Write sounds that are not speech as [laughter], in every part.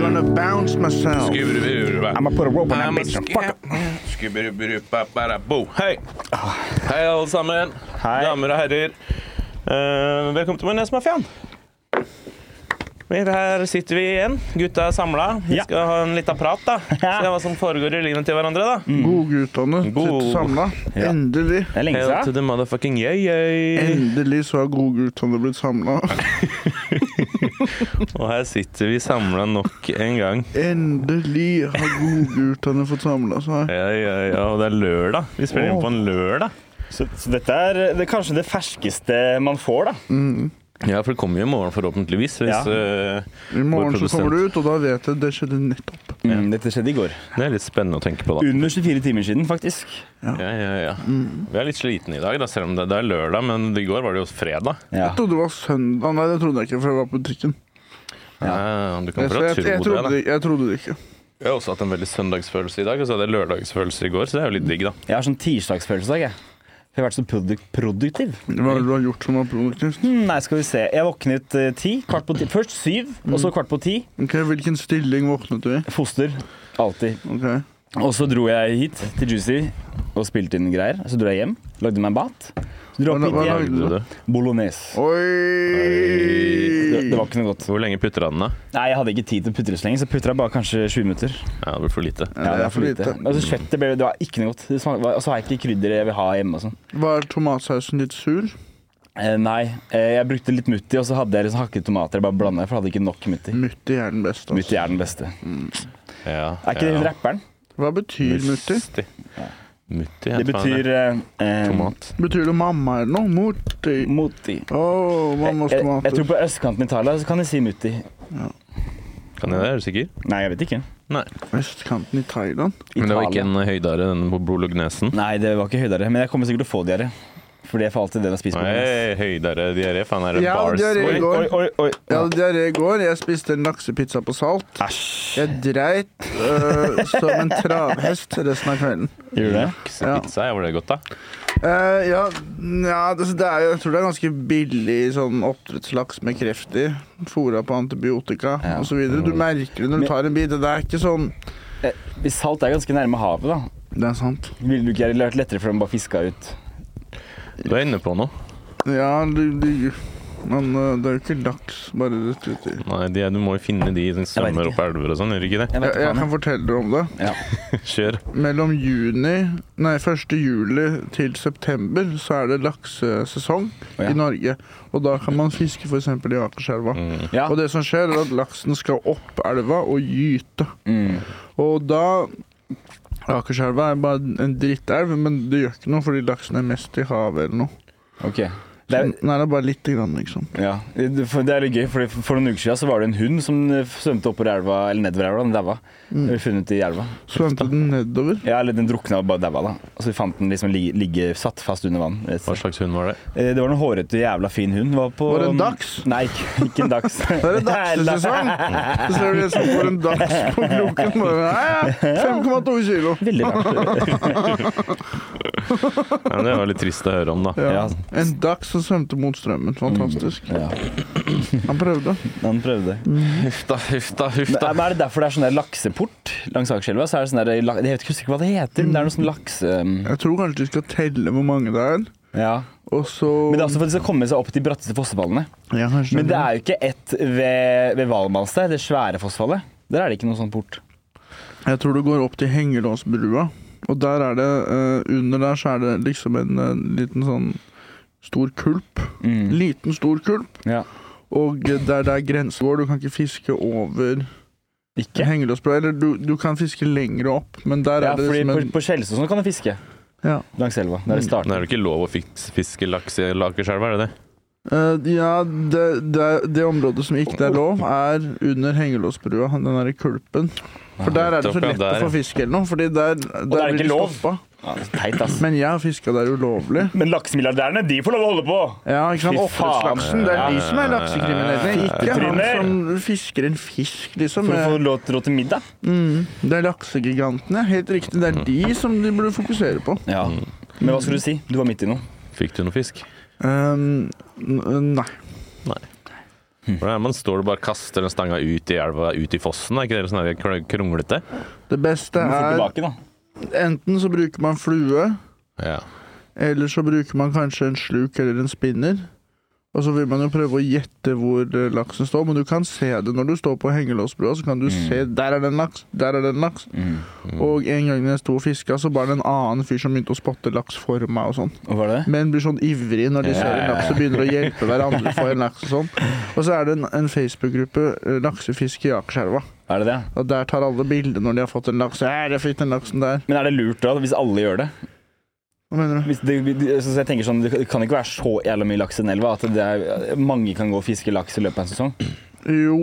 myself. I'm gonna put a rope on that I'm a bitch and fuck her. Skubberubberubbabarabo. Hei. Hei, alle sammen. Ah. Hei. Damer og herrer. Eh, velkommen til Majonesmafiaen. Her sitter vi igjen, gutta er samla. Vi Ja. skal ha en liten prat. da Se hva som foregår i livet til hverandre. da Mm. Godguttene sitter God- samla. Endelig. Det er lenge Hail to siden. the motherfucking yay. Mm. Endelig så har godguttene blitt samla. Og her sitter vi samla nok en gang. Endelig har godguttene fått samla seg. Ja, ja, ja, Og det er lørdag. Vi spiller inn på en lørdag. Så, så dette er eh, det, er kanskje det ferskeste man får, da. Ja, for det kommer jo i morgen, forhåpentligvis. Hvis, Ja. eh, I morgen vår så kommer produsent- det ut, og da vet jeg det skjedde nettopp. Mm, dette skjedde i går. Det er litt spennende å tenke på, da. Under 24 timer siden, faktisk. Ja, ja, ja. Vi er litt slitne i dag, da, selv om det, det er lørdag, men i går var det jo fredag. Ja. Jeg trodde det var søndag. Nei, det trodde jeg ikke før jeg var på butikken. Ja, Eh, Du kan Jeg, jeg, prøve jeg, å tro det. trodde, Da. det- jeg trodde det ikke. Jeg har også hatt en veldig søndagsfølelse i dag, og så hadde jeg lørdagsfølelse i går, så det er jo litt digg, da. Jeg har sånn tirsdagsfølelse i dag, jeg. For jeg har vært så produk produktiv. Hva er det du har gjort som er produktivt? Hmm, Nei, skal vi se. Jeg våknet eh, ti. Kvart på ti. Først syv, og så kvart på ti. Ok, Hvilken stilling våknet du i? Foster. Alltid. Ok, Og så dro jeg hit til Juicy og spilte inn greier. Så dro jeg hjem, lagde meg mat. Så dro jeg Hva- opp hva hit lagde igjen. du? Gjorde du det? Bolognese. Det, det Oi! var ikke noe godt. Hvor lenge putter han den, da? Nei, jeg hadde ikke tid til å putre så lenge, så putra jeg bare kanskje 20 minutter. Ja, det blir for lite. Ja, det er for lite. Altså, kjøttet ble, det var ikke noe godt. Det smak- Og så har jeg ikke krydder jeg vil ha hjemme og sånn. Var tomatsausen litt sur? Eh, nei, eh, jeg brukte litt mutti, og så hadde jeg liksom hakket tomater. Jeg bare blanda, for jeg hadde ikke nok mutti. Mutti er den beste. Altså. Mutti er den beste. Ja, Er ikke det hun rapperen? Hva betyr mutti? Musti. Mutti, Det heter han betyr eh, eh, Tomat. Betyr det mamma eller noe? Mutti. Mutti. Å, mammas Jeg, jeg tomater. tror på østkanten i Italia så kan de si mutti. Kan jeg det? Er du sikker? Nei, jeg vet ikke. Nei. Østkanten i Thailand. Men det var Italia. ikke en høydare, den på bolognesen. Nei, det var ikke høydere, men jeg kommer sikkert til å få diaré. Fordi jeg får alltid det når jeg spiser bolognese. Nei, høydare, diaré, faen er det Ja, bars? diaré. Oi. Oi, går. oi, oi. Jeg hadde diaré i går. Jeg spiste en laksepizza på salt. Æsj. Jeg dreit øh, som en travhest resten av kvelden. Gjorde du det? Ja. Pizza, ja, var det godt, da? Eh, ja, nja, det, det er, jo- jeg tror det er ganske billig sånn oppdrettslaks med kreft i. Fôra på antibiotika Ja. Mm. og så videre Du merker det når du Men- tar en bit. Det er ikke sånn Eh, Salt er ganske nærme havet, da. Det er sant. Ville du ikke ha vært lettere for dem å bare fiske ut? Du er inne på noe. Ja, du, du, men øh, det er jo ikke laks bare rett uti. Nei, de, er- du må jo finne de som svømmer ikke. opp elver og sånn, gjør du ikke Jeg det? Jeg, vet jeg ikke kan faen. fortelle deg om det. [laughs] Kjør. Mellom juni, nei, 1. juli til september så er det laksesesong Å, ja. i Norge. Og da kan man fiske f.eks. i Akerselva. jeg. Ja. Og det som skjer, er at laksen skal opp elva og gyte. Mm. Og da Akerselva er bare en drittelv, men det gjør ikke noe fordi laksen er mest i havet eller noe. Ok. Det Så er, den er bare lite grann, liksom. ja. Det- for- det er litt gøy, for for noen uker siden så var det en hund som eh, svømte oppover elva, eller nedover elva, den daua. Den ble Funnet i elva. Svømte den nedover. Ja, eller den drukna og bare daua, da. Og så fant den liksom ligge, ligge satt fast under vann. Eh, Hva slags hund var det? Det var en hårete, jævla fin hund. Den Var, på, Var det en dachs? Nei, ikke- ikke en [laughs] dags. Da er det [laughs] dagsesesong! Så ser du en som får en dags på kroken. bare, «Nei, ja, 5,2 kilo. Veldig [laughs] rart. Ja, det var litt trist å høre om, da. Ja. En dachs som svømte mot strømmen. Fantastisk. Mm, Ja, [clears throat] Han prøvde. han prøvde. Mm. Huff da, huff da, huff Men, men er det derfor det er sånn der lakseport langs Akerselva? Så er det sånn der, la- jeg vet ikke, husker ikke hva det heter, men det er Mm. noe sånn lakse... Jeg tror kanskje de skal telle hvor mange det er, Ja. og så Men det er også for at de skal komme seg opp til de bratteste fossefallene. ja, kanskje Men det er jo ikke ett ved, ved Valmanns der, det svære fossefallet. Der er det ikke noe sånn port. Jeg tror du går opp til Hengelåsbrua. Og der er det eh, Under der så er det liksom en eh, liten sånn stor kulp. Mm. Liten, stor kulp. Ja. Og eh, der det er grenser går, du kan ikke fiske over Ikke? hengelåsbrua. Eller du, du kan fiske lenger opp, men der Ja, er det fordi liksom på, en Mm. på Skjelsås kan du fiske. ja. Langs elva. Der det Men starter. er det ikke lov å fiks- fiske laks i Akerselva, er det det? Eh, ja, det, det, det området som ikke er lov, er under hengelåsbrua, den derre kulpen. For der er det så nettopp, ja, lett å der, få ja. fisk eller noe. Fordi der, der er blir ikke de lov. stoppa. Ja, det er teit, ass. Men jeg har fiska der ulovlig. Men laksemilliardærene, de får lov å holde på! Ja, ikke sant? Fy Oppdrettslaksen. faen. Det er de Ja. som er laksekriminelle. Ikke han Fisketryner. som fisker en fisk, liksom. For å få lov til å rå til middag. Mm, det er laksegigantene. Helt riktig. Det er Mm. de som de burde fokusere på. Ja. Men hva skulle du si? Du var midt i noe. Fikk du noe fisk? Um, n- nei. Hvordan er det man står og bare kaster den stanga ut i elva, ut i fossen? Er ikke det sånn her kr- kronglete? Det beste Du får er tilbake, da. Enten så bruker man flue. Ja. Eller så bruker man kanskje en sluk eller en spinner. Og så vil man jo prøve å gjette hvor eh, laksen står, men du kan se det når du står på hengelåsbrua. Så kan du se der er det en laks, der er det en laks. Og en gang jeg sto og fiska, så var det en annen fyr som begynte å spotte laks for meg. og sånn. Og var det? Menn blir sånn ivrige når de Ja, ser ja, en laks og begynner å hjelpe hverandre for en laks. Og sånn. Og så er det en, en Facebook-gruppe, eh, Laksefisk i Akerselva. Er det det? Og der tar alle bilder når de har fått en laks. Ja, jeg fikk den laksen der. Men er det lurt da, hvis alle gjør det? Hva mener du? Hvis det så jeg tenker sånn, det kan ikke være så jævla mye laks i den elva at det er, mange kan gå og fiske laks i løpet av en sesong. Jo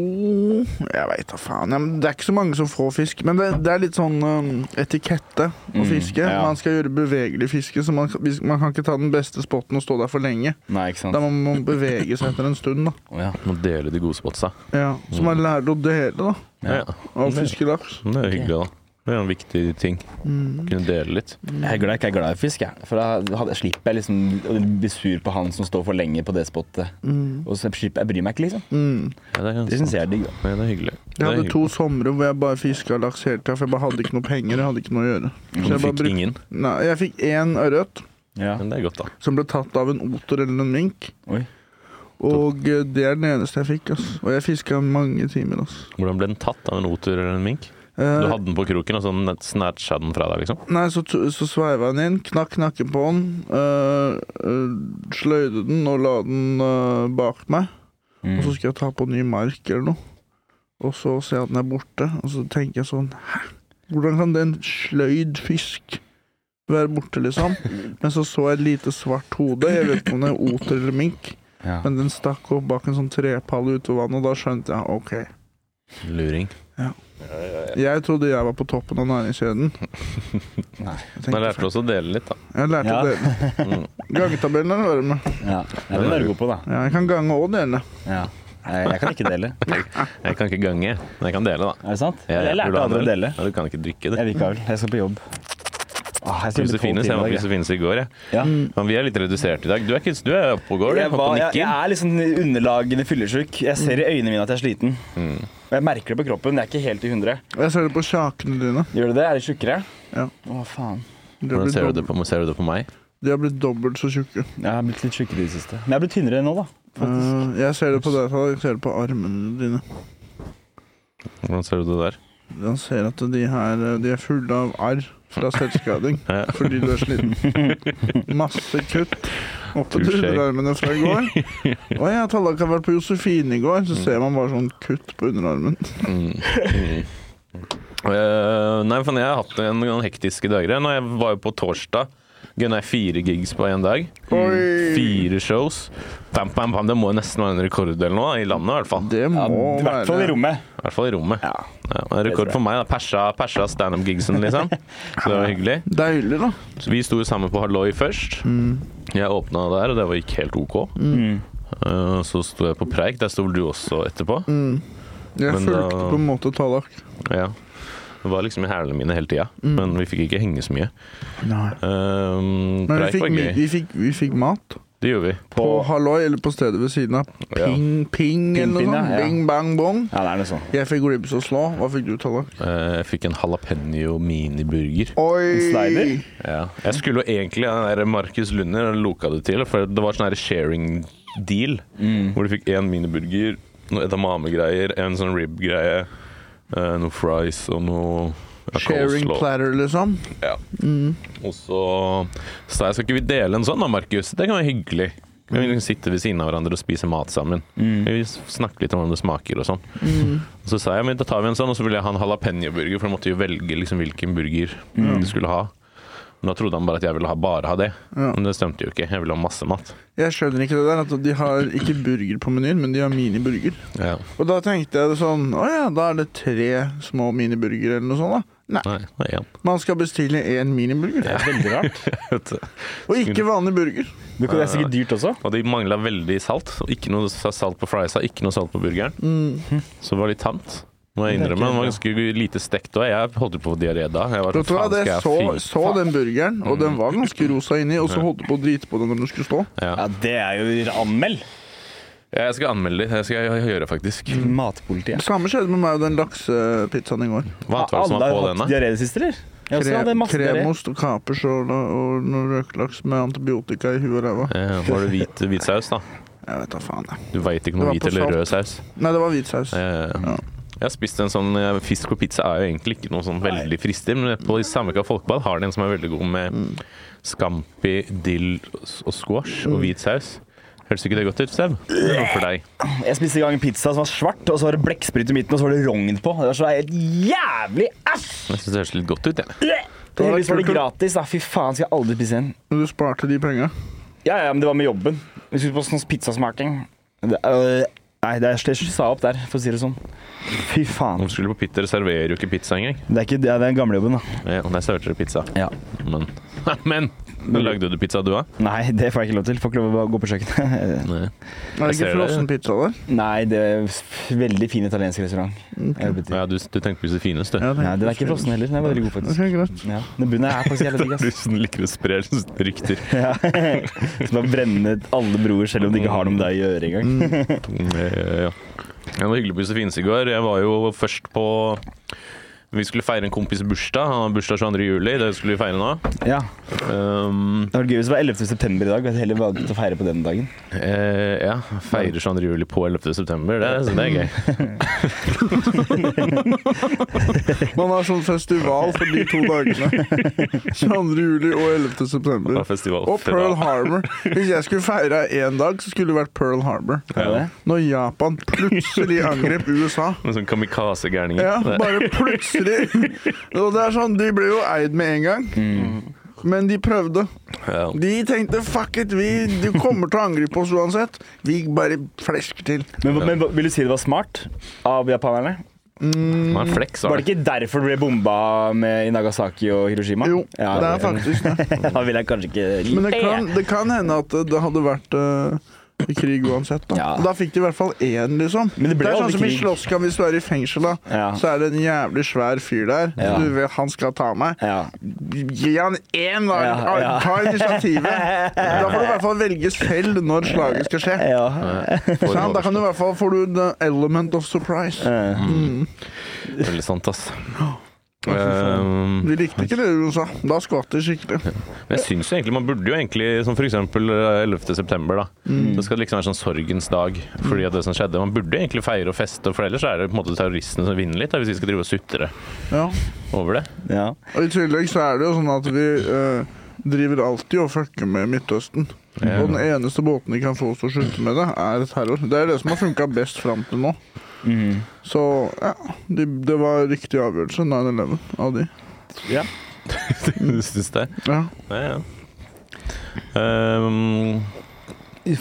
Jeg veit da faen. Ja, men det er ikke så mange som får fisk. Men det, det er litt sånn um, etikette å Mm, fiske. ja. Man skal gjøre bevegelig fiske, så man, kan- hvis- man kan ikke ta den beste spotten og stå der for lenge. Nei, ikke sant? Da må man bevege seg etter en stund, da. Å, ja. Må dele de gode spotsa. Ja, så man lærer å dele, da. Ja. Av fiskelaks. Det er hyggelig, da. Det er en viktig ting. Mm. Kunne dele litt. Jeg er glad jeg ikke er glad i fisk, jeg. For da hadde- slipper jeg liksom å bli sur på han som står for lenge på det spottet. Og så slipper jeg bryr meg ikke, liksom. Mm. Ja, det er Det syns jeg er digg, da. Ja, det er hyggelig. Jeg det er hadde to somre hvor jeg bare fiska laks hele tida, for jeg bare hadde ikke noe penger. Jeg hadde ikke noe å gjøre. Så Du jeg bare fikk brukte ingen, Nei, jeg fikk én ørret Ja. men det er godt, da. som ble tatt av en oter eller en mink. Oi. Og eh, det er den eneste jeg fikk. ass. Og jeg fiska mange timer. ass. Hvordan ble den tatt av en oter eller en mink? Du Eh, hadde den på kroken, og så net- snatcha den fra deg, liksom? Nei, så, t- så sveiva han inn, knakk nakken på han, øh, øh, sløyde den og la den øh, bak meg. Mm. Og Mm. så skal jeg ta på ny mark eller noe. Og så ser jeg at den er borte, og så tenker jeg sånn Hæ? Hvordan kan det en sløyd fisk være borte, [laughs] liksom? Men så så jeg et lite svart hode, jeg vet ikke om det er oter eller mink, Ja. men den stakk opp bak en sånn trepall ute ved vannet, og da skjønte jeg OK. Luring. Jeg trodde jeg var på toppen av [laughs] Nei. næringskjeden. Jeg Men jeg tenkte, lærte også å dele litt, da. jeg lærte Ja. å dele. Mm. Gangetabellen er å være med. Ja. ja, den er du god på, da. Ja, jeg kan gange og dele. Ja. Jeg, jeg kan ikke dele. Jeg kan ikke gange, men jeg kan dele, da. Er det sant? Ja, ja. Jeg Vil du lærte ha andre en å del? dele. Ja, du kan ikke drikke det. Jeg vil ikke ha øl. Jeg skal på jobb. Åh, jeg Mm. skulle Josefines, jeg var på Josefines i går, jeg. Ja. Men vi er litt redusert i dag. Du er, ikke, du er oppe og går, du. Jeg, Oppe var, og jeg, jeg nikker. er liksom underlagende fyllesyk. Jeg ser i øynene mine at jeg er sliten. Og jeg merker det på kroppen. Jeg er ikke helt i hundre. Og Jeg ser det på kjakene dine. Gjør du det? Er de tjukkere? Ja. Å, faen. De har, Hvordan blitt ser du, det dobbelt, på, ser du det på meg? de har blitt dobbelt så tjukke. Jeg har blitt litt tjukkere i det siste. Men jeg har blitt tynnere nå, da. Faktisk. Eh, jeg ser det på deg, Tara. jeg ser det på armene dine. Hvordan ser du det der? Jeg ser at de her eh, de er fulle av arr fra [laughs] selvskading Ja. fordi du er sliten. Masse kutt oppe til Touché. underarmene fra i går. Og jeg og Tallak har vært på Josefine i går, så ser man bare sånn kutt på underarmen. Mm. Mm. Eh, nei, for jeg har hatt en, noen hektiske dager. jeg. Når jeg var jo på torsdag, gunna jeg fire gigs på én dag. Oi! Fire shows. Bam, bam, bam. Det må jo nesten være en rekord eller noe, i landet i hvert fall. Det Ja, må I hvert fall i være rommet. I hvert fall i rommet. Ja. Ja, og en rekord for meg. da Persa, persa standup-gigsen, liksom. [laughs] Så det var hyggelig. deilig, da. Så vi sto jo sammen på Halloi først. Mm. Jeg åpna der, og det var- gikk helt OK. Mm. Eh, Så sto jeg på Preik. Der sto vel du også etterpå. Mm. Jeg Men da- fulgte på en måte Tallak. Ja. Det var liksom i hælene mine hele tida, Mm. men vi fikk ikke henge så mye. Um, Men vi Preik fikk, var mi- gøy. vi fikk, vi fikk mat. Det gjorde vi. På Halloi, eller på stedet ved siden av. Ja. Ping, ping, eller noe ping, sånt. ja, ja. Bing, bang, bong. Ja, det er noe sånn. Jeg fikk ribs og slå. Hva fikk du, Tallak? Eh, Jeg fikk en jalapeño miniburger. Oi! En slider? Ja. Jeg skulle jo egentlig ha den der Markus Lunder og loka det til, for det var sånn her sharing deal. Hvor du fikk én miniburger, noe edamame-greier, en sånn rib-greie, eh, noe fries og noe Ja, Sharing coleslaw. platter, liksom. Ja. Mm. Og så sa jeg skal ikke vi dele en sånn da, Markus? Det kan være hyggelig. Mm. Vi kan liksom sitte ved siden av hverandre og spise mat sammen. Mm. Vi snakker litt om hvordan det smaker og sånn. Mm. Og Så sa jeg men da tar vi en sånn, og så ville jeg ha en jalapeño-burger, for jeg måtte jo velge liksom, hvilken burger Mm. du skulle ha. Men da trodde han bare at jeg ville ha bare ha det, Ja. men det stemte jo ikke. Jeg ville ha masse mat. Jeg skjønner ikke det der. At de har ikke burger på menyen, men de har miniburger. Ja. Og da tenkte jeg det sånn Å ja, da er det tre små miniburgere eller noe sånt, da. Nei. Nei, det er én. Man skal bestille én miniburger. Det er veldig rart. Vet [laughs] du. Og ikke vanlig burger. Det er sikkert dyrt også. Og de mangla veldig salt. og Ikke noe salt på friesa, ikke noe salt på burgeren. Så det var litt tamt. Må jeg innrømme, Den var ganske lite stekt òg. Jeg holdt på å få diaré da. Jeg var Vet du hva, sånn, faen, det skal jeg så, fy- så den burgeren, og den var ganske rosa inni, og så holdt du på å drite på den når den skulle stå. Ja. Ja, det er jo anmeld! Jeg skal anmelde det. Det skal jeg gjøre, faktisk. Mm. Matpolitiet. Det samme skjedde med meg og den laksepizzaen i går. Hva annet var det som var på Alle den, har hatt da? diaré i det siste, eller? Jeg også hadde Krem, masse diaré. kremost og kapers og, la- og noe røkelaks med antibiotika i huet og ræva. Eh, Var det hvit, hvit saus, da? Jeg vet da faen, jeg. Du veit ikke Det noe var hvit på eller salt. rød saus? Nei, det var hvit saus. Eh, Ja. Jeg har spist en sånn eh, Fisk på pizza er jo egentlig ikke noe sånn veldig fristig, men på Samvika Folkebad har de en som er veldig god med scampi, dill og squash og hvit saus. Høres ikke det godt ut, Seb? Det er noe For deg. Jeg spiste i gang en pizza som var svart, og så var det blekksprut i midten, og så var det rogn på. Det var så helt jævlig æsj! Jeg syns det høres litt godt ut, jeg. Det var Heldigvis var det kult, da. gratis, da. Fy faen, skal jeg aldri spise igjen. Men du sparte de penga. Ja, ja, men det var med jobben. Vi skulle på sånn pizzasmaking. Det, øh, nei, det er jeg sa opp der, for å si det sånn. Fy faen. Om du skulle på Pitter, serverer jo ikke pizza engang. Det er ikke det, er den gamle jobben, da. Eh, Der serverte de pizza. Ja. Men, [laughs] men lagde du pizza, du òg? Nei, det får jeg ikke lov til. Får ikke lov til å gå på kjøkkenet. [laughs] Er det Jeg ser ikke det. frossen pizza der? nei, det er f- veldig fin italiensk restaurant. Jeg jobbet i. Ja, du, du tenkte på det fineste, du. Nei, den er ikke frossen heller. Den er veldig god, faktisk. Ok, [laughs] greit. Ja. Den bunnen er faktisk jævlig digg, [laughs] Du ass. som liker å spre rykter. Ja. Som har brennet alle broer, selv om de ikke har noe med deg å gjøre engang. Eh, Ja. Det var hyggelig på Josefines i går. Jeg var jo først på Vi skulle feire en kompis bursdag. Han har bursdag 22. juli. Det skulle vi feire nå. Ja. Um, Det var gøy hvis det var 11. september i dag, og heller valgte å feire på den dagen. eh, ja, feire 22. juli på 11. september. Det, så det er gøy. Man har sånn festival for de to dagene. 22. juli og 11. Ja, september. festival. Og Pearl Festival. Harbor. Hvis jeg skulle feira én dag, så skulle det vært Pearl Harbor. Er det? Når Japan plutselig angrep USA. Med sånn kamikaze-gærninger. [laughs] Ja, Det- bare plutselig. Og det er sånn, De ble jo eid med en gang. Mm. Men de prøvde. ja. De tenkte 'fuck it, vi, du kommer til å angripe oss uansett'. Vi bare flesker til. Men, men vil du si det var smart av japanerne? Det var en fleks, Var var det det. ikke derfor det ble bomba med, i Nagasaki og Hiroshima? Jo, Ja, det er [laughs] faktisk det. Da vil jeg kanskje ikke Men like det kan, det kan hende at det hadde vært eh, krig uansett. Da. Ja. da fikk de i hvert fall én, liksom. Men det ble er sånn aldri som i krig. slåsskamp hvis du er i fengsel, da. Ja. Så er det en jævlig svær fyr der. Ja. Du vet han skal ta meg. Ja. Gi han én, da! Ja, ja. Ta initiativet! Da får du i hvert fall velge selv når slaget skal skje. ja. Sant? Da kan du i hvert fall får du the element of surprise. Eh, Veldig sant, ass. Um, De Eh, likte ikke det du sa. Da skvatt de skikkelig. Men jeg syns jo egentlig man burde jo egentlig, som for eksempel eh, 11. september, da. Det skal liksom være sånn sorgens dag fordi at det som skjedde. Man burde jo egentlig feire og feste, for ellers er det på en måte terroristene som vinner litt, da, hvis vi skal drive og sutre Ja. over [laughs] det. ja. Og i tillegg så er det jo sånn at vi eh, driver alltid og fucker med Midtøsten. Og den eneste båten de kan få oss til å slutte med det, er terror. Det er det som har funka best fram til nå. Mm. Så ja, de, det var riktig avgjørelse, 9-11, av de. ja. du syns det? Ja. Ja, ja. Ehm,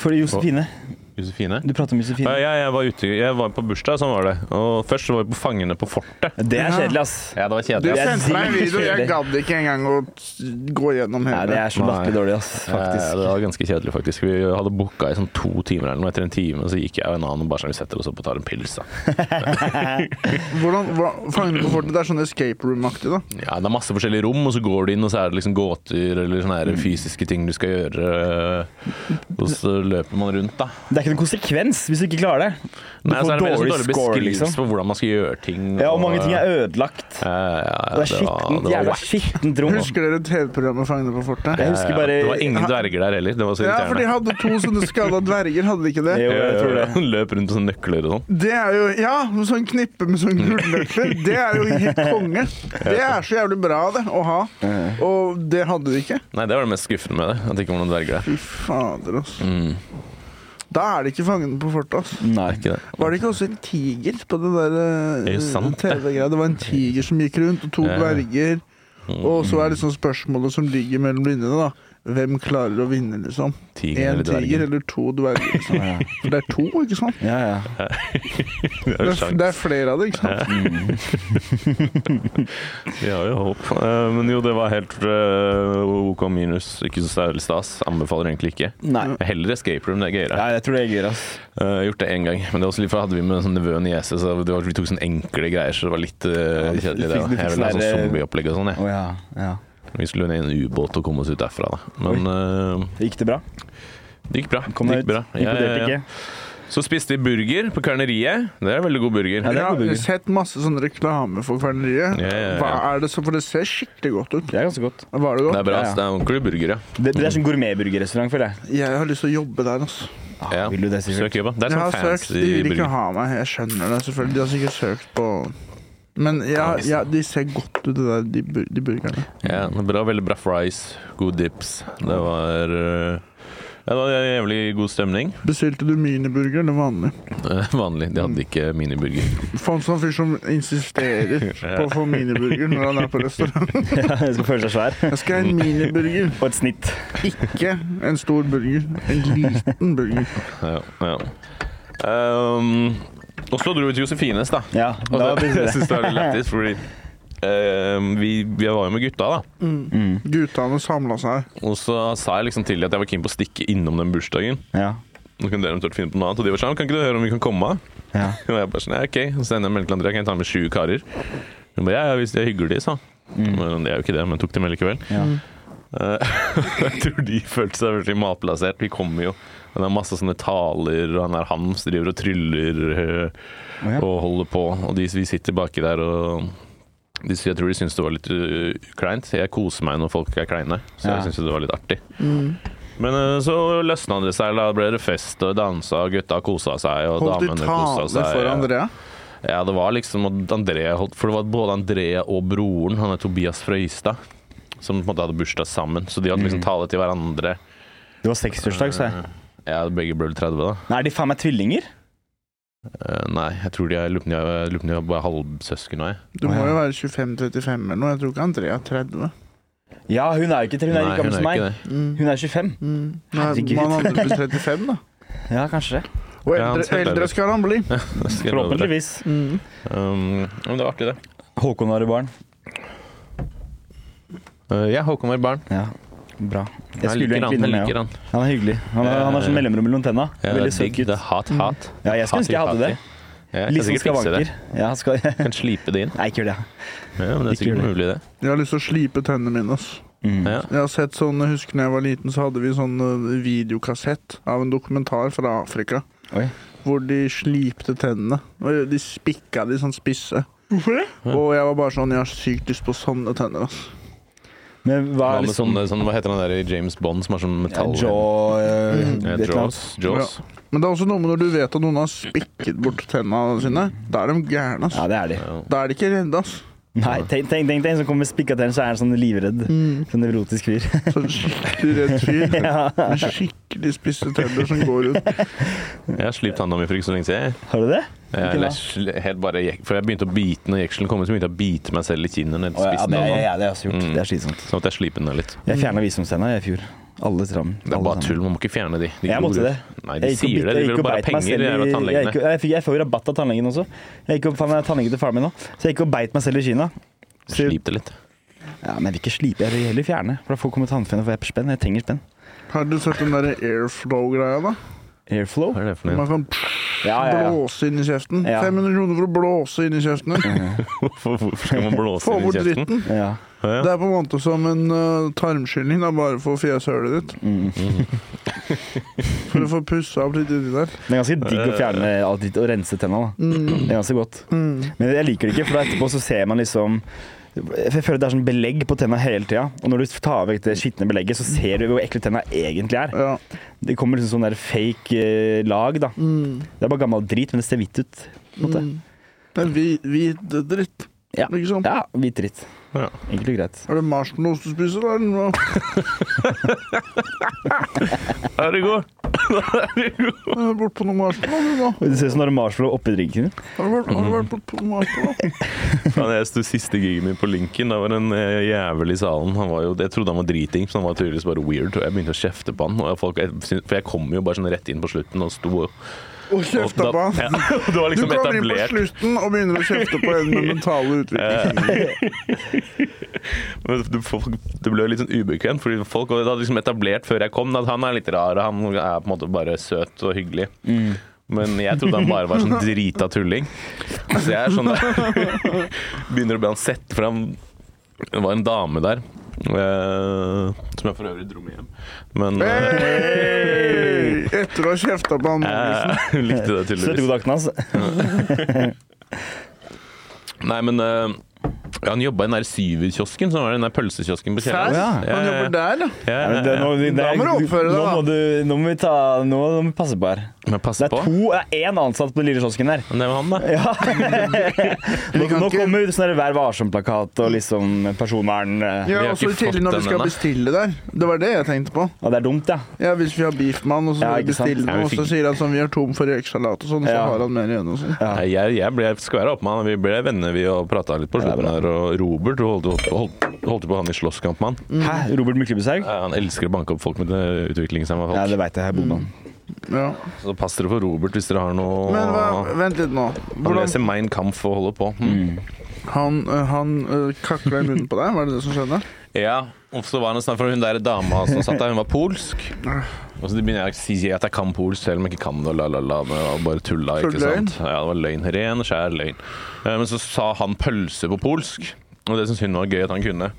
For Josefine. Josefine? Du prater om Ja, Josefine. ja, jeg var ute Jeg var på bursdag, sånn var det. Og først så var vi på Fangene på fortet. Det er Ja. kjedelig, ass. Ja, det var Du kjedelig. Det er sendte meg en video, jeg dritkjedelig. gadd ikke engang å t- gå gjennom Nei, det hele. er så latterlig dårlig, ass. Ja, Faktisk. Eh, det var ganske kjedelig, faktisk. Vi hadde booka i sånn to timer eller noe. Etter en time så gikk jeg og en annen og bare sånn, vi setter oss opp og tar en [laughs] pils, da. Hvordan, hva, Fangene på fortet, det er sånn escape room-aktig, da. Ja, det er masse forskjellige rom, og så går du inn, og så er det liksom Mm. gåter eller sånne her fysiske ting du skal gjøre. eh, Og så løper man rundt, da. Det er ikke ikke noen konsekvens hvis du ikke klarer det. Du Nei, får så er det dårlig veldig sånn dårlig score, beskrivelse liksom. på hvordan man skal gjøre ting. Ja, og mange ting er ødelagt. Ja, ja, Eh, ja, Det er var- skittent, det var jævla wack. skittent rom. Husker dere TV-programmet Fangene på fortet? Jeg husker Ja, bare Det var ingen dverger der heller. Det var så Ja, for de irriterende. Eh, hadde to sånne skada dverger, hadde de ikke det? Jo, jeg tror det. [laughs] Løp rundt med sånne nøkler og sånn. Det er jo Ja, med sånn knippe med sånn gullnøkler. Det er jo helt konge. Det er så jævlig bra, det, å ha. Og det hadde de ikke. Nei, det var det mest skuffende med det. At det ikke var noen dverger der. Fy fader, altså. Mm. Da er det ikke Fangene på fortet, altså. Nei. Ikke det. Var det ikke også en tiger på det der Det er jo sant, det. TV-greia? Det var en tiger som gikk rundt, og to Ja. Mm. dverger. Og så er liksom spørsmålet som ligger mellom linjene, da. Hvem klarer å vinne, liksom? Tigeren Én eller dvergen? tiger eller to dverger? Liksom. Ja, For det er to, ikke sant? ja. ja. Vi har Det jo er, sjans. det er flere av det, ikke sant? Vi har jo håp. Eh, Men jo, det var helt eh, OK minus. Ikke så særlig stas. Anbefaler egentlig ikke. Nei. Heller Escape Room, det er gøyere. Ja, jeg tror det er gøy, ass. Eh, gjort det én gang. Men det er også litt for hadde vi med sånn nevø og niese, så det var, vi tok sånne enkle greier, så det var litt du eh, fikk- du kjedelig, det. fikk- da. du fikk Jeg ville ha sånn sånn der- zombieopplegg og sånn, jeg. Å ja. ja. Vi skulle ned i en ubåt og komme oss ut derfra, da. Men eh, Gikk det bra? det gikk bra. Kom deg det gikk ut? bra. Ja, ja, Imponerte ja. ikke? Så spiste vi burger på Kverneriet. Det er veldig god burger. Ja, det er Ja, god jeg burger. har sett masse sånn reklame for kverneriet. Ja, ja, ja. Hva er det så For det ser skikkelig godt ut. Det er ganske godt. Var det Det godt? er bra. Ja, ja. ass. Det er ordentlig burger, ja. Det, det er sånn gourmetburgerrestaurant, føler jeg. Jeg har lyst til å jobbe der, altså. ja. Ah, Vil du det, sikkert? Søk jobba. Det er Jeg sånn har søkt, fancy de vil ikke burger. ha meg. Jeg skjønner det, selvfølgelig. De har sikkert søkt på Men ja, ja, de ser godt ut, det der, de, bur- de burgerne. Ja, det er bra, veldig bra fries, gode dips. Det var eh, ja, det var jævlig god stemning. Bestilte du miniburger eller vanlig? Eh, Vanlig. De hadde ikke miniburger. Faen sånn fyr som [laughs] insisterer på å få miniburger når han er på restaurant. Ja, jeg skal føle seg svær. Jeg skal ha en miniburger, [laughs] Og et snitt. ikke en stor burger. En liten burger. Ja, ja. Um, og så dro vi til Josefines, da. Ja, Og da det, [laughs] blir [laughs] jeg det synes det var litt lættis, fordi um, vi, vi var jo med gutta, da. Guttene samla seg. Og så sa jeg liksom til dem at jeg var keen på å stikke innom den bursdagen. Ja. Nå kan dere eventuelt finne på noe annet. Og de var sånn, kan ikke du høre om vi kan komme? ja. Og jeg bare sånn, ja, ok. Så sender jeg melding til Andrea, kan jeg ta med sju karer? Hun bare, ja, ja, hvis de er hyggelige, sa. Mm. Men det er jo ikke det, men tok dem likevel. ja. Eh, [laughs] jeg tror de følte seg veldig matplassert. Vi kommer jo. Og det er masse sånne taler, og han er hams, driver og tryller eh, Å, ja. og holder på. Og de, vi sitter baki der og de, sy- jeg tror de syntes det var litt eh, kleint. Jeg koser meg når folk er kleine, så Ja. jeg syntes det var litt artig. Men eh, så løsna det seg. Da ble det fest og dansa, og gutta kosa seg, og Holdt de damene kosa tale seg. for Andrea? Ja, det var liksom at Andrea holdt For det var både Andrea og broren, han er Tobias fra Ystad, som på en måte hadde bursdag sammen. Så de hadde liksom tale til hverandre. Eh, Det var seksårsdag, Mm. sa jeg. Ja, begge ble vel 30, da. Nei, er de faen meg tvillinger? Eh, nei, jeg tror de er lurer på om de er- lurer på om de er bare halvsøsken nå, jeg. Du må jo være 25-35 eller noe. Jeg tror ikke Andrea er 30. Ja, hun er jo ikke til. Hun er Nei, like gammel som meg. det. Mm. Hun er 25. Mm. Herregud. Man andre blir 35, da. Ja, kanskje det. Og Ja, han eldre, ser bedre eldre ut. skal han bli. Det skal jeg love deg. Forhåpentligvis. Um, men det var artig, det. Mm. Håkon var i baren. Eh, ja, Håkon var barn. Ja, bra. Jeg Jeg skulle jo liker han, egentlig innom jeg med liker han. han. Han er hyggelig. Han, er, han har sånn mellomrom mellom tenna. Ja, det Veldig er søt digg. Det gutt. er hat, hat. Ja, jeg skulle ønske jeg hadde det. Ja, jeg Litt kan sånn sikkert fikse det. skavanker. Ja, skal... [laughs] Kan slipe det inn. Nei, ikke gjør det. Ja, men det er Ikke sikkert gjør mulig, det. Jeg har lyst til å slipe tennene mine. ass. Mm. Ja. Jeg har sett sånn, jeg husker når jeg var liten, så hadde vi sånn eh, videokassett av en dokumentar fra Afrika. Oi. Hvor de slipte tennene. Og De spikka de sånn spisse. Hvorfor det? Og jeg var bare sånn Jeg har sykt lyst på sånne tenner. ass. Men hva Hva, er med sånn liksom sånne, sånne, hva heter han der i James Bond som har sånn ja, metall Jaw eh, Ja, et eller annet. Jaws. Jaws. Men det er også noe med når du vet at noen har spikket bort tennene sine. Da er de gærne. ass. Ja, det er de. Da er de ikke redde. ass. Nei, tenk, tenk, tenk, tenk som kommer med spikka tenner, så er han sånn livredd. Sånn nevrotisk fyr. [laughs] Sånn skikkelig redd fyr. Med skikkelig spisse tenner som går ut. Jeg har slipt handa mi for ikke så lenge siden. Har du det? Jeg, Ikke da? jeg, sl- helt bare, jeg, for jeg begynte å bite når jekselen kom, ut, så begynte jeg å bite meg selv i kinnet. ned til Å, ja, spissen det, av ja, den. ja, det har jeg også gjort. Mm. Det er slitsomt. Sånn at jeg sliper den ned litt. Jeg fjerna visdomstenna i fjor. Alle sammen. Det er bare tull, man må ikke fjerne de. de Jeg måtte det. Nei, de Jeg gikk og sier bit- det. De jeg gikk vil og bare ha beit meg penger, de selv jævla i- jeg gikk tannlegene. og- jeg fikk- Jeg får jo rabatt av tannlegen også. Jeg gikk og faen meg tannlegen til faren min nå. Så jeg gikk og beit meg selv i Kina. Så, Slip det litt. ja, men jeg vil ikke slipe, jeg vil heller fjerne. For da får komme tannfene for jeg er på spenn. Jeg trenger spenn. Har du sett den derre airflow-greia, da? Airflow? Hva er det [laughs] for noe? Man kan Ja, ja, ja. Blåse inn i kjeften. Ja. 500 kroner for å blåse inn i kjeften din. Hvorfor hvorfor skal man blåse Få inn i bort kjeften? dritten. [laughs] ja. Ja, Det ja. er på en måte som en eh, tarmskylling, da, bare for fjeshølet ditt. Mm. [laughs] [laughs] for å få pussa opp litt inni der. Det er ganske digg å fjerne alt dritt og rense tenna. da. Det er ganske godt. Men jeg liker det ikke, for da etterpå så ser man liksom jeg føler Det er sånn belegg på tenna hele tida. Og når du tar vekk det skitne belegget, så ser du hvor ekle tenna egentlig er. Ja. Det kommer liksom sånn der fake eh, lag, da. Det er bare gammel drit, men det ser hvitt ut. På en måte. Det er hvit, hvit dritt. Ja. Mm. Ikke sant? ja, hvit dritt. Ja. Enkelt og greit. Er det marshmallows du spiser, da? eller noe? Er du god? Har du vært på noe marshmallow, du, nå? Det ser ut som du har marshmallow oppi drinken. Har du vært, har du vært på, på noe marshmallow? [laughs] Faen, jeg sto siste gigen min på Lincoln. Da var det en eh, jævel i salen. Han var jo, jeg trodde han var driting, så han var tydeligvis bare weird. Og jeg begynte å kjefte på han. Og jeg, folk, jeg, syn- for jeg kom jo bare sånn rett inn på slutten og sto og Og og kjefta på [laughs] Ja, han. og det var Du liksom kommer inn på etablert. slutten og begynner å kjefte på en med mentale Eh. utvikling. Eh, [laughs] Men det- folk- Det ble jo litt sånn ubekvemt, fordi folk og det hadde liksom etablert før jeg kom at han er litt rar, og han er på en måte bare søt og hyggelig. Men jeg trodde han bare var sånn drita tulling. Så jeg er sånn der Begynner å bli han sett, for han Det var en dame der. eh, som jeg for øvrig dro med hjem. Men eh, Hey! Etter å ha kjefta på han. Magnus. eh, hun likte det Søt god tydeligvis. dag, Knas. Nei, men eh, han jobba i den der syverkiosken, som var den der pølsekiosken på Hæ? kjelleren. Ja. Han jobber der, ja. Ja, Ja, ja, men det, ja. nå, det, Da må du oppføre deg, nå da. Må du, nå må vi ta Nå må vi passe på her. Men Det passe er på. to Det er én ansatt på den lille kiosken der. Det var han, da. Ja. nå, kan nå ikke- kommer sånn der Vær varsom-plakat og liksom personvern. eh. Ja, Vi har og så ikke i tillegg fått når den du skal ennå. bestille der. Det var det jeg tenkte på. Ja, det er dumt, ja. Ja, Hvis vi har beef med han, og Ja, så skal vi ikke sant. bestille Ja, den, vi og så fikk- sier han sånn, vi har tom for rekesalat og sånn, så Ja. har han mer igjen og sånn. Ja. Nei, Jeg, jeg ble, skal være oppe med han. Vi ble venner vi og prata litt på Ja, det er slutten bra. her. Og Robert du holdt, holdt, holdt, holdt på han i slåsskamp med Mm. han. Hæ? Robert Myklebushaug? Eh, Han elsker å banke opp folk med det utviklingshemma folk. Ja, det veit jeg. Jeg bodde med han. Mm. Ja. Så pass dere for Robert hvis dere har noe Men hva, vent litt nå. Han Hvordan leser Mein Kampf og holder på. Mm. Han, øh, han øh, kakla i munnen på deg, var det det som skjedde? Ja, og så var det snakk for hun der dama som satt der, hun var polsk. Og så begynner jeg å si at jeg kan polsk selv om jeg ikke kan det, og la, la, la. Men jeg bare tulla, Så ikke sant. Ja, det var løgn. Ren og skjær løgn. Eh, Men så sa han pølse på polsk, og det syntes hun var gøy at han kunne.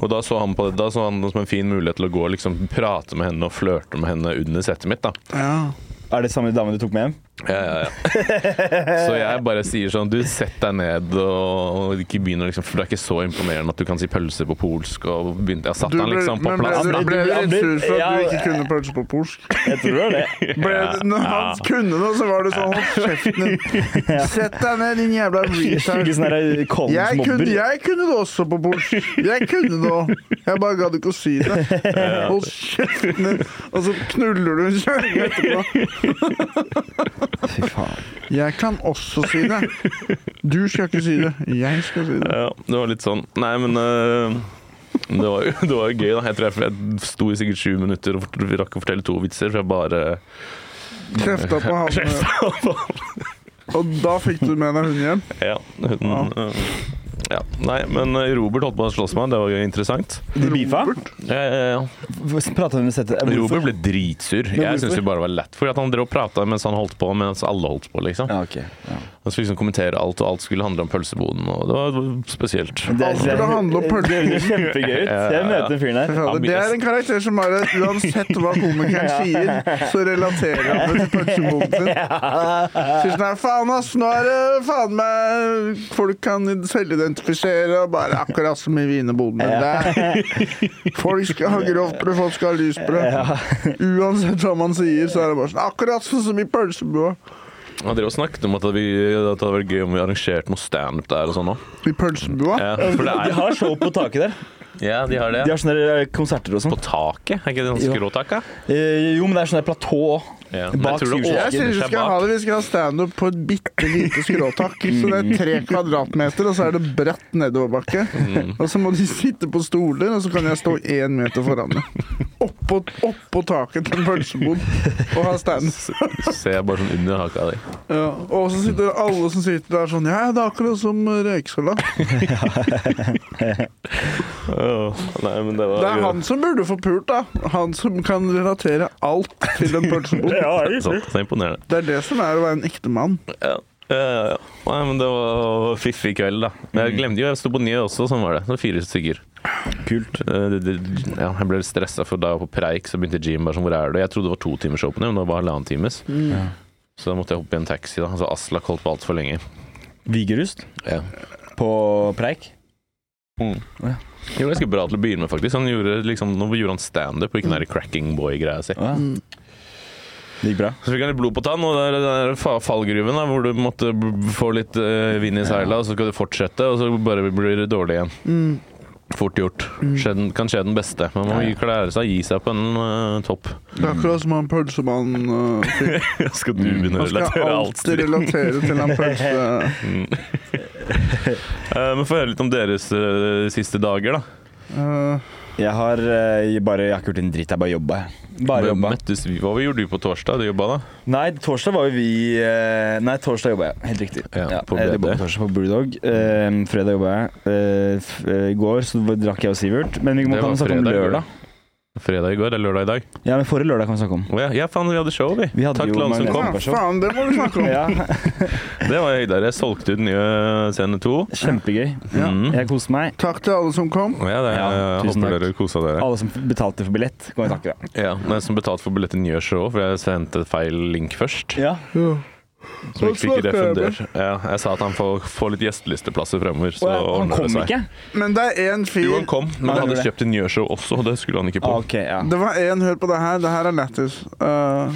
Og da så han på det, da så han det som en fin mulighet til å gå og liksom prate med henne og flørte med henne under settet mitt, da. Ja. Er det samme dame du tok med hjem? Ja, ja, ja. [laughs] Så jeg bare sier sånn Du, sett deg ned og, og ikke begynn å liksom For det er ikke så imponerende at du kan si pølse på polsk, og begynte Jeg satte Du han ble, liksom på men ble, plass. du, da. ble du litt sur for at Ja, du ikke kunne pølse på polsk? [laughs] Jeg tror det var [laughs] det. Ble du, når han kunne det, så var det sånn Hold kjeften [laughs] din. Sett deg ned, din jævla retard. Skikkelig sånn der Collins Jeg kunne, mobber. jeg kunne det også på polsk. Jeg kunne det òg. Jeg bare gadd ikke å si [laughs] det. Hold kjeften din, og så knuller du en kjerring etterpå. Fy faen. Jeg kan også si det. Du skal ikke si det. Jeg skal si det. Ja, det var litt sånn Nei, men øh, det, var jo, [laughs] det var jo gøy, da. Jeg tror jeg, jeg sto i sikkert sju minutter og fort- rakk å fortelle to vitser, for jeg bare Kjefta på han, eh. og da fikk du med deg hunden hjem. Ja. Uten, øh, ja. Nei, men øh, Robert holdt på å slåss med meg. Det var jo interessant. De beefa? Ja, ja, ja. Prata hun med settet? Robert ble dritsur. Jeg hvorfor? syns det bare var lett. Fordi at han drev og prata mens han holdt på, mens alle holdt på, liksom. Ja, ok. Ja. Han skulle liksom kommentere alt, og alt skulle handle om pølseboden, og det var spesielt. Det, Alt skulle handle om pølser. Det høres kjempegøy ut. Jeg møter den fyren der. Fy fader, Det er en karakter som er at uansett hva komikeren sier, så relaterer han det til punchboden sin. Synes han er faen ass, nå er det faen meg Folk kan selvidentifisere og bare akkurat som i wienerboden. Det er- Folk skal ha grovt brød, folk skal ha lyst brød. Uansett hva man sier, så er det bare sånn akkurat sånn som i pølsebua. Han drev og snakket om at, vi, at det hadde vært gøy om vi arrangerte noe standup der og sånn òg. I pølsebua? Ja, for det De er har show på taket der. Ja, de har det. De har sånne der konserter og sånn. På taket? Er ikke det Jo. ganske rått, da? Eh, Jo, men det er sånn der platå òg. Ja. Bak Jeg synes vi skal ha det. Vi skal ha standup på et bitte lite skråtak. Så det er tre kvadratmeter, og så er det bratt nedoverbakke. Og så må de sitte på stoler, og så kan jeg stå én meter foran meg. Oppå oppå taket til en pølsebod og ha standup. [laughs] Ser jeg bare sånn under haka di. Ja. Og så sitter alle som sitter der sånn Ja, det er akkurat som røyksalat. Nei, men det Det er han som burde få pult, da. Han som kan relatere alt til en pølsebod. [laughs] Det er Sånn, imponerende. Det er det som er å være en ekte mann. Ja. Eh, nei, men det var fiffig kveld, da. Men Jeg glemte jo, jeg sto på Njø også, sånn var det. Så fire stykker. Kult. Eh, det, det, ja, jeg ble litt stressa, for da jeg var på preik, så begynte Jim bare sånn Hvor er du? Jeg trodde det var to timers åpne, men det var halvannen times. Så da måtte jeg hoppe i en taxi, da. Altså Aslak holdt på altfor lenge. Vigerust Ja. på preik. Det var ganske bra til å begynne med, faktisk. Han gjorde liksom, nå gjorde han standup og ikke den der cracking boy-greia si. Ja. Det gikk bra. Så fikk han litt blod på tann, og det er den der fa- fallgruven da, hvor du måtte b- få litt eh, vind i seila, og så skal du fortsette, og så bare blir det dårlig igjen. Mm. Fort gjort. Mm. Skje den, kan skje den beste. Man må gi- klare seg å gi seg på en eh, topp. Det er akkurat som han pølsemannen øh, fikk. skal du begynne å Han skal relatere alt alltid relatere til Eh, en pølse. Men få høre litt om deres eh, siste dager, da. Øh, Jeg har, eh, bare, jeg har ikke gjort en dritt, jeg bare jobba. jeg. Bare Men jobba. Møttes, vi- hva gjorde du på torsdag? Du jobba da? Nei, torsdag var jo vi eh, Nei, torsdag jobba jeg. Helt riktig. Ja, på jeg BD. jobbet på torsdag på Brewdog. Eh, fredag jobba jeg. Eh, f- eh, I går så drakk jeg og Sivert. Men vi må Det kan var snakke om fredag, sånn lørdag. Fredag i går? Det er lørdag i dag. Ja, men Forrige lørdag kan vi snakke om. Å ja, ja, faen, vi hadde show, vi. Vi hadde Takk jo til alle som mange- kom. ja, faen, det må vi snakke om. [laughs] Ja, Det var høydere. Jeg solgte ut nye scene to. Kjempegøy. Ja. Mm. Jeg koste meg. Takk til alle som kom. Ja, det, Ja, jeg tusen håper takk. dere kosa dere. Alle som betalte for billett, kan vi takke. da. Ja, men som betalte for billetten gjør så òg, for jeg sendte feil link først. Ja. Som ikke fikk Hva snakker jeg refundert. Ja, jeg sa at han får, får litt gjestelisteplasser fremover. Så Og jeg, han ordner det kom seg. ikke? Men det er én Jo, fyr han kom, men Nei, han hadde det- kjøpt en Njøshow også, og det skulle han ikke på. Ah, ok, ja. Det var én Hør på det her. Det her er lættis. Øh,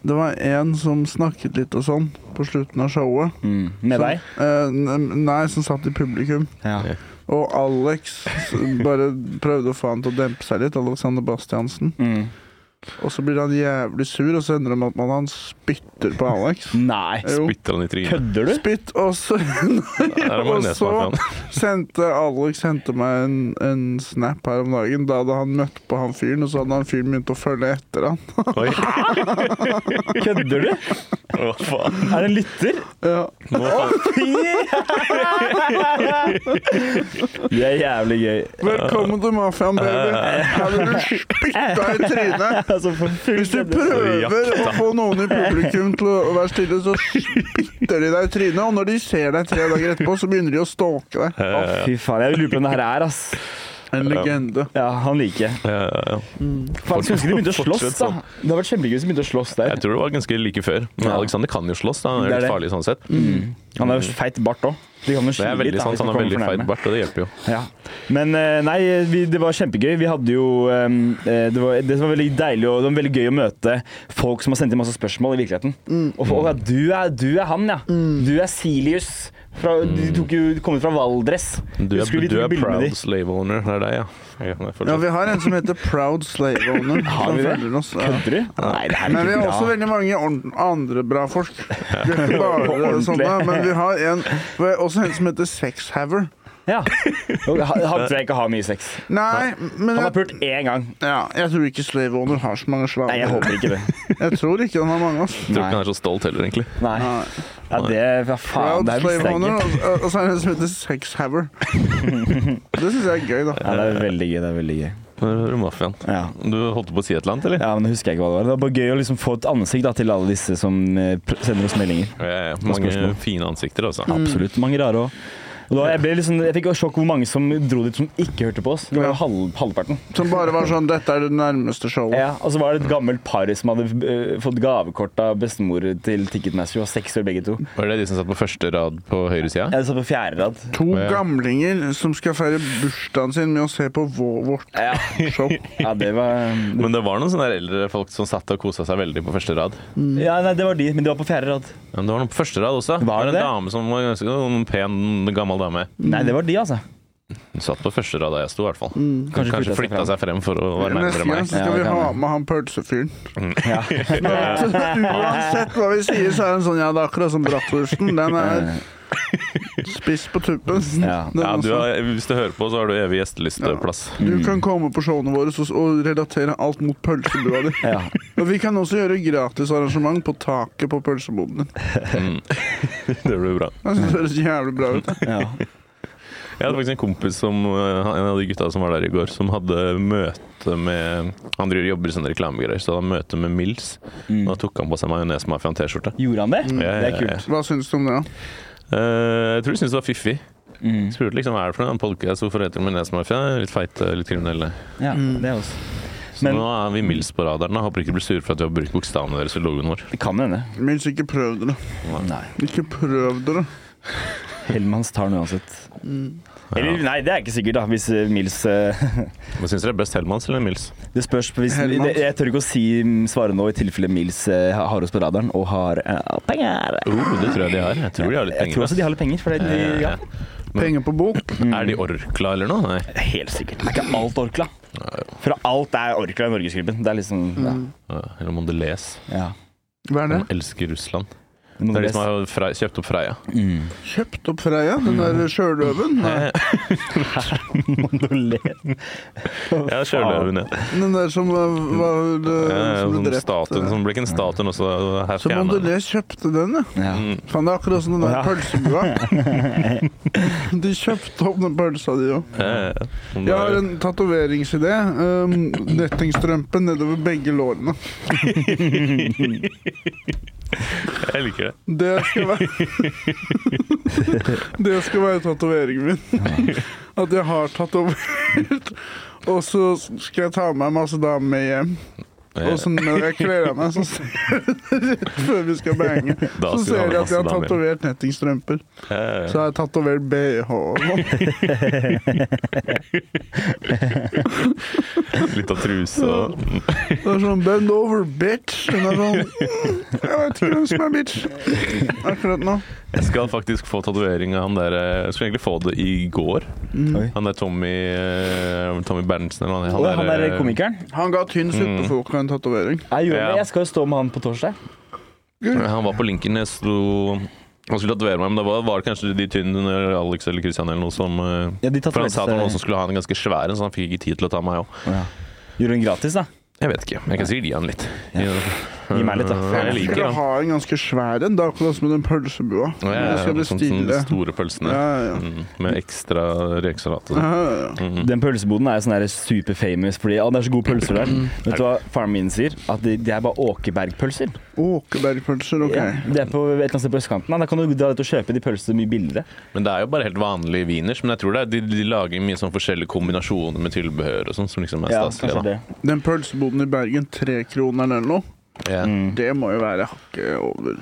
det var én som snakket litt og sånn på slutten av showet. Mm. Med Sånn. deg? Eh, n- nei, som satt i publikum. Ja. Og Alex bare prøvde å få han til å dempe seg litt. Alexander Bastiansen. Mm. Og så blir han jævlig sur, og så ender det med at man, han spytter på Alex. Nei, Jo. Bytter han i trynet. kødder du? Spytt, og så, [laughs] Der er og majones så [laughs] bak han. [laughs] sendte Alex sendte meg en, en snap her om dagen. Da hadde han møtt på han fyren, og så hadde han fyren begynt å følge etter han. [laughs] Oi, Kødder du? hva faen. Er det en lytter? Ja. Nå faen. Det er jævlig gøy. Velkommen til mafiaen, baby. Her blir du spytta i trynet. Altså, for full [laughs] Hvis du kødder. prøver å få noen i publikum til å være stille, så spytter de deg i trynet. Og når de ser deg tre dager etterpå, så begynner de å stalke deg. Å, fy faen. Jeg lurer på hvem det her er, ass. En legende. Ja, han liker jeg. Ja, ja, ja. Faen, skulle ønske de begynte å slåss, Fortsett da. sånn. Det hadde vært kjempegøy hvis de begynte å slåss der. Jeg tror det var ganske like før. Men Ja. Alexander kan jo slåss, da. han Det er Mm. er litt det. farlig sånn sett. Han har jo feit bart òg. Det Det er veldig sant, han har veldig feit bart, og det hjelper jo. Ja. Men eh, nei, vi, det var kjempegøy. Vi hadde jo ehm, eh, det, var, det var veldig deilig og det var veldig gøy å møte folk som har sendt inn masse spørsmål i virkeligheten. Mm. Og for, å, ja, du, er, du er han, ja. Du er Silius. Fra, du tok jo, du kom ut fra Valdres. Mm. Du er, Husker vi du tok er bilde med proud de? slave owner. Det er deg, ja. Ja, jeg føler- Ja, vi har en som heter Proud Slave Owner. Har vi som det? følger oss. Ja. Kødder du? Nei, det her Men er vi har ikke også bra. veldig mange ordn- andre bra [laughs] folk. Vi er ikke bare Ordentlig. sånne, men vi har en, vi har også en som heter Sexhaver. Ja. Jo, Han han tror jeg ikke har mye sex. Nei, men Han har jeg, pult én gang. ja, jeg tror ikke Slave Owner har så mange Nei, jeg slaver. håper ikke det. Jeg tror ikke han har mange. ass. [laughs] Jeg tror ikke Nei. han er så stolt heller, egentlig. Nei. Ja, det Hva faen? Proud Det her Slave visste jeg Owner, ikke. og, og så er det en som heter Sexhaver. Det syns jeg er gøy, da. Ja, det er veldig gøy. Det er veldig gøy. Nå er du mafiaen. Ja. Du holdt på å si et eller annet, eller? Ja, men nå husker jeg ikke hva det var. Det var bare gøy å liksom få et ansikt da, til alle disse som eh, pr- sender oss meldinger. Ja, ja, ja. Spørsmål. Mange fine ansikter, altså. Absolutt. Mange rare òg. Og da, jeg, ble liksom, jeg fikk sjokk hvor mange som dro dit som ikke hørte på oss. Det var jo halv, halvparten. Som bare var sånn Dette er det nærmeste showet. Ja, og så var det et gammelt par som hadde eh, fått gavekort av bestemor til Ticketmaster. De var seks år begge to. Var det de som satt på første rad på høyre sida? Jeg satt på fjerde rad. To gamlinger som skal feire bursdagen sin med å se på vår, vårt Ja, [laughs] show. ja det var Men det var noen sånne der eldre folk som satt og kosa seg veldig på første rad. Ja, nei, det var de, men de var på fjerde rad. Ja, Men det var noen på første rad også. Var det en det? dame som var ganske en pen, gammel dame. Nei, det var de, altså. Hun satt på første rad da jeg sto, i hvert fall. Mm. Kanskje flyttet seg Kanskje, flytta frem. altså. seg frem for å være Neste nærmere gang meg. så skal Ja, vi det kan ha være. med han pølsefyren. Ja. Uansett hva vi sier, så er den sånn Ja, det er akkurat som bratwursten. Den er spiss på tuppen. Ja. Den Ja, du også. har, hvis du hører på, så har du evig gjestelisteplass. du kan komme på showene våre så- og relatere alt mot pølsebua di. Ja. Og vi kan også gjøre gratisarrangement på taket på pølseboden din. [laughs] Det blir bra. [laughs] Jeg synes det høres jævlig bra ut. Ja. Jeg hadde faktisk en kompis som eh, han- En av de gutta som var der i går, som hadde møte med Han driver jobber i sånne reklamegreier, så han hadde møte med Mills. Mm. Da tok han på seg majones-mafian-T-skjorte. Gjorde han det? Mm. Ja, ja, Det er ja, ja. kult. Hva syns du om det, da? Eh, jeg tror de syntes det var fiffig. Mm. Spurte liksom hva er det for noe? En podcast, hvorfor heter det majones-mafia? Litt feite, litt kriminelle. Ja, det er også. Mm. Så Men- nå er vi Mills på radaren. da. Håper ikke de blir sure for at vi har brukt bokstavene deres i logoen vår. Det kan hende. Mils, ikke prøv dere. Nei. Ikke prøv dere. Hellmanns tar den uansett. Mm. Ja. Eller nei, det er ikke sikkert, da, hvis eh, Mills eh, [laughs] Hva syns dere er best, Hellmanns eller Mills? Det spørs på hvis Hellmann. det, Jeg tør ikke å si mm, svare nå, i tilfelle Mills eh, har oss på radaren og har eh, penger. Oh, det tror jeg de har. Jeg tror de har litt Jeg tror penger. også de har litt penger. For det, de, Eh, ja. Penger på bok. Er de Orkla eller noe? Nei. Helt sikkert. Er ikke alt Orkla? Fra alt er Orkla i Norgesgruppen. Det er liksom ja. Ja, Eller Mondelez. ja. Hva er det? De elsker Russland. Noe Det er de best. som har Frei- kjøpt opp Freia. Kjøpt opp Freia? Den der sjøløven? Nei. Mm. [laughs] Mondelez. Ja, Sjøløven, ja. Den der som var, var Ja, eh, ja, som ble Sånn drept? statuen som ble ikke en statuen også her Så fjernet. Mondelez kjøpte den, ja. Ja. Mm. Faen, det er akkurat som den der Ja. pølsebua. [laughs] De kjøpte opp den pølsa, de òg. Eh, om det Jeg har er- en tatoveringsidé. Um, Nettingstrømpe nedover begge lårene. Jeg liker det. Det skal være [laughs] Det skal være tatoveringen [laughs] min. At jeg har tatovert. Og så skal jeg ta med meg masse damer med hjem. Og så når jeg kler av meg, så ser rett før vi skal bange, Da så skal ser de han ha at jeg har masse damer. tatovert nettingstrømper. Eh, Så har jeg tatovert BH. og sånn. Litt av truse og Det er sånn 'bend over, bitch'. Hun er sånn [laughs] mm, Jeg vet ikke hvem som er bitch akkurat nå. Jeg skal faktisk få tatovering av han der eh, Jeg skulle egentlig få det i går. Oi. Han der Tommy eh, Tommy Berntsen eller noe. Og han der eh, komikeren. Han ga tynn Mm. suppefolk en tatovering. Jeg, gjorde Ja. det. jeg skal jo stå med han på torsdag. Han var på linken. Jeg sto Han skulle tatovere meg, men da var, var det kanskje de tynne eller Alex eller Christian eller noe som eh, Ja, de For han sa at det var noen som tatoverte skulle ha en ganske svær en, så han fikk ikke tid til å ta meg òg. ja. Gjorde hun gratis, da? Jeg vet ikke. Jeg kan sikkert gi han litt. Gi meg litt, da. Eh, Jeg Jeg liker skulle han. ha en ganske svær en, da, akkurat som den pølsebua. Ja, ja, Jeg skal sånn som de bestille. store pølsene Ja, ja, ja. Mm, med ekstra rekesalat. og sånn. Ja, ja, ja. Den pølseboden er jo sånn der superfamous fordi å, det er så gode pølser der. Mm. Vet du hva faren min sier? At det, det er bare Åkebergpølser. Åkebergpølser, OK. Ja, det er på et eller annet sted på østkanten. Da Da kan du dra ut og kjøpe de pølsene mye billigere. Men det er jo bare helt vanlige wieners. Men jeg tror det er, de, de lager mye sånn forskjellige kombinasjoner med tilbehør og sånn, som liksom er kanskje staselig. det. Den pølseboden i Bergen, tre kroner eller noe, da. Mm. Ja. det må jo være hakket over.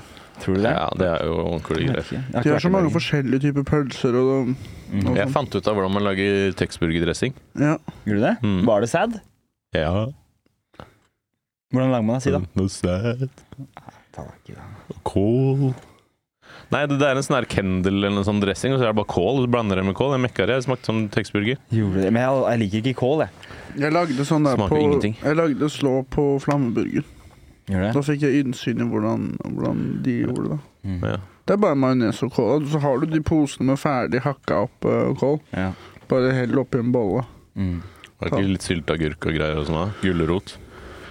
Tror du det? ja, det er jo ordentlige Jeg vet greier. ikke. Jeg De ikke har vært så i mange Bergen. forskjellige typer pølser og, og Jeg sånn. fant ut av hvordan man lager Texburger-dressing. Ja. Gjorde du det? Mm. Var det sad? Ja, Hvordan lager man det? Si da. noe sæd Mm. og kål Nei, det, det er en sånn her Kendal eller noe sånn dressing, og så er det bare kål. Og så blander det med kål. Jeg mekka det. Jeg smakte sånn Texburger. Gjorde du det? Men jeg, jeg liker ikke kål, jeg. Jeg lagde sånn der Smaker på ingenting. Jeg lagde slå på flammeburger. Gjør det? Da fikk jeg innsyn i hvordan, hvordan de gjorde det. Mm. Ja. Det er bare majones og kål. Og Så har du de posene med ferdig hakka opp eh, kål. Ja. Bare hell oppi en bolle. Mm. Var det ikke litt sylteagurk og greier og sånn? da? Gulrot.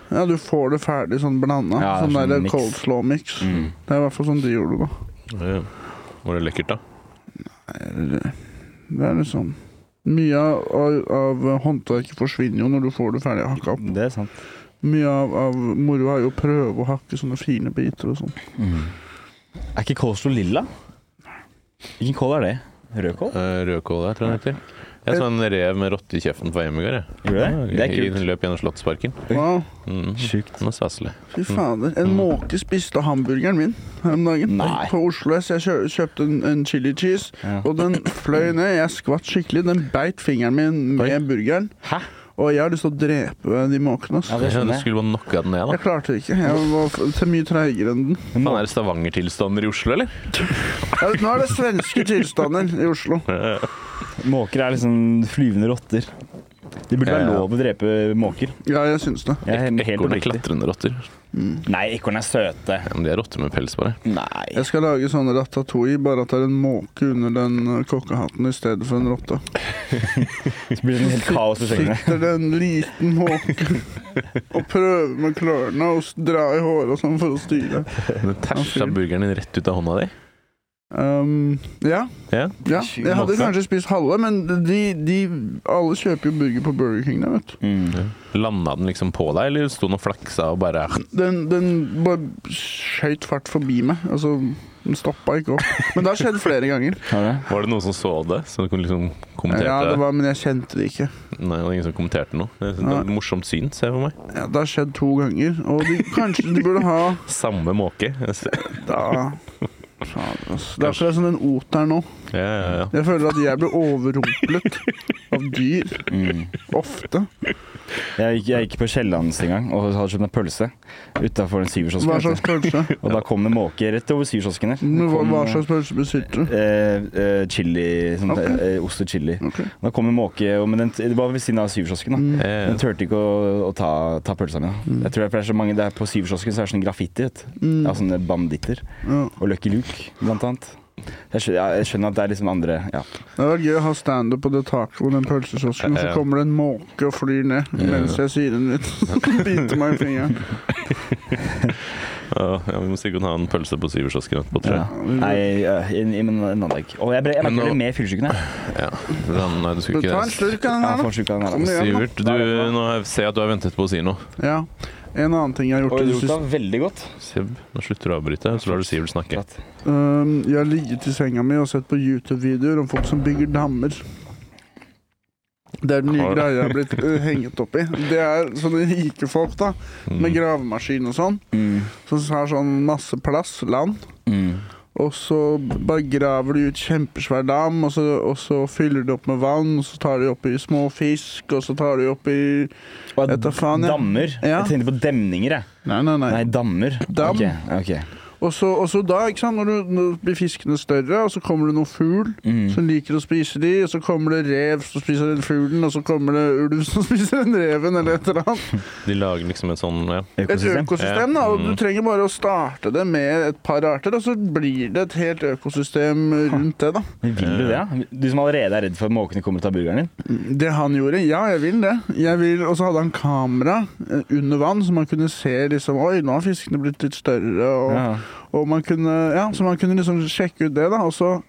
Ja, du får det ferdig sånn blanda. Ja, sånn sånn der mix. Mm. coleslaw-mix. Det er i hvert fall sånn de gjorde det. da. Ja. Var det lekkert, da? Det er liksom Mye av, av, av håndverket forsvinner jo når du får det ferdig hakka opp. Det er sant. Mye av, av moroa er jo å prøve å hakke sånne fine biter og sånn. Er ikke kålslo lilla? Hvilken kål er det? Rødkål? Eh, Rødkål der, tror jeg den heter. Jeg så en rev med rotte i kjeften på hjemme i går. jeg. Gjorde du det? Det er I- kult. Hun løp gjennom Slottsparken. Wow, Mm. Sjukt. Den er staselig. fy fader. En måke spiste hamburgeren min her om dagen. Mm. Nei. På Oslo S. Jeg kjø kjøpte en, en chili cheese, Ja. og den fløy ned. Jeg skvatt skikkelig. Den beit fingeren min med burgeren. Hæ? Og jeg har lyst til å drepe de måkene. ass. Ja, det Ja, du skjønner jeg. skulle bare knocka den ned, da. Jeg klarte det ikke. Jeg var f- til mye treigere enn den. Faen, er det Stavanger-tilstander i Oslo, eller? Ja, Nå er det svenske tilstander i Oslo. Måker er liksom flyvende rotter. Det burde Ja, være ja. lov å drepe måker. Ja, jeg syns det. Jeg er helt Ekorn er oppriktig. klatrende rotter. Nei, ekorn er søte. Ja, men de er rotter med pels, bare. Nei. Jeg skal lage sånn ratatouille, bare at det er en måke under den eh, kokkehatten i stedet for en rotte. Så blir [laughs] det en helt kaos på kjøkkenet. Sitter det en liten måke og prøver med klørne og s- drar i håret og sånn for å styre. Den tæsja burgeren din rett ut av hånda di. Um, ja. Ja. ja. Tjue Jeg hadde måneder. kanskje spist halve, men de, de Alle kjøper jo burger på Burger King, da, vet du. Mm. Landa den liksom på deg, eller sto den og flaksa og bare Den, den bare skøyt fart forbi meg. Altså, den stoppa ikke opp. Men det har skjedd flere ganger. Har du det? Var det noen som så det? Så du kunne liksom kommenterte Ja, det? det var, Men jeg kjente det ikke. Nei, det var ingen som kommenterte noe. Det er et morsomt syn, ser jeg for meg. Ja, det har skjedd to ganger, og de, kanskje de burde ha Samme [laughs] måke. Jeg ser- da Faen, ass. Det er akkurat som den oteren nå. Ja, ja, ja. Jeg føler at jeg blir overrumplet av dyr. Mm. Ofte. Jeg gikk, jeg gikk på Kiellands en gang og hadde kjøpt meg pølse utafor den syverkiosken. Hva vet du. slags pølse? [laughs] Og da kom det måke rett over syverkiosken der. Men Hva, Kom, hva slags pølse besitter du? Eh, eh, chili, sånn, Ok. eh, ost og chili. Ok. Mm. Da kom en måke, og- men den, det var ved siden av syverkiosken. da. Ja, ja. Den turte ikke å, å ta, ta pølsa mi. da. Jeg tror det er, for det er så mange der På syvkiosken så er det sånn graffiti. Vet. du. Mm. Ja, sånne banditter. Ja. Og Lucky Luke, blant annet. Jeg skjønner, ja, jeg skjønner at det er liksom andre ja. Det hadde vært gøy å ha standup på det taket hvor den pølsekiosken, og Ja, så ja. kommer det en måke og flyr ned mens jeg sier den [laughs] litt. Biter meg i fingeren. Ja, ja, vi må sikkert ha en pølse på syverkiosken etterpå, tror ja. jeg. Nei, ja, i- i- men en annen dag. Å, jeg ble, jeg merker Men jeg nå- ble mer fyllesyken, jeg. Ja. Hvordan- Nei, du skulle Ta en ikke det. slurk av Jeg den her, får sjuka den her. Kom igjen. altså. Sivert, du, nå ser jeg at du har ventet på å si noe. da. Ja. En annen ting jeg har Oi, gjort i du det siste lukta veldig godt. Sib, nå slutter du å avbryte, så lar du Sivert snakke. Øhm, Jeg har ligget i senga mi og sett på YouTube-videoer om folk som bygger dammer. Det er den nye Har- greia jeg har blitt øh, hengt opp i. Det er sånne rike folk, da. Med gravemaskin og sånn. Mm. Som har sånn masse plass, land. Mm. Og så bare graver de ut kjempesvær dam, og så, og så fyller de opp med vann. Og så tar de oppi små fisk, og så tar de oppi Og Jeg tar faen, jeg. Dammer. Ja. Jeg tenkte på demninger, jeg. Nei, nei, nei. Nei, dammer. Dam. Ok, ok. Og så, og så da, ikke sant, når, du, når blir fiskene større, og så kommer det noen fugl Mm. som liker å spise de, og så kommer det rev som spiser den fuglen, og så kommer det ulv som [laughs] spiser den reven, eller et eller annet. De lager liksom et sånn ja. Et Økosystem. økosystem, da. Og du trenger bare å starte det med et par arter, og så blir det et helt økosystem rundt det, da. Men Vil du det? ja? Du som allerede er redd for at måkene kommer og tar burgeren din? Det han gjorde, ja, jeg vil det. Jeg vil, og så hadde han kamera eh, under vann, så man kunne se liksom Oi, nå har fiskene blitt litt større, og, Ja. og man kunne Ja, så man kunne liksom sjekke ut det, da. Og så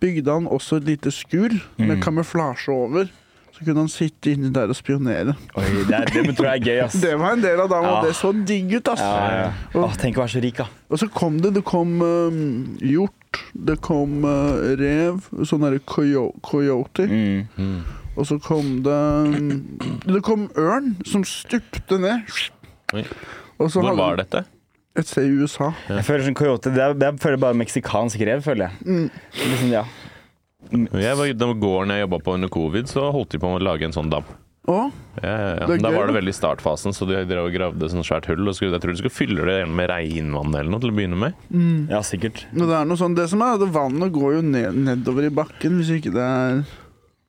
bygde han også et lite skur Mm. med kamuflasje over. Så kunne han sitte inni der og spionere. Oi, det, er, [laughs] det tror jeg er gøy, ass. Det var en del av dagen, Ja. og det så digg ut, ass. Ja, ja, ja. Åh, tenk å være så rik, da. Og så kom det. Det kom eh, hjort, det kom eh, rev, sånn derre coyo coyote. Mm. Og så kom det um, Det kom ørn som stupte ned. Oi. Og så Hvor hadde- var dette? Et sted i USA. Jeg føler sånn coyote Det er, det er føler bare meksikansk rev, føler jeg. Mm. Liksom, ja. Jeg var, den gården jeg jobba på under covid, så holdt de på med å lage en sånn dam. Og Ja, ja, ja. Det er Da gøy, var det da. veldig i startfasen, så de drev og gravde et sånt svært hull. Og skulle, jeg tror de skulle fylle det igjen med regnvann eller noe til å begynne med. ja, sikkert. når det er noe sånn Det som er, det vannet går jo ned, nedover i bakken hvis ikke det er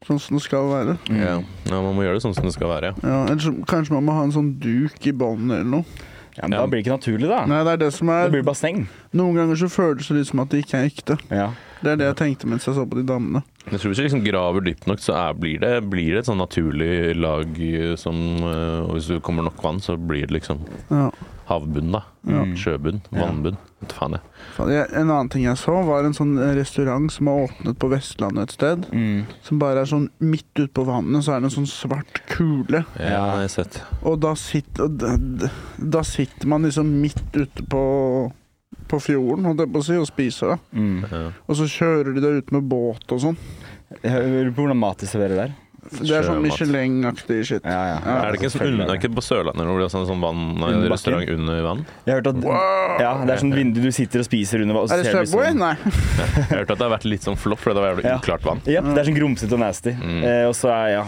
sånn som det skal være. Ja. man må gjøre det sånn som det skal være. ja. Ja, eller så, kanskje man må ha en sånn duk i bånden eller noe. Ja, men Da blir det ikke naturlig, da. Nei, det er det som Da er blir det basseng. Noen ganger så føles det litt som at det ikke er ekte. Ja. Det er det jeg tenkte mens jeg så på de dammene. Jeg tror Hvis du liksom graver dypt nok, så er, blir, det, blir det et sånn naturlig lag eh, som eh, Og hvis det kommer nok vann, så blir det liksom Ja. havbunn, da. Sjøbunn. Vannbunn. Vet faen, jeg. Faen, jeg- En annen ting jeg så, var en sånn restaurant som har åpnet på Vestlandet et sted. Mm, Som bare er sånn midt ute på vannet, så er det en sånn svart kule. Ja, det har jeg sett. Og da sitter, og da, da- da sitter man liksom midt ute på, på fjorden holdt jeg på å si, og spiser. da. Mm. Og så kjører de deg ut med båt og sånn. Jeg lurer på hvordan mat de serverer der. Det er sånn Sjømat. Michelin-aktig shit. Ja, ja. Er det ikke, sånn, selvfølgelig under- er det ikke på Sørlandet hvor det er sånn, sånn vann, nei, Under bakken? restaurant under vann? Jeg har hørt at ja, Det er sånn vindu du sitter og spiser under. Og så Er det ser du liksom- sånn- Subway? Nei. Jeg hørte at det har vært litt sånn flopp, for det var jævlig Ja. uklart vann. Ja, det er sånn grumsete og nasty. Mm. Eh, og så er, ja.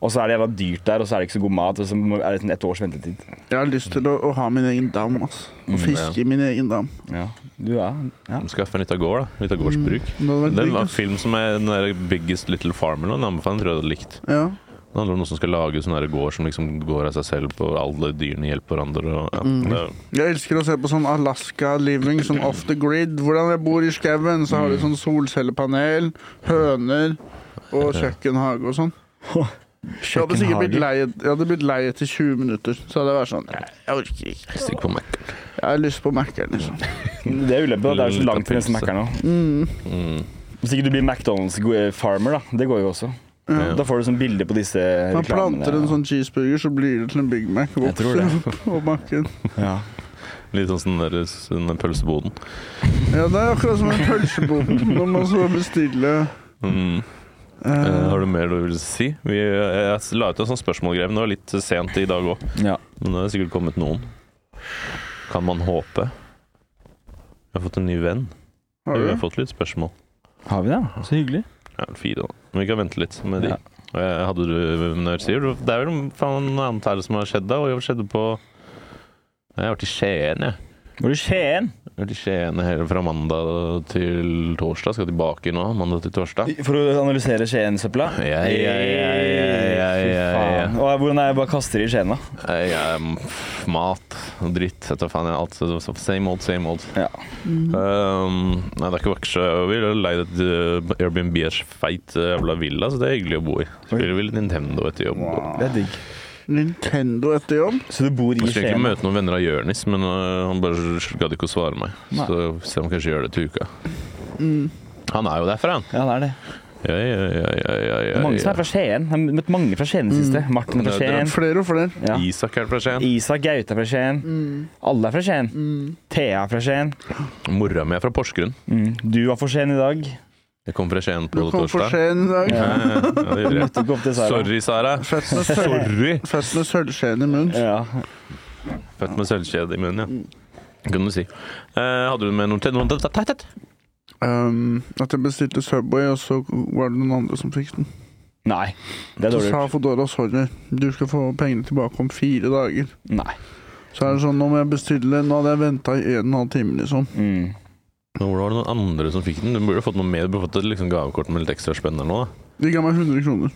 og så er det jævla dyrt der, og så er det ikke så god mat. Og så må- er det sånn ett års ventetid. Jeg har lyst til å, å ha min egen dam, ass. Mm, Å fiske i min egen dam. Ja. Du, ja. ja. Skaffe en lita gård, da. Litt av gårdsbruk. Mm. Det hadde vært Den digg, var en ass. film som er den der Biggest Little Farm eller noe. Den anbefaler jeg tror jeg hadde likt. Ja. Det handler om noen som skal lage sånn der gård som liksom går av seg selv, og alle dyrene hjelper hverandre. Og, ja, det, Jeg elsker å se på sånn Alaska living, sånn off the grid. Hvordan jeg bor i skauen, så har de sånn solcellepanel, høner og kjøkkenhage og sånn. Jeg hadde sikkert blitt lei, jeg hadde blitt lei etter 20 minutter. Så hadde jeg vært sånn Jeg, jeg orker ikke. Stikk på Mac. Jeg har lyst på Mac-en, liksom. Det er ulempe, da. Det er jo så langt til neste Pølse. Mac-er nå. Mm. Mm. Hvis ikke du blir McDonald's-farmer, da. Det går jo også. Da får du sånn bilde på disse Man reklamene. planter en sånn cheeseburger, så blir det til en Big Mac. Jeg tror Vokser [laughs] opp og Mac-en. Ja. Litt sånn sånn der, sånn der pølseboden. Ja, det er akkurat som en pølsebonde når man skal bestille Mm. Eh, eh, har du mer du vil si? Vi, eh, jeg la ut en sånn spørsmålgrev. Det var litt sent i dag òg, ja. men det har sikkert kommet noen. Kan man håpe? Jeg har fått en ny venn. Har Vi har du? fått litt spørsmål. Har vi det? da? Så hyggelig. Ja, fire, da. Men vi kan vente litt med de. Ja. Eh, Hadde du når sier du, Det er vel faen noe annet her som har skjedd, da. Og det skjedde på Jeg har vært i Skien, jeg. Var du i Skien? Jeg har vært i Skien hele fra mandag til torsdag. Skal tilbake nå, mandag til torsdag. For å analysere Skien-søpla? Ja, ja, ja, ja, ja, ja. Fy faen. Og Hvordan er det jeg bare kaster i Skien, da? Jeg, jeg, pff, mat og dritt. Jeg tar faen jeg, alt. så- så- Same old, same old. Ja. Mm. Um, nei, det er ikke vakkert. Vi har leid et uh, Airbnb er så feit uh, jævla villa, så det er hyggelig å bo i. Spiller vi litt Nintendo etter jobb. Det er digg. Nintendo etter jobb? Så du bor i Jeg skulle Skien? egentlig møte noen venner av Jørnis, men uh, han bare gadd ikke å svare meg. Nei. Mm. Så se om han kanskje gjør det til uka. Han er jo derfra, han. Ja, det er det. Ja, ja, ja, ja, ja, Det er ja, mange som ja. Mm. er fra Skien. Jeg har møtt mange fra Skien i det siste. Martin er fra Det er Skien. Flere og flere. Ja. Isak er fra Skien. Isak Gaute er fra Skien. Alle er fra Skien. Thea er fra Skien. Mm. Mora mi er fra Porsgrunn. Du var for sen i dag. Jeg kom fra Skien Du på kom for torsdag. sent i dag. Ja, [laughs] ja, ja, det gjorde jeg. Tok opp til Sara. Sorry, Sara. Født [laughs] med, søl- Sorry! født med sølvskjeen i munnen. Ja. Født med sølvkjede i munnen, ja. Kunne du si. Eh, hadde du med noe til? Noe til- til- til- til? Um, at jeg bestilte Subway, og så var det noen andre som fikk den. Nei, det er Så dårlig sa gjort. Foodora sorry, du skal få pengene tilbake om fire dager. Nei. Så er det sånn, nå må jeg bestille Nå hadde jeg venta i en og en halv time, liksom. Mm. Men Hvor var det noen andre som fikk den? Du burde fått noe mer. Du burde fått et liksom, gavekort med litt ekstra spenn eller noe. De ga meg 100 kroner.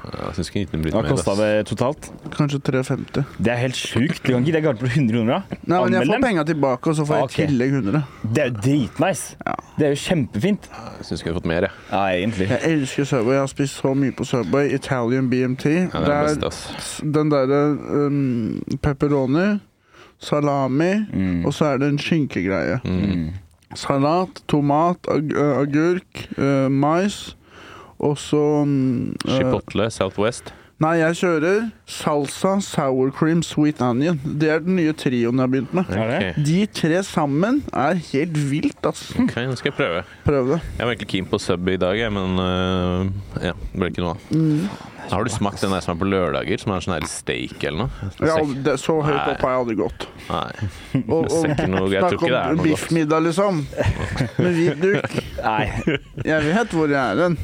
da. Jeg synes ikke gitt den litt Hva mer. kosta ass. det totalt? Kanskje 350. Det er helt sjukt. Du kan ikke gi deg gave på 100 kroner. da. Nei, men jeg Anmeld dem. får Ah, penga tilbake, og så får jeg i Ok. tillegg 100. Det er jo dritnice. Ja. Det er jo kjempefint. Jeg synes ikke jeg har fått mer, jeg. Ja, egentlig. Jeg elsker Subway. Jeg har spist så mye på Subway. Italian BMT. Ja, det det er best, er ass. den derre um, pepperoni, salami, Mm. og så er det en skinkegreie. Mm. Mm. Salat, tomat, ag eh, agurk, eh, mais. Og så mm, eh, Chipotle, Southwest. Nei, jeg kjører salsa, sour cream, sweet onion. Det er den nye trioen jeg har begynt med. Er det? Ok, De tre sammen er helt vilt, ass. Ok, nå skal jeg prøve. Prøv det. Jeg var egentlig keen på sub i dag, jeg, men eh, ja, det ble ikke noe av. Har du smakt den der som er på lørdager, som er sånn her steak eller noe? Jeg, har aldri- det så høyt Nei. opp har jeg aldri gått. Nei. Og, Jeg ser ikke noe- jeg tror ikke det er noe godt. biffmiddag, liksom. Med hvit duk. Nei. Jeg vet hvor jeg er hen.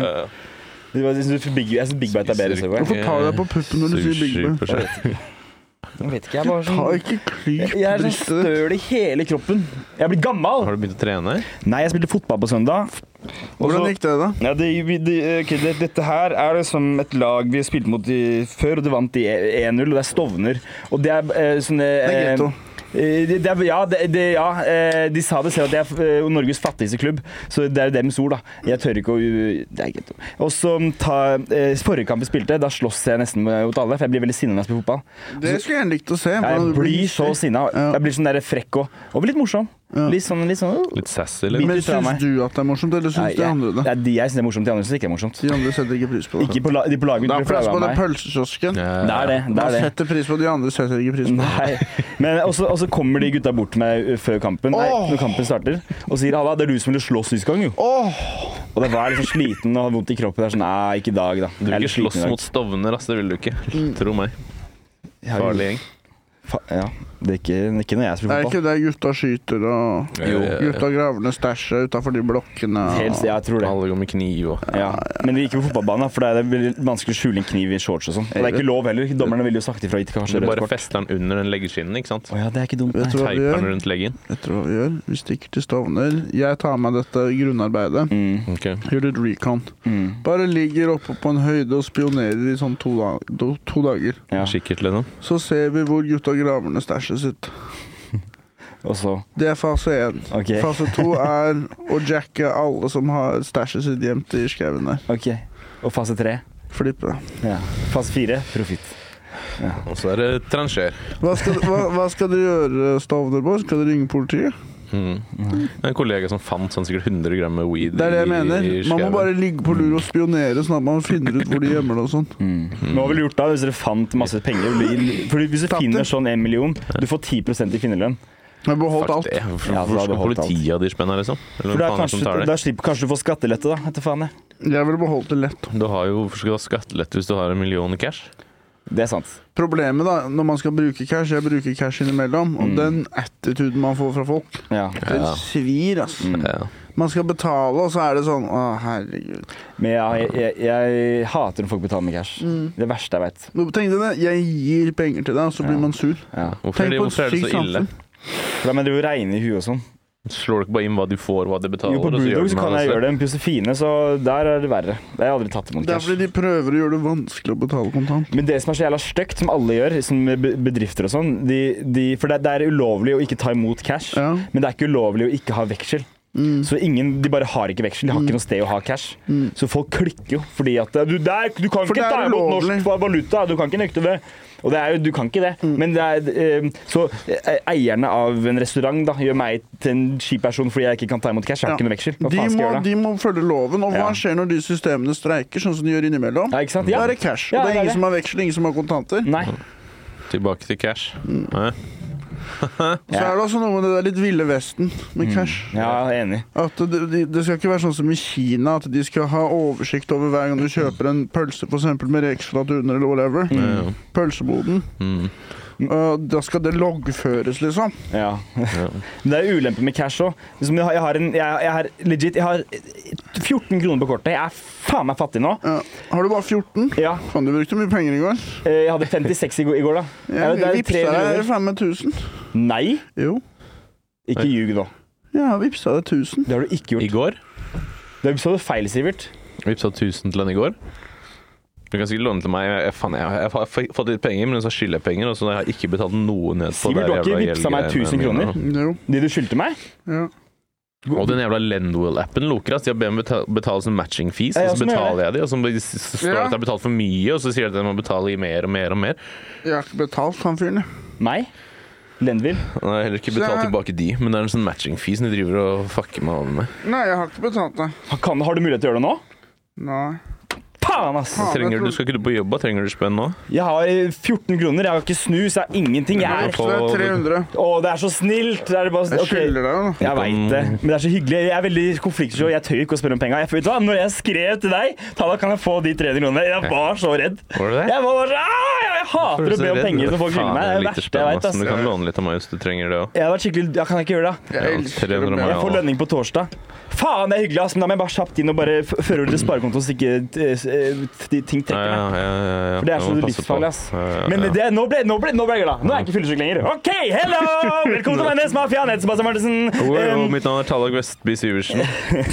Det var- Jeg syns Big, jeg synes Big Bite er bedre. Subway. Hvorfor tar du deg på puppen når du sier Big Sushi Bang? på skjerm. Jeg vet ikke, jeg er bare Ta sånn ikke klyp Jeg er på så brystet ditt. støl i hele kroppen. Jeg er blitt gammal. Har du begynt å trene? Nei, jeg spilte fotball på søndag. Og så- Hvordan gikk det, da? Ja, det, vi- det, ok, det, dette her er liksom et lag vi spilte mot i, før, og det vant i 1-0, og det er Stovner. Og det er eh, sånne Det er eh, ghetto. eh, det, det er, ja, det, det, ja eh, de sa det selv, at det er eh, Norges fattigste klubb. Så det er jo deres ord, da. Jeg tør ikke å Det er ghetto. Og så ta eh, Forrige kamp vi spilte, da slåss jeg nesten mot alle, for jeg blir veldig sinna når jeg spiller fotball. Det skulle jeg gjerne likt å se. Ja, hvordan Jeg du blir så hissig. sinna. Ja. Jeg blir sånn der frekk og, og litt morsom. Ja. Litt sånn, litt sånn Litt sassy, eller? Men Biter fra meg. syns du at det er morsomt, eller Nei, syns de andre det? det er de jeg syns er morsomt, de andre syns ikke det er morsomt. De andre setter ikke pris på det. Ikke på, la- de på laget Det er blir plass flaua på av den meg. pølsekiosken. Det er det. det, Man er det. setter pris på de andre, setter ikke pris på det. Nei. Men også, og så kommer de gutta bort til meg uh, før kampen, nei, når kampen starter, og sier 'halla, det er du som ville slåss sist gang', jo. Åh, Og da var jeg liksom sliten og hadde vondt i kroppen. Det er sånn, nei, ikke i dag, da. Du Jeg er vil litt ikke slåss sliten i dag. mot Stovner, ass. Det vil du ikke. Tro meg. Jeg har jo- Farlig gjeng. Fa ja. Det er ikke, det er ikke når jeg det spiller er fotball. ikke det gutta skyter og Jo. gutta graver ned stæsjet utafor de blokkene. og- Helt, jeg tror det. Alle går med kniv og Ja. Men det gikk jo på fotballbanen, da, for det er veldig vanskelig å skjule en kniv i shorts og sånn. Og det er ikke lov heller. Dommerne ville jo sagt ifra. Gitt kanskje Du rødt bare kort. fester den under den leggeskinnen, ikke sant? Å ja, det er ikke dumt. Vet du Nei. hva vi Teiper den gjør? rundt leggen. Vet du hva vi gjør? Vi stikker til Stovner. Jeg tar med dette grunnarbeidet. Mm, Ok. Gjør litt recon. mm. Bare ligger oppe på en høyde og spionerer i sånn to, da to, to dager. Ja. Sikkert, liksom. Så ser vi hvor gutta graver ned stæsjet sitt. Og så Det er fase én. OK. Fase to er å jacke alle som har stæsjet sitt gjemt i skauen der. ok. Og fase tre. Flippe. Ja. Fase fire profitt. Og så er det transjer. Hva skal, hva, hva skal dere gjøre, Stovner Boys? Skal dere ringe politiet? Mm. Det er En kollega som fant sånn sikkert 100 gram med weed Det er det jeg i- mener. i Man må skauen. bare ligge på lur og spionere, sånn at man finner ut hvor de gjemmer det og sånn. Men Hva ville du gjort da hvis dere fant masse penger? Fordi hvis du Tatt finner det. sånn en million, du får 10 i kvinnerlønn. Men beholdt Fuck alt. det. Hvorfor Ja, for da hvorfor har skal du holdt politiet ha de spennene, liksom? For Eller hvem da, faen er det som kanskje, tar det? da slipper kanskje du får skattelette, da. Etter faen, jeg. Jeg ville beholdt det lett. Du har jo hvorfor skal du ha skattelette hvis du har en million i cash? Det er sant. Problemet da, når man skal bruke cash Jeg bruker cash innimellom, og den attituden man får fra folk, Mm. Ja. Mm. den svir, ass. Ja. Man skal betale, og så er det sånn Å, herregud. Men jeg, jeg, jeg hater når folk betaler med cash. Det verste jeg veit. Nå, Tenk deg det. Jeg gir penger til deg, og så blir Ja. man sur. Ja. Hvorfor, Tenk er det, på et hvorfor er det sykt så ille? samfunn. For da mener du regne i huet og sånn. Slår du ikke bare inn hva du får, hva du betaler? Jo, på og så gjør Brewdog du så med kan det jeg selv? gjøre det, men på Josefine så der er det verre. Jeg har aldri tatt imot Det er cash. fordi de prøver å gjøre det vanskelig å betale kontant. Men det som er så jævla stygt, som alle gjør, som be- bedrifter og sånn de, de, For det, det er ulovlig å ikke ta imot cash, Ja. Mm. men det er ikke ulovlig å ikke ha veksel. Så ingen, De bare har ikke veksel, de har ikke noe sted å ha cash. Så folk klikker jo. fordi at du, det er- du kan ikke For det er ta imot ulovlig. Mm. norsk valuta, du kan ikke nekte det. Og det er jo, du kan ikke det. Men det er, eh, så eh, eierne av en restaurant da, gjør meg til en kjip person fordi jeg ikke kan ta imot cash. Jeg har Ja. ikke noe veksel. Hva De faen skal må, jeg gjøre da? de må følge loven, og hva Ja. skjer når de systemene streiker, sånn som de gjør innimellom? Ja, ikke sant? Ja. Da er det cash. Ja, og det det er er ingen det. som har veksel, ingen som har kontanter. Nei. Tilbake til cash. Nei. Så er det også noe med det der litt ville vesten Mm. med cash. Ja, jeg er enig. At det, det, det skal ikke være sånn som i Kina, at de skal ha oversikt over hver gang du kjøper en pølse for eksempel med reksalat under eller whatever. Pølseboden. Mm. Uh, da skal det loggføres, liksom. Ja. Men det er ulempe med cash òg. Liksom, jeg, har en- jeg, jeg har legit jeg har 14 kroner på kortet. Jeg er faen meg fattig nå. Ja. har du bare 14? Ja, Faen, du brukte mye penger i går. eh, jeg hadde 56 i går, i går da. Ja, Jeg det er vipsa 300. deg faen meg 1000. Nei, Jo. ikke ljug nå. Ja, vipsa deg 1000. Det har du ikke I gjort. går Det er- så du feil, Sivert. vippsa 1000 til henne i går. Du kan sikkert låne til meg. Jeg, jeg, faen, jeg, jeg har fått litt penger, men så skylder jeg penger. Og så har jeg ikke betalt noe ned på Sivert, du har ikke jævla vippsa meg gjeldgreiene 1000 kroner? mine. Jo. De du skyldte meg? Ja. Og den jævla Lendwell-appen loker ass. De har bedt meg betale, betale sånn matching fees, Ja, jeg og også så må gjøre betaler jeg de, og så blir- så står det Ja. at jeg har betalt for mye, og så sier de at jeg må betale i mer og mer og mer. Jeg har ikke betalt han fyren, jeg. Meg? Lenville? Og jeg har heller ikke betalt Så- tilbake de, men det er en sånn matching fees de driver og fucker meg over med. Nei, jeg har ikke betalt deg. Ha- Kan, har du mulighet til å gjøre det nå? Nei. Faen, ass! Faen, jeg Trenger, trodde- du skal ikke du på jobb, da? trenger du spenn nå? Jeg har eh, 14 kroner, jeg har ikke snus, jeg har ingenting. Jeg er Du får- Så det er 300. Å, det er så snilt! Det er bare Jeg ok. skylder deg jo, da. Jeg veit det, men det er så hyggelig. Jeg er veldig konfliktsky, og jeg tør ikke å spørre om penga. Jeg, vet du hva? Når jeg skrev til deg, Talla, kan jeg få de 300 kronene? Jeg var så redd. Var det det? Jeg, var bare, «Ah, jeg, jeg hater å be om penger når folk skylder meg. Det er det verste jeg Faen, lite vet, spenn, ass. Du ass. kan låne litt av meg hvis du trenger det òg. Jeg har vært skikkelig Jeg kan ikke gjøre det. Jeg Ja, elsker 300 å be. meg. Jeg får lønning på torsdag. Faen, det er hyggelig, ass, men da må jeg bare kjapt inn og bare f- føre over til sparekontoen så ikke eh, de ting trekker meg. ja, For det er Du så må passe på. livsfarlig, ass. Ja, ja, ja. Men det, nå, ble, nå, ble, nå ble jeg glad. Nå er jeg ikke fyllesyk lenger. OK, hello! Velkommen til Vennes Mafia. Jeg heter Sebastian Martinsen. Wow, Em, mitt navn er Tallag Vestby Syversen.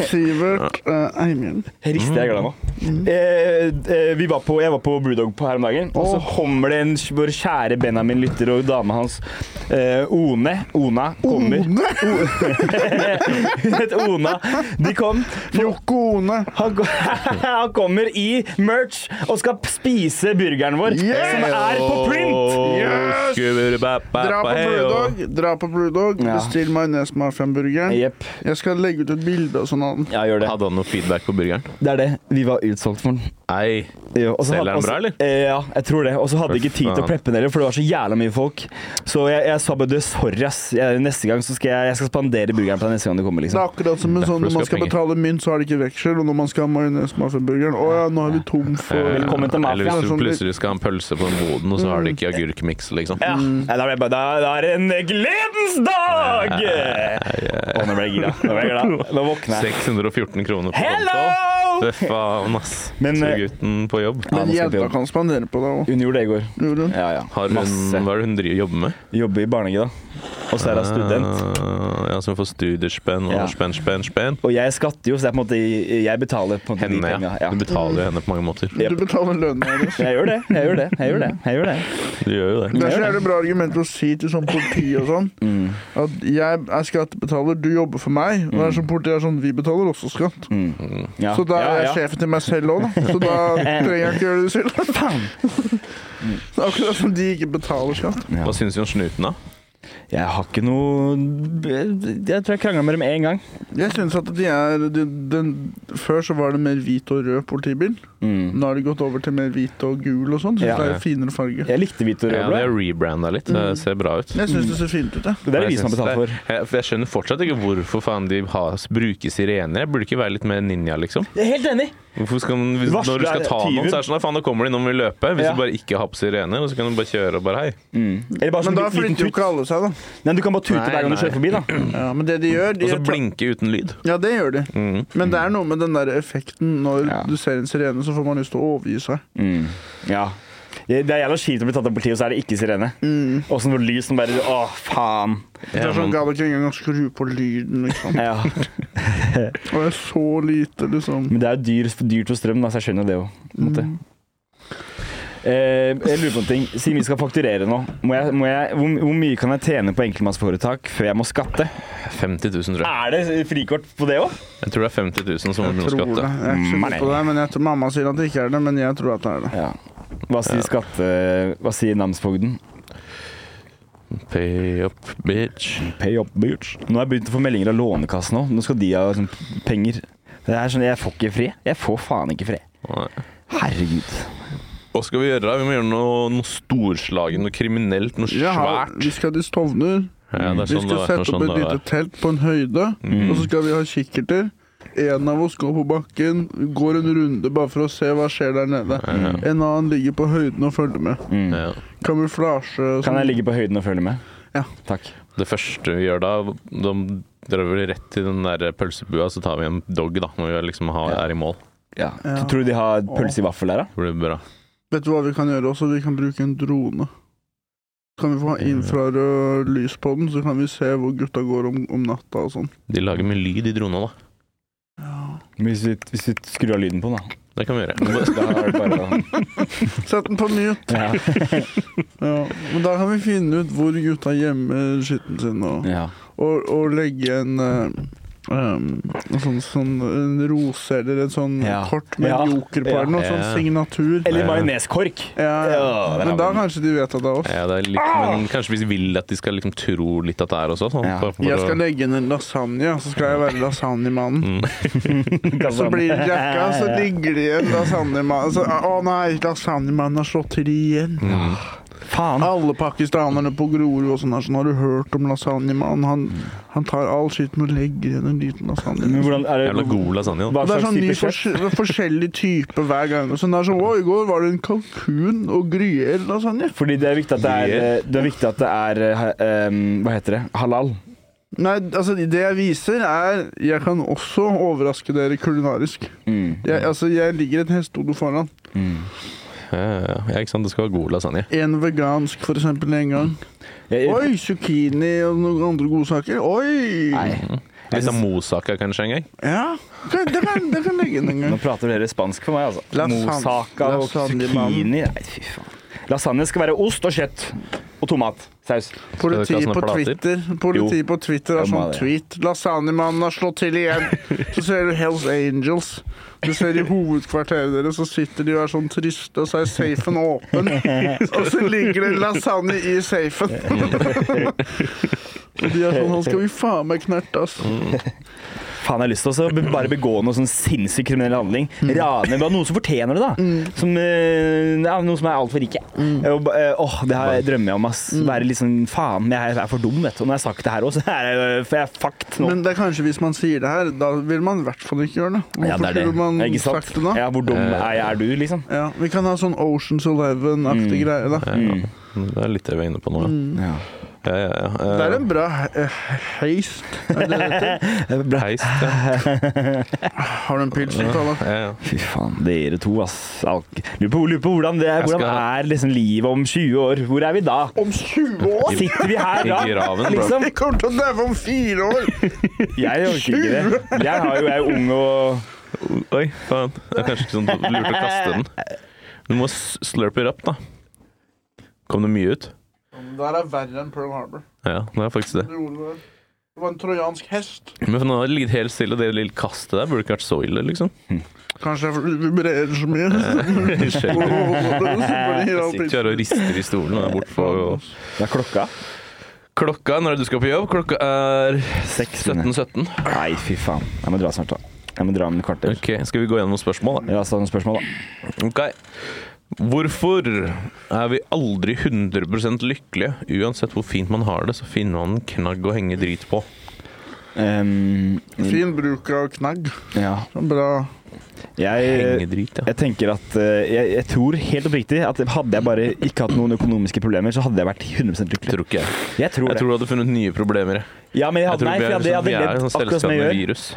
Sivert eh, Eimund. Jeg rister, jeg er glad nå. Eh, eh, vi var på, jeg var på Brewdog på her om dagen, og så kommer det en vår kjære Benjamin lytter og dama hans eh, One. Ona kommer. [laughs] Hun heter Ona. De kom. Joko One. Han, ko- [laughs] han kommer i merch og skal spise burgeren vår, Yeah! som er [laughs] på print. Yes! Dra på Blue Dog, dra på Blue Dog Ja. bestill majones-mafiaen-burgeren. Jepp. Jeg skal legge ut et bilde og sånn av den. Ja, gjør det. Hadde han noe feedback på burgeren? Det er det. Vi var utsolgt for den. Nei. Ja, og så Selger hadde- den bra, eller? Eh, ja, jeg tror det. Og så hadde jeg ikke tid til å faen. preppe den heller, for det var så jævla mye folk. Så jeg, jeg sa bare du, sorry, ass. Jeg, neste gang så skal jeg, jeg skal spandere burgeren på deg neste gang du kommer, Det er liksom. akkurat som en Derfor sånn når skal man skal penger. betale mynt, så er det ikke veksel. Og når man skal ha majones-mafiaen-burgeren Å ja, nå er vi tom for Eh, Velkommen til Eller mafiaen. Mm. hvis du Sånn litt- plutselig skal ha en pølse på en boden, og så har de ikke agurkmiks, liksom. Ja. Mm. ja, da ble jeg bare Da, da er det en gledens dag! Å, nå ble jeg gira. Nå ble jeg glad. Nå våkner jeg. 614 kroner på konto. Hello! Fy faen, ass. Men, Så eh, gutten på jobb. Ja, nå Men skal vi jenta jobbe. kan spandere på deg òg. Hun gjorde det i går. Gjorde hun? Ja, ja. Har hun, Masse. hva er det hun driver jobber med? Jobber i barnehage, da. Og så er hun student. Eh, ja, som får studiespenn og Ja. spenn, spenn, spenn. Og jeg skatter jo, så det er på en måte, jeg betaler på en måte Henne, de ja. pengene. Ja. Du betaler jo henne på mange måter. Jep. Du betaler lønnen [laughs] hennes. Jeg gjør det. Jeg gjør det. Jeg gjør det. Jeg gjør det. Du gjør jo det. Det er så jævlig bra argument å si til sånn politi og sånn Mm. at jeg er skattebetaler, du jobber for meg. Og det Mm. er sånn politiet er sånn vi betaler også skatt. Ja. Så da ja, er jeg ja. sjefen til meg selv òg, da. Så [laughs] da trenger jeg ikke gjøre det selv. Faen! Det er Akkurat som de ikke betaler skatt. Ja. Hva syns vi om snuten, da? Jeg har ikke noe Jeg tror jeg krangla med dem én gang. Jeg synes at de er de, den, Før så var det mer hvit og rød politibil. Mm. Nå har de gått over til mer hvit og gul og sånn. Syns Ja. det er en finere farge. Jeg likte hvit og Ja, rød. det er bra. rebranda litt. Det ser bra ut. Jeg syns det ser fint ut, jeg. Det er det Jeg vi som har synes betalt det- for. Jeg, for jeg skjønner fortsatt ikke hvorfor faen de har, bruker sirener. Jeg burde ikke være litt mer ninja, liksom. Jeg er helt enig! Hvorfor skal man, hvis, Varsler når du skal ta noen, tyven. så er det sånn at faen, nå kommer de, nå må vi løpe. Hvis Ja. du bare ikke har på sirener, og så kan du bare kjøre og bare hei. Eller bare sånn Men da liten- liten flytter jo tut. ikke alle seg, da. Nei, du kan bare tute Nei, hver gang du nei. kjører [clears throat] forbi, da. Ja, men det de gjør de Og så gjør- blinke uten lyd. Ja, det gjør de. Mm. Men det er noe med den der effekten når Ja. du ser en sirene, så får man lyst til å overgi seg. Mm. Ja. Det det er jævla kjipt å bli tatt av politiet, og så er det ikke sirene. Og så noe lys som bare Å, faen. Det er Ja, sånn men- gadd ikke engang å skru på lyden, liksom. Ja. Og det er så lite, liksom. Men det er jo dyrt, dyrt for strøm, da, så jeg skjønner det jo. på en måte. Eh, jeg lurer på en ting. Siden vi skal fakturere nå, må jeg, må jeg, hvor, hvor mye kan jeg tjene på enkeltmannsforetak før jeg må skatte? 50 000, tror jeg. Er det frikort på det òg? Jeg tror det er 50 000 som må begynne å Tror det. skatte. Jeg er ikke så god Nei. på det, men jeg tror mamma sier at det ikke er det, men jeg tror at det er det. Ja. Hva sier skatte... Hva sier namsfogden? Pay up, bitch. Pay up, bitch. Nå har jeg begynt å få meldinger av Lånekassen òg. Nå skal de ha sånn, penger. Det er sånn, Jeg får ikke fred. Jeg får faen ikke fred. Nei. Herregud. Hva skal vi gjøre? da? Vi må gjøre noe, noe storslagen, noe kriminelt, noe Jeg har, svært. vi skal til Stovner. Ja, det er Vi sånn det skal var. Det sette er Mm. opp sånn et det lite var. telt på en høyde, og så skal vi ha kikkerter. En av oss går på bakken, går en runde bare for å se hva skjer der nede. En annen ligger på høyden og følger med. Ja. Kamuflasje og Kan sånn. jeg ligge på høyden og følge med? Ja. Takk. Det første vi gjør da, da drar vi rett til den der pølsebua, så tar vi en dog da, når vi liksom har, er i mål. Ja. Ja. Tror du de har pølse i vaffel der, da? Det blir bra. Vet du hva vi kan gjøre også? Vi kan bruke en drone. Så kan vi Mm. få ha infrarød lys på den, så kan vi se hvor gutta går om, om natta og sånn. De lager mye lyd i drona, da. Hvis vi, hvis vi skrur av lyden på den, da. Det kan vi gjøre. Da er det bare å Sett den på mute! ja. Ja. Men da kan vi finne ut hvor gutta gjemmer skitten sin, og, ja. og, og legge en eh, em, en sånn, sånn en rose eller en sånn Ja. kort med Ja. en joker på, Ja. eller noe sånn Ja. signatur. Eller majoneskork. Ja, Ja, der har Men da vi den. [laughs] kanskje de vet at det er oss. Ja, det er litt, Ah! men kanskje vi vil at de skal liksom tro litt at det er også. Sånn, Ja. for, for Jeg å- skal legge inn en lasagne, og så skal jeg være lasagnemannen. Mm. sånn. Så blir det jakka, så ligger det igjen lasagnemann så, Å nei, lasagnemannen har slått til igjen. Mm. Faen. Alle pakistanerne på Grorud og sånn her, sånn har du hørt om lasagnemannen? Han, han tar all skitten og legger igjen en liten Men lasagne. hvordan er Jævla det god lasagne. da. Hva Og Det er slags sånn ny type kjøtt? fors forskjellig type hver gang. Og Sånn det er sånn, å, I går var det en kalkun og gruyère-lasagne. Fordi det er viktig at det er, det er, viktig at det er eh, um, Hva heter det? Halal. Nei, altså det jeg viser, er Jeg kan også overraske dere kulinarisk. Mm. Jeg, altså, jeg ligger et hestehode foran. Ja, ja, ja, ikke sant? Det skal være god lasagne. En vegansk, for eksempel, en gang. Jeg, jeg, Oi, zucchini og noen andre godsaker. Oi! nei. Litt av moussaka kanskje en gang. Ja, kan- det kan, det kan legge inn en Nå gang. prater dere spansk for meg, altså. Lasagne. Moussaka og Lasagne, zucchini. Nei, fy faen. Lasagne skal være ost og kjøtt og tomatsaus. Skal Politi dere ha på sånne plater? Twitter Politi på Twitter har Jeg må ha sånn det. tweet. Lasagnemannen har slått til [laughs] igjen. Så ser du Hells Angels. Du ser i hovedkvarteret deres, så sitter de og er sånn triste, og så er safen åpen. [laughs] Og så ligger det lasagne i safen. Og de er sånn Nå skal vi faen meg knerte, ass. Mm. Faen, jeg har lyst til å be- bare begå noe sånn sinnssykt kriminell handling. Mm. Rane bare noen som fortjener det, da. Som, eh, ja, noen som er altfor rike. Mm. Og ba- eh, Åh, det her drømmer jeg om, ass. Være litt sånn faen, jeg er for dum, vet du. Og når [laughs] jeg har sagt det her òg, så er jeg, for jeg er fucked nå. Men det er kanskje hvis man sier det her, da vil man i hvert fall ikke gjøre det. Hvorfor ja, det er det. skulle man Ikke sant? sagt det da? Ja, hvor dum Eh, er, jeg, er du, liksom? Ja, vi Mm. kan ha sånn Oceans Eleven-aktig greie, da. Mm. Det er litt det vi er inne på nå. Ja. Ja, ja, ja. Eh, Det er en bra he- heist. Er det det heter? heist, ja. Har du en pils til Kalle? Ja, [laughs] ja. Fy faen, dere to, ass. Al- Lurer på, lurer på hvordan det er. Jeg skal- Hvordan er liksom livet om 20 år? Hvor er vi da? Om 20 år? Sitter vi her I da? graven, bro. Liksom. Jeg kommer til å daue om fire år! Jeg orker ikke det. Jeg, har jo, jeg er jo ung og Oi, faen. Det er kanskje ikke sånn lurt å kaste den. Du må s- slurp it up, da. Kom det mye ut? Det her er verre enn Pearl Harbor. Ja, det er faktisk det. Det gjorde det. Det var en trojansk hest. Men for nå har det ligget helt stille, og det lille kastet der burde ikke vært så ille, liksom. Kanskje jeg fordi det vibrerer så mye. [laughs] Skjelver. Sitter Sitter her og rister i stolen og er bortpå. og- Det er klokka. Klokka når er det du skal på jobb? Klokka er Seks. 17.17. Nei, fy faen. Jeg må dra snart, da. Jeg må dra om et kvarter. Ok, skal vi gå gjennom noen spørsmål, da? Ja, så noen spørsmål, da. Ok. Hvorfor er vi aldri 100 lykkelige? Uansett hvor fint man har det, så finner man en knagg å henge drit på. Ehm, Fin bruk av knagg. ja. Bra. Jeg, Henge drit, ja. jeg tenker at eh, jeg, jeg tror helt oppriktig at hadde jeg bare ikke hatt noen økonomiske problemer, så hadde jeg vært 100 lykkelig. Tror ikke jeg. Jeg tror Jeg det. tror du hadde funnet nye problemer. jeg. Ja, men jeg Jeg hadde, tror nei, vi for jeg er, hadde, jeg sånn, vi hadde er levd sånn akkurat som jeg selskapende gjør. virus.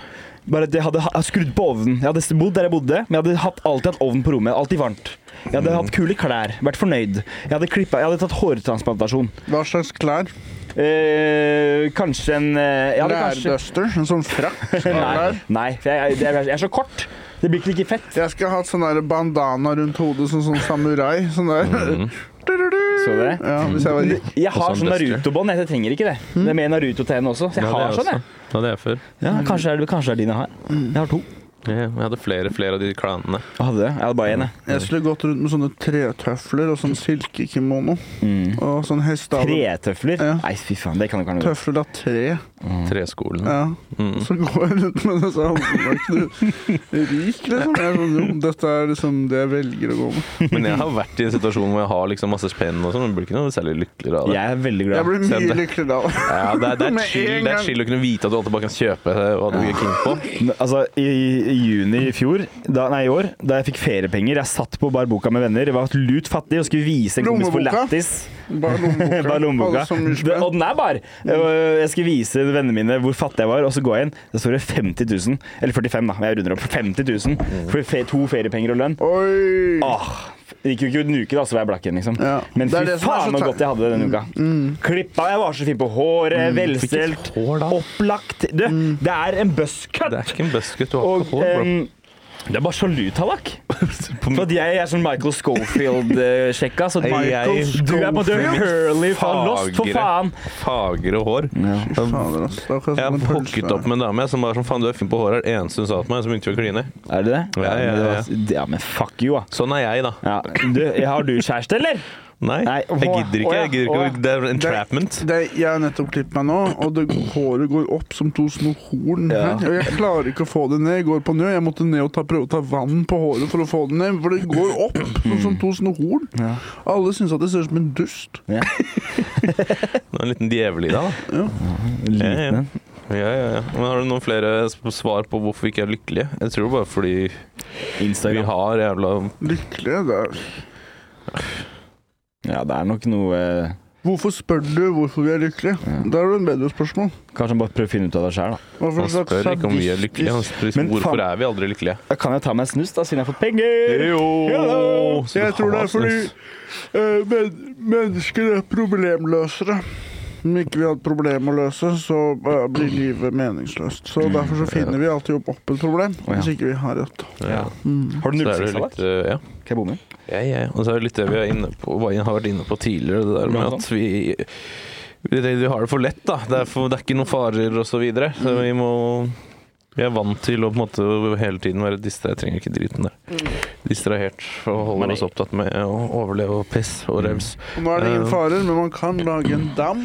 Bare at jeg hadde ha- skrudd på ovnen. Jeg hadde bodd der jeg bodde, men jeg hadde hatt, alltid hatt ovnen på rommet. Alltid varmt. Jeg Mm. hadde hatt kule klær, vært fornøyd. Jeg hadde, klippet, jeg hadde tatt hårtransplantasjon. Hva slags klær? Eh, kanskje en eh, jeg hadde kanskje, Lærduster? En sånn [laughs] frakk? Nei, Lær. nei for jeg, jeg, jeg er så kort. Det blir ikke like fett. Jeg skal ha et sånn der bandana rundt hodet, sånn, sånn samurai. Sånn der. Så du det? [laughs] Ja, Mm. hvis jeg var rik. Jeg Og har sånn sånn duster. Naruto-bånd. Jeg trenger ikke det. Det er med Naruto-tegn også. Så jeg Ja, det har er sånn, også. jeg. Ja, det er jeg før. Ja, kanskje er det kanskje det er din jeg har. Jeg har to. Ja, Jeg hadde flere, flere av de klanene. Jeg hadde det. Jeg hadde bare én, jeg. Jeg skulle gått rundt med sånne tretøfler og sånn silkekimono. Og sånn hestehale. Tretøfler? Ja. Nei, fy faen. Det kan du ikke ha noe Tøfler av tre. Mm. Treskolen. [laughs] Ja. Og Så går jeg rundt med det, så er du rik, liksom. Jeg er sånn, jo, dette er liksom det jeg velger å gå med. Men jeg har vært i en situasjon hvor jeg har liksom masse spenn og sånn, men blir ikke noe særlig lykkeligere av det. Jeg er veldig Jeg glad. blir Send mye det. lykkeligere [laughs] da. Ja, det, er, det, Med er chill, en det er gang. chill å kunne vite at du alltid bare kan kjøpe hva du er keen på. [laughs] N- Altså, i, i juni i fjor, da, nei, i år, da jeg fikk feriepenger Jeg satt på barboka med venner, var lut fattig og skulle vise en kompis på Lommeboka. lættis. Bare [laughs] lommeboka. Bare lommeboka. Alle så mye Det- Og spenn. den er bar! Og Jeg skulle vise vennene mine hvor fattig jeg var, og så går jeg inn. Da står det 50 000. Eller 45, da. men Jeg runder opp. 50 000 for fe- to feriepenger og lønn. Oi! Åh, det gikk jo ikke en uke, da, så var jeg blakk igjen, liksom. Ja. Men Det fy er det som er så Mm, faen så tøft. godt jeg hadde denne uka. Klippa, jeg var så fin på håret, Mm, velstelt, hår da? opplagt. Du, Mm. det er en buzzcut! Det er ikke en buskut du har Og eh, ikke hår, bro. em, det er bare sjalu, [laughs] Tallak. For at jeg er sånn Michael Schofield-sjekka. Så Hei, jeg- du er på Dirty Hurley fra Lost, for Fagre. faen! Fagre hår. Fader, ass. Det er akkurat Jeg som en hooket pølse. opp med en dame jeg, som var sånn faen, du er fin på håret. er Det eneste hun sa til meg, så begynte vi å kline. Er det det? Ja, men ja, det ja. var- ja, men fuck you, da. Sånn er jeg, da. Ja. Du, har du kjæreste, eller? Nei, Nei, jeg gidder å ikke. ja, Jeg gidder å ja. ikke. Det er entrapment. Det, jeg har nettopp klippet meg nå, og det, håret går opp som to små horn Ja. her. Og jeg klarer ikke å få det ned. Jeg går på nød. Jeg måtte ned og ta, prøve å ta vann på håret for å få det ned, for det går opp som, som to små horn. Ja. Alle syns at det ser ut som en dust. Det er en liten djevel i deg, da. Ja, ja. Liten en. Ja, ja, ja. Men har du noen flere sp- svar på hvorfor vi ikke er lykkelige? Jeg tror bare fordi vi Instagram. har jævla Lykkelig. Det er. Ja, det er nok noe eh, Hvorfor spør du hvorfor vi er lykkelige? Mm. Da har du en bedre spørsmål. Kanskje han bare prøver å finne ut av det sjøl, da. Hva for Han slags spør ikke om vi er sadistisk- lykkelige. Han spør liksom, Men hvorfor faen- er vi aldri lykkelige? Kan jeg ta meg en snus, da, siden jeg får penger? Jo! Så Jeg tror det er fordi sånn eh, men, mennesker er problemløsere. Om ikke vi har et problem å løse, så eh, blir livet meningsløst. Mm, Så derfor så finner vi alltid opp, opp et problem, hvis ikke vi har et. Ja. Mm. Har du Så 06 er det da? litt, uh, ja. Kan jeg bo med? Ja, ja. Og så er det litt det vi er inne på, hva jeg har vært inne på tidligere, det der med at vi det, det- vi har det for lett, da. Det er, for, det er ikke noen farer og så videre. Så vi må Vi er vant til å på en måte hele tiden være distra... Jeg trenger ikke driten der. Distrahert og holder oss opptatt med å overleve og piss og revs. Og nå er det ingen Eh. farer, men man kan lage en dam.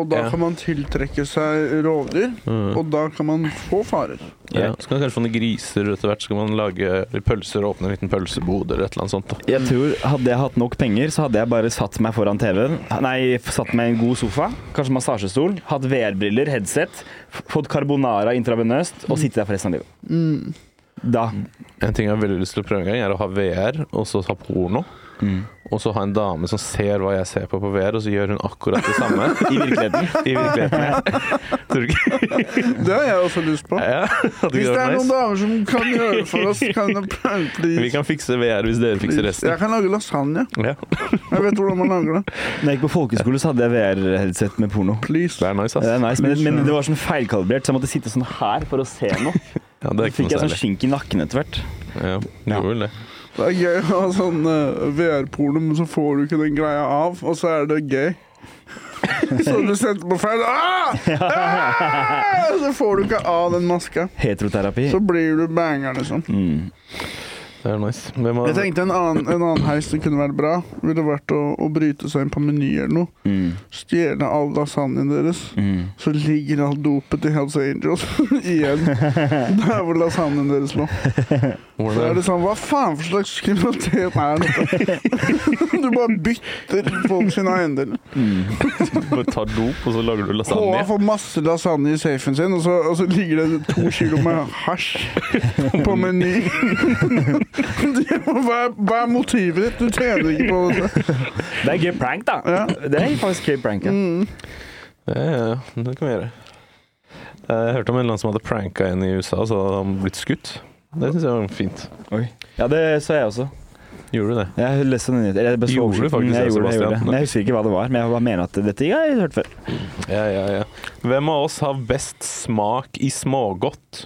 Og da Ja. Mm. kan man tiltrekke seg rovdyr, og da kan man få farer. Ja. Så kan man kanskje få noen griser etter hvert. Så kan man lage pølser og åpne en liten pølsebod eller et eller annet sånt. Da. Jeg tror Hadde jeg hatt nok penger, så hadde jeg bare satt meg foran TV-en. Nei, satt meg i en god sofa, kanskje massasjestol, hatt VR-briller, headset, f- fått carbonara intravenøst og sittet der for resten av livet. Da. Mm. En ting jeg har veldig lyst til å prøve en gang, er å ha VR og så ha porno. og så ha en dame som ser hva jeg ser på på VR, og så gjør hun akkurat det samme I virkeligheten. [laughs] i virkeligheten. Tror du ikke? [laughs] Det har jeg også lyst på. Ja, hadde Hvis ikke det er vært noen nice. damer som kan gjøre det for oss, kan jeg please, Vi kan fikse VR hvis dere fikser please. Jeg resten. kan lage lasagne. Ja. Jeg vet hvordan man lager det. Når jeg gikk på folkeskole, så hadde jeg VR-headset med porno. Det Please. er nice, Det er ass. nice, men, men det var sånn feilkalibrert, så jeg måtte sitte sånn her for å se [laughs] noe. Ja, det Så er ikke fikk jeg noe sånn særlig. skink i nakken etter hvert. Ja, du gjorde vel det. Det er gøy å ha sånn eh, VR-porno, men så får du ikke den greia av, og så er det gøy. Så du setter på feil ah! Ah! Så får du ikke av den maska. Heteroterapi. Så blir du banger, liksom. Mm. Det er nice. Vi må, Jeg tenkte en annen, en annen heis som kunne vært bra, ville vært å, å bryte seg inn på Meny eller noe. Mm. Stjele all lasagnen deres. Mm. Så ligger all dopet til Hells Angels [laughs] igjen der hvor lasagnen deres lå. Så er [laughs] hvordan, det sånn Hva faen for slags kriminalitet er dette? [laughs] Du bare bytter folk sine eiendeler. [laughs] du tar dop, og så lager du Håa lasagne. får masse lasagne i safen sin, og så, og så ligger det to kilo med hasj på Meny. [laughs] Det- Hva er, hva er motivet ditt? Du tjener ikke på dette. [laughs] Det er gøy prank, da. Ja. Det er faktisk gøy prank. Ja. Ja, ja, ja. Det kan vi gjøre. Jeg hørte om en eller annen som hadde pranka en i USA, og så hadde han blitt skutt. Det syns jeg var fint. Oi. Ja, det så jeg også. Gjorde du det? Jeg leste den nyheten. eller jeg bare så Gjorde du oversikten. faktisk jeg det, gjorde, det, jeg Sebastian? gjorde det. Men jeg husker ikke hva det var, men jeg bare mener at dette har jeg hørt før. Ja, ja, ja. Hvem av oss har best smak i smågodt?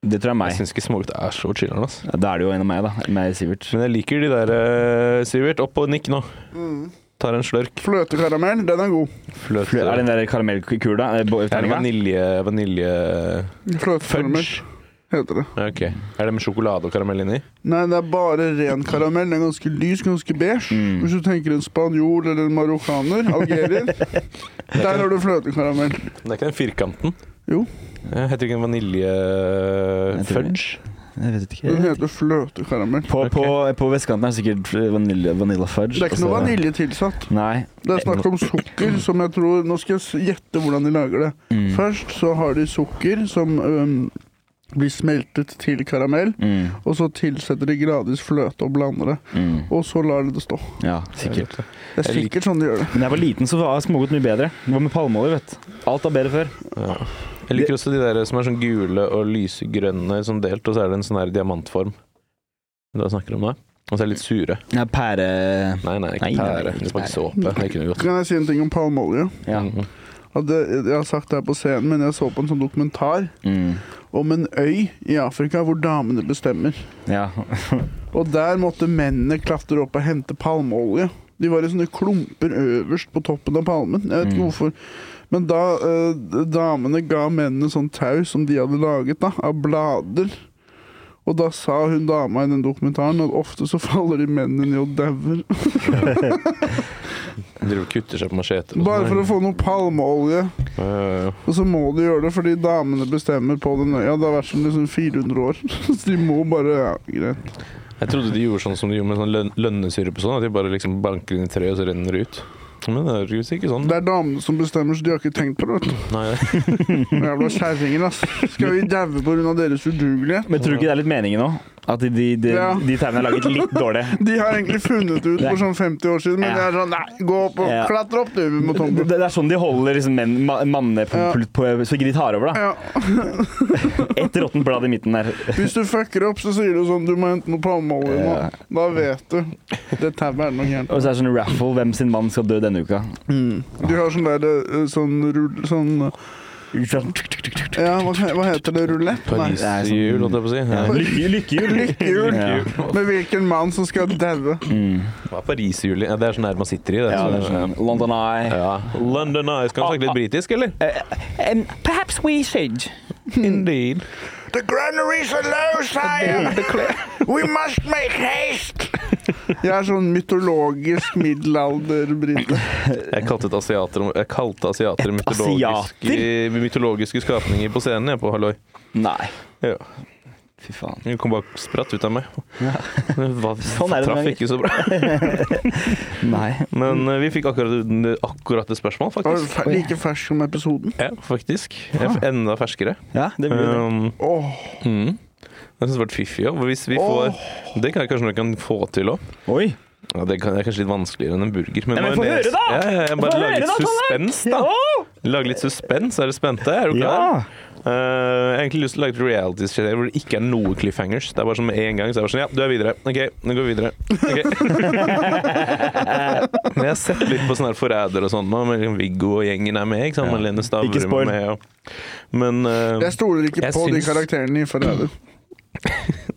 Det tror jeg er Jeg meg. syns ikke smågodt er så chiller'n, ass. Ja, Da er det jo en av meg, da. Meg, Sivert. Men jeg liker de der, eh, Sivert. Opp og nikk nå. Tar en slørk. Fløtekaramell, Mm. den er god. Fløte. Fl- Er det den der karamellkula? eh, bo- Er det terninga? vanilje... vanilje... Fløtekaramell Fudge? heter det. Ja, Ok. Er det med sjokolade og karamell inni? Nei, det er bare ren karamell. Den er ganske lys, ganske beige. Mm. Hvis du tenker en spanjol eller en marokkaner, algerier Der har du fløtekaramell. Det er ikke den firkanten? Jo. Ja, Heter ikke den Jeg tror vanilje... ikke. Fudge? Jeg vet ikke. Den heter fløtekaramell. På, på, på vestkanten er det sikkert eh, vanilje, vanilla fudge. Det er ikke noe og så- vanilje tilsatt. Nei. Det er snakk om sukker, som jeg tror Nå skal jeg s- gjette hvordan de lager det. Mm. Først så har de sukker som øhm, blir smeltet til karamell. Mm. Og så tilsetter de gradvis fløte og blander det. Mm. Og så lar de det stå. Ja, sikkert. Det er Jeg liker- sikkert sånn de gjør det. Men da jeg var liten, så var smågodt mye bedre. Det var med palmeolje, vet du. Alt var bedre før. Ja. Jeg liker også de der som er sånn gule og lysegrønne sånn delt, og så er det en sånn her diamantform. Da snakker om det. Og så er de litt sure. Ja, pære... Nei, nei, ikke Nei, nei, pære. ikke Det smaker pære. såpe. Det kunne vi godt. Kan jeg si en ting om palmeolje? Ja. Mm. At det, jeg har sagt det her på scenen, men jeg så på en sånn dokumentar Mm. om en øy i Afrika hvor damene bestemmer. Ja. Og der måtte mennene klatre opp og hente palmeolje. De var i sånne klumper øverst på toppen av palmen. Jeg vet ikke hvorfor. Men da eh, d- damene ga mennene sånn tau som de hadde laget da, av blader. Og da sa hun dama i den dokumentaren at ofte så faller de mennene ned og dauer. [laughs] De Driver og sånn. kutter seg på macheter. Bare for å få noe palmeolje. få Og så må de gjøre det fordi damene bestemmer på den øya. Det har vært sånn liksom 400 år. [laughs] Så de må bare ja, greit. Jeg trodde de gjorde sånn som de gjorde med sånn løn lønnesyrup og sånn, at de bare liksom banker inn i treet, og så renner det ut. Men det er jo ikke sånn. Det er damene som bestemmer, så de har ikke tenkt på det. vet du. Nei, Jævla kjerringer, ass. Skal vi daue pga. deres udugelighet? Men tror du ikke det er litt meningen nå? At de, de, de, Ja. de tegnene er laget litt [laughs] dårlig? De har egentlig funnet ut for sånn 50 år siden, men det er sånn Nei, gå opp og Ja. klatre opp, du, mot Det, tomten. det er sånn de holder liksom menn, ma, mannene på, Ja. på, på, så ikke de tar over, da. Ja. [laughs] Ett råttent blad i midten der. Hvis du fucker opp, så sier du sånn Du må hente noe palmeolje nå. Ja. Da vet du. Det tauet er noe gærent. Og så er det sånn raffle hvem sin mann skal dø denne uka. De har sånn der eh, sånn rull... Sånn Sånn, Ja, hva, hva heter det? Rulett? Nei. Pariserhjul, holdt jeg på å si. ja, Ja. lykke- Lykkehjul! [laughs] Lykkehjul. Ja. Med hvilken mann som skal daue. Mm. Hva er pariserhjul? Ja, det er sånn her man sitter i. Det. ja, det er sånn London Eye. Ja. London Eye. Skal du snakke litt britisk, eller? Eh, Um, perhaps we should. Indeed. The granaries are low, sire! We must make haste! Jeg er sånn mytologisk middelalder-brite. eh, Jeg kalte et asiater, jeg kalte asiater mytologiske, asiater? mytologiske skapninger på scenen, jeg, på Halloi. Nei, Ja. fy faen. Hun kom bare spratt ut av meg. Hva, Sånn er det traff noen ganger. ikke så bra. Nei. Men eh, vi fikk akkurat, akkurat et spørsmål, Det var faktisk. fe- Like fersk som episoden. Ja, faktisk. Jeg er Enda ferskere. Ja, det blir det. Um, Åh, mm. Jeg syns det har vært fiffig. Ja. Hvis vi får, det kan jeg kanskje noen kan få til òg. Oi! Ja, det kan- det er kanskje litt vanskeligere enn en burger. Men, Ja, men få majones- høre, da! Ja, ja, ja, Få bare høre lag litt da, Kalle! suspens, da. Lage litt suspens. Er dere spente? Er du klar? Ja! Eh, jeg har egentlig lyst til å lage et reality-serie hvor det ikke er noe cliffhangers. Det er bare som en gang, så er det bare sånn Ja, du er videre. OK, nå går vi videre. [laughs] Ok. Men jeg har sett litt på sånne her forræder og sånn nå, med liksom Viggo og gjengen er med. Ikke sant? Malene Stavrum Ikke spoil. er med. Og... Men eh, Jeg stoler ikke Jeg på de syns- karakterene i Forræder.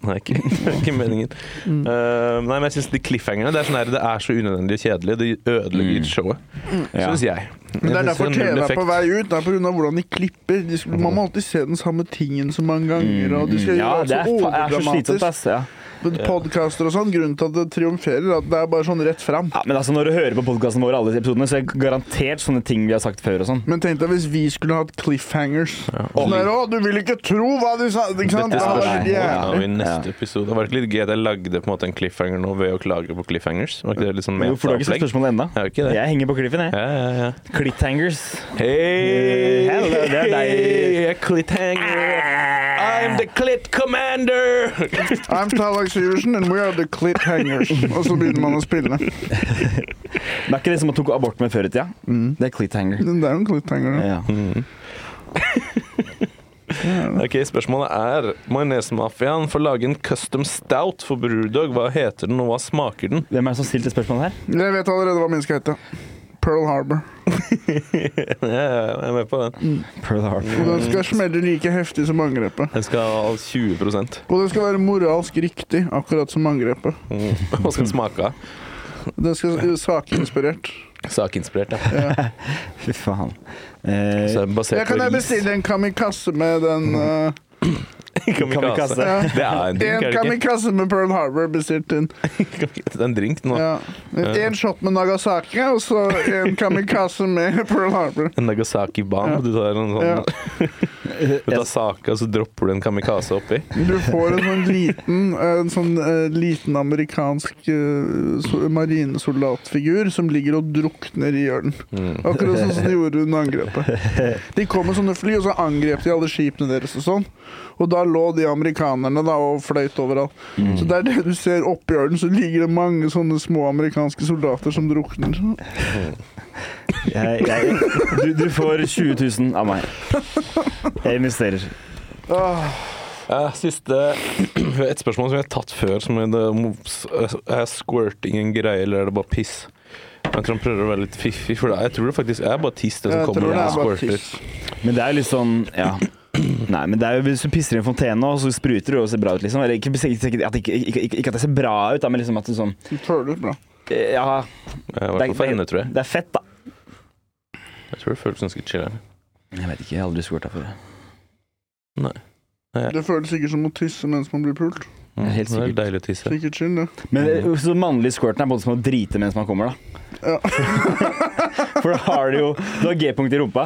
Nei, ikke, [laughs] ikke meningen. Mm. Eh, nei, men jeg syns de cliffhangerne det er, sånn her, det er så unødvendig og kjedelig. Det ødelegger showet, Mm. Ja. syns jeg. Men det er Jeg synes derfor har TV null er på effekt. vei ut. Det er pga. hvordan de klipper. De skal, man må alltid se den samme tingen så mange ganger. Og de skal Mm. Ja, gjøre det alt er, så fa- er så slitsomt, overdramatisk. ass. Ja. Men Podkaster og sånn, grunnen til at det triumferer, er at det er bare sånn rett fram. Ja, men altså, når du hører på podkasten vår, alle episodene, så er det garantert sånne ting vi har sagt før og sånn. Men tenk deg hvis vi skulle hatt cliffhangers. Sånn der, å, du vil ikke tro hva de sa! Ikke sant? Det hadde vært Dette spørsmålet jævlig. er jo i neste episode. Det var ikke litt gøy at jeg lagde på en måte en cliffhanger nå ved å klage på cliffhangers? Var ikke det litt sånn Men Hvorfor har du ikke sett metaopplegg? spørsmålet ennå? Jeg har ikke det. Jeg henger på kliffen, jeg. Ja, ja, ja. Clithangers. Hei! Hello, det er deg. Hey, cliffhanger! I'm the clit commander! [laughs] I'm Talag Syversen, and we are the cliffhangers. Og så begynner man å spille. Det er ikke det som man tok abort med før i tida. Mm. Det er clithanger. Den der er en cliffhanger. da. Ja. Ok, Spørsmålet er Majonesmafiaen får lage en custom stout for Brewdog. Hå heter den, og hva smaker den? [laughs] Hvem er det som stilte spørsmålet her? Jeg vet allerede hva min skal hete. Pearl Harbor. Ja, jeg er med på den. Mm. Pearl Harbor. Og den skal smelle like heftig som angrepet. Den skal ha 20 Og det skal være moralsk riktig, akkurat som angrepet. Mm. [laughs] Hva skal den smake av? Det skal være sakinspirert. Sakinspirert, ja. Fy faen. Eh, Så er den basert Jeg kan på jeg ris. bestille en kamikaze med den eh, [laughs] Kamikaze. Kamikaze. Det er En en drink, er det ikke? kamikaze med Pearl Harbor bestilt inn. Det er en drink nå. Ja. En shot med Nagasaki, og så en kamikaze med Pearl Harbor. En Nagasaki-ban. Du tar en sånn Ja. [laughs] [laughs] Du tar saka, så dropper du en kamikaze oppi. Du får en sånn liten En sånn eh, liten amerikansk eh, so- marinesoldatfigur som ligger og drukner i ørnen. Akkurat sånn som de gjorde under angrepet. De kom med sånne fly, og så angrep de alle skipene deres og sånn. Og da lå de amerikanerne da og fløyt overalt. Så det er det du ser oppi ørnen, så ligger det mange sånne små amerikanske soldater som drukner. jeg, jeg, du, du får 20 000 av meg. Jeg investerer. Eh, Siste [clears throat] Et spørsmål som vi har tatt før, som er det om- Er squirting en greie, eller er det bare piss? Jeg tror han prøver å være litt fiffig, for det- jeg tror det faktisk er bare tiss det som Jeg kommer tror når det man er bare squirter. tiss. Men det er jo litt sånn Ja. Nei, men det er jo hvis du pisser i en fontene, og så spruter du og ser bra ut, liksom. Eller ikke, ikke, ikke, at- ikke, ikke, ikke at det ser bra ut, da, men liksom at det sånn Du føler det bra. eh, Ja, Eh, I hvert fall for henne, tror jeg. det er fett, da. Jeg tror det føles ganske chill. her. Jeg vet ikke, jeg har aldri squirta før. Det føles sikkert som å tisse mens man blir pult. Mm, Helt det er sikkert. deilig å tisse. Sikkert chill, det. Men eh, så mannlig squirten er både som å drite mens man kommer, da. Ja. [laughs] For da har du jo Du har G-punkt i rumpa,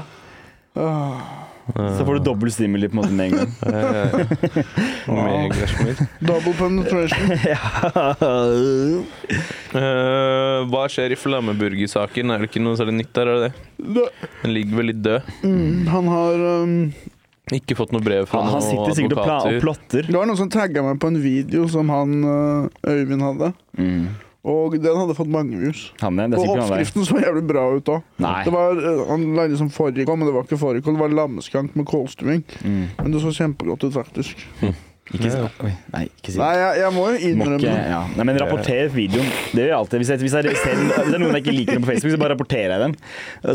Ah. så får du dobbel stimuli på en måte med en gang. [laughs] Eh, Med gressmil. Double [laughs] penetration. Eh, hva skjer i flammeburgersaken? Er det ikke noe særlig nytt der? Er det det? Den ligger vel litt død. Mm, han har um, Ikke fått noe brev fra Ah, han noen sitter sikkert og, pla og advokater. plotter. Det var noen som tagga meg på en video som han uh, Øyvind hadde. Mm. Og den hadde fått mange views. Han er, det er Og sikkert han der. oppskriften så jævlig bra ut òg. Nei. uh, Han lagde som fårikål, men det var ikke fårikål. Det var lammeskank med kålstuing. Mm. Men det så kjempegodt ut, faktisk. Ikke, si- oi, nei, ikke si Nei, jeg, jeg må Må jo innrømme ikke, det. ja. Nei, men rapporter videoen. Det gjør jeg alltid. Hvis, jeg, hvis, jeg ser, hvis det er noen jeg ikke liker på Facebook, så bare rapporterer jeg dem.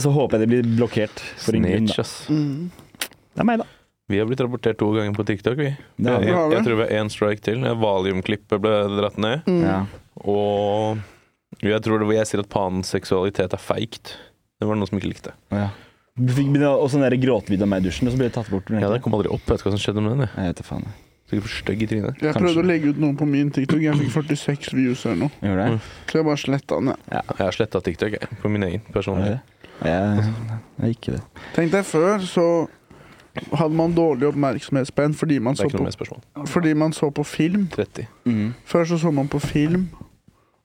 Så håper jeg det blir blokkert. For ingen grunn, Snitch, da. ass. Mm. Det er meg, da. Vi har blitt rapportert to ganger på TikTok, vi. Det har vi. jeg, Har vi? jeg tror vi har én strike til. Valiumklippet ble dratt ned. Mm. Ja. Og jeg tror det var jeg sier at panseksualitet er feigt. Det var noen som ikke likte. Å, ja. Du fikk begynne å- også en der gråtevideo av meg i dusjen, og så ble det tatt bort. men Ja, ikke- Den kom aldri opp. Jeg vet ikke hva som skjedde med den. jeg. Jeg vet da faen. jeg. Sikkert for stygg i trynet. Jeg prøvde å legge ut noe på min TikTok. Jeg fikk 46 views her nå. Gjorde det? Så jeg bare sletta den. jeg. Jeg har sletta TikTok jeg, på min egen Var det personlige. det? Jeg, jeg ikke det. Tenk deg før, så hadde man dårlig oppmerksomhetsspenn fordi man, Det så er ikke på, noe mer spørsmål. fordi man så på film. 30. Før så så man på film,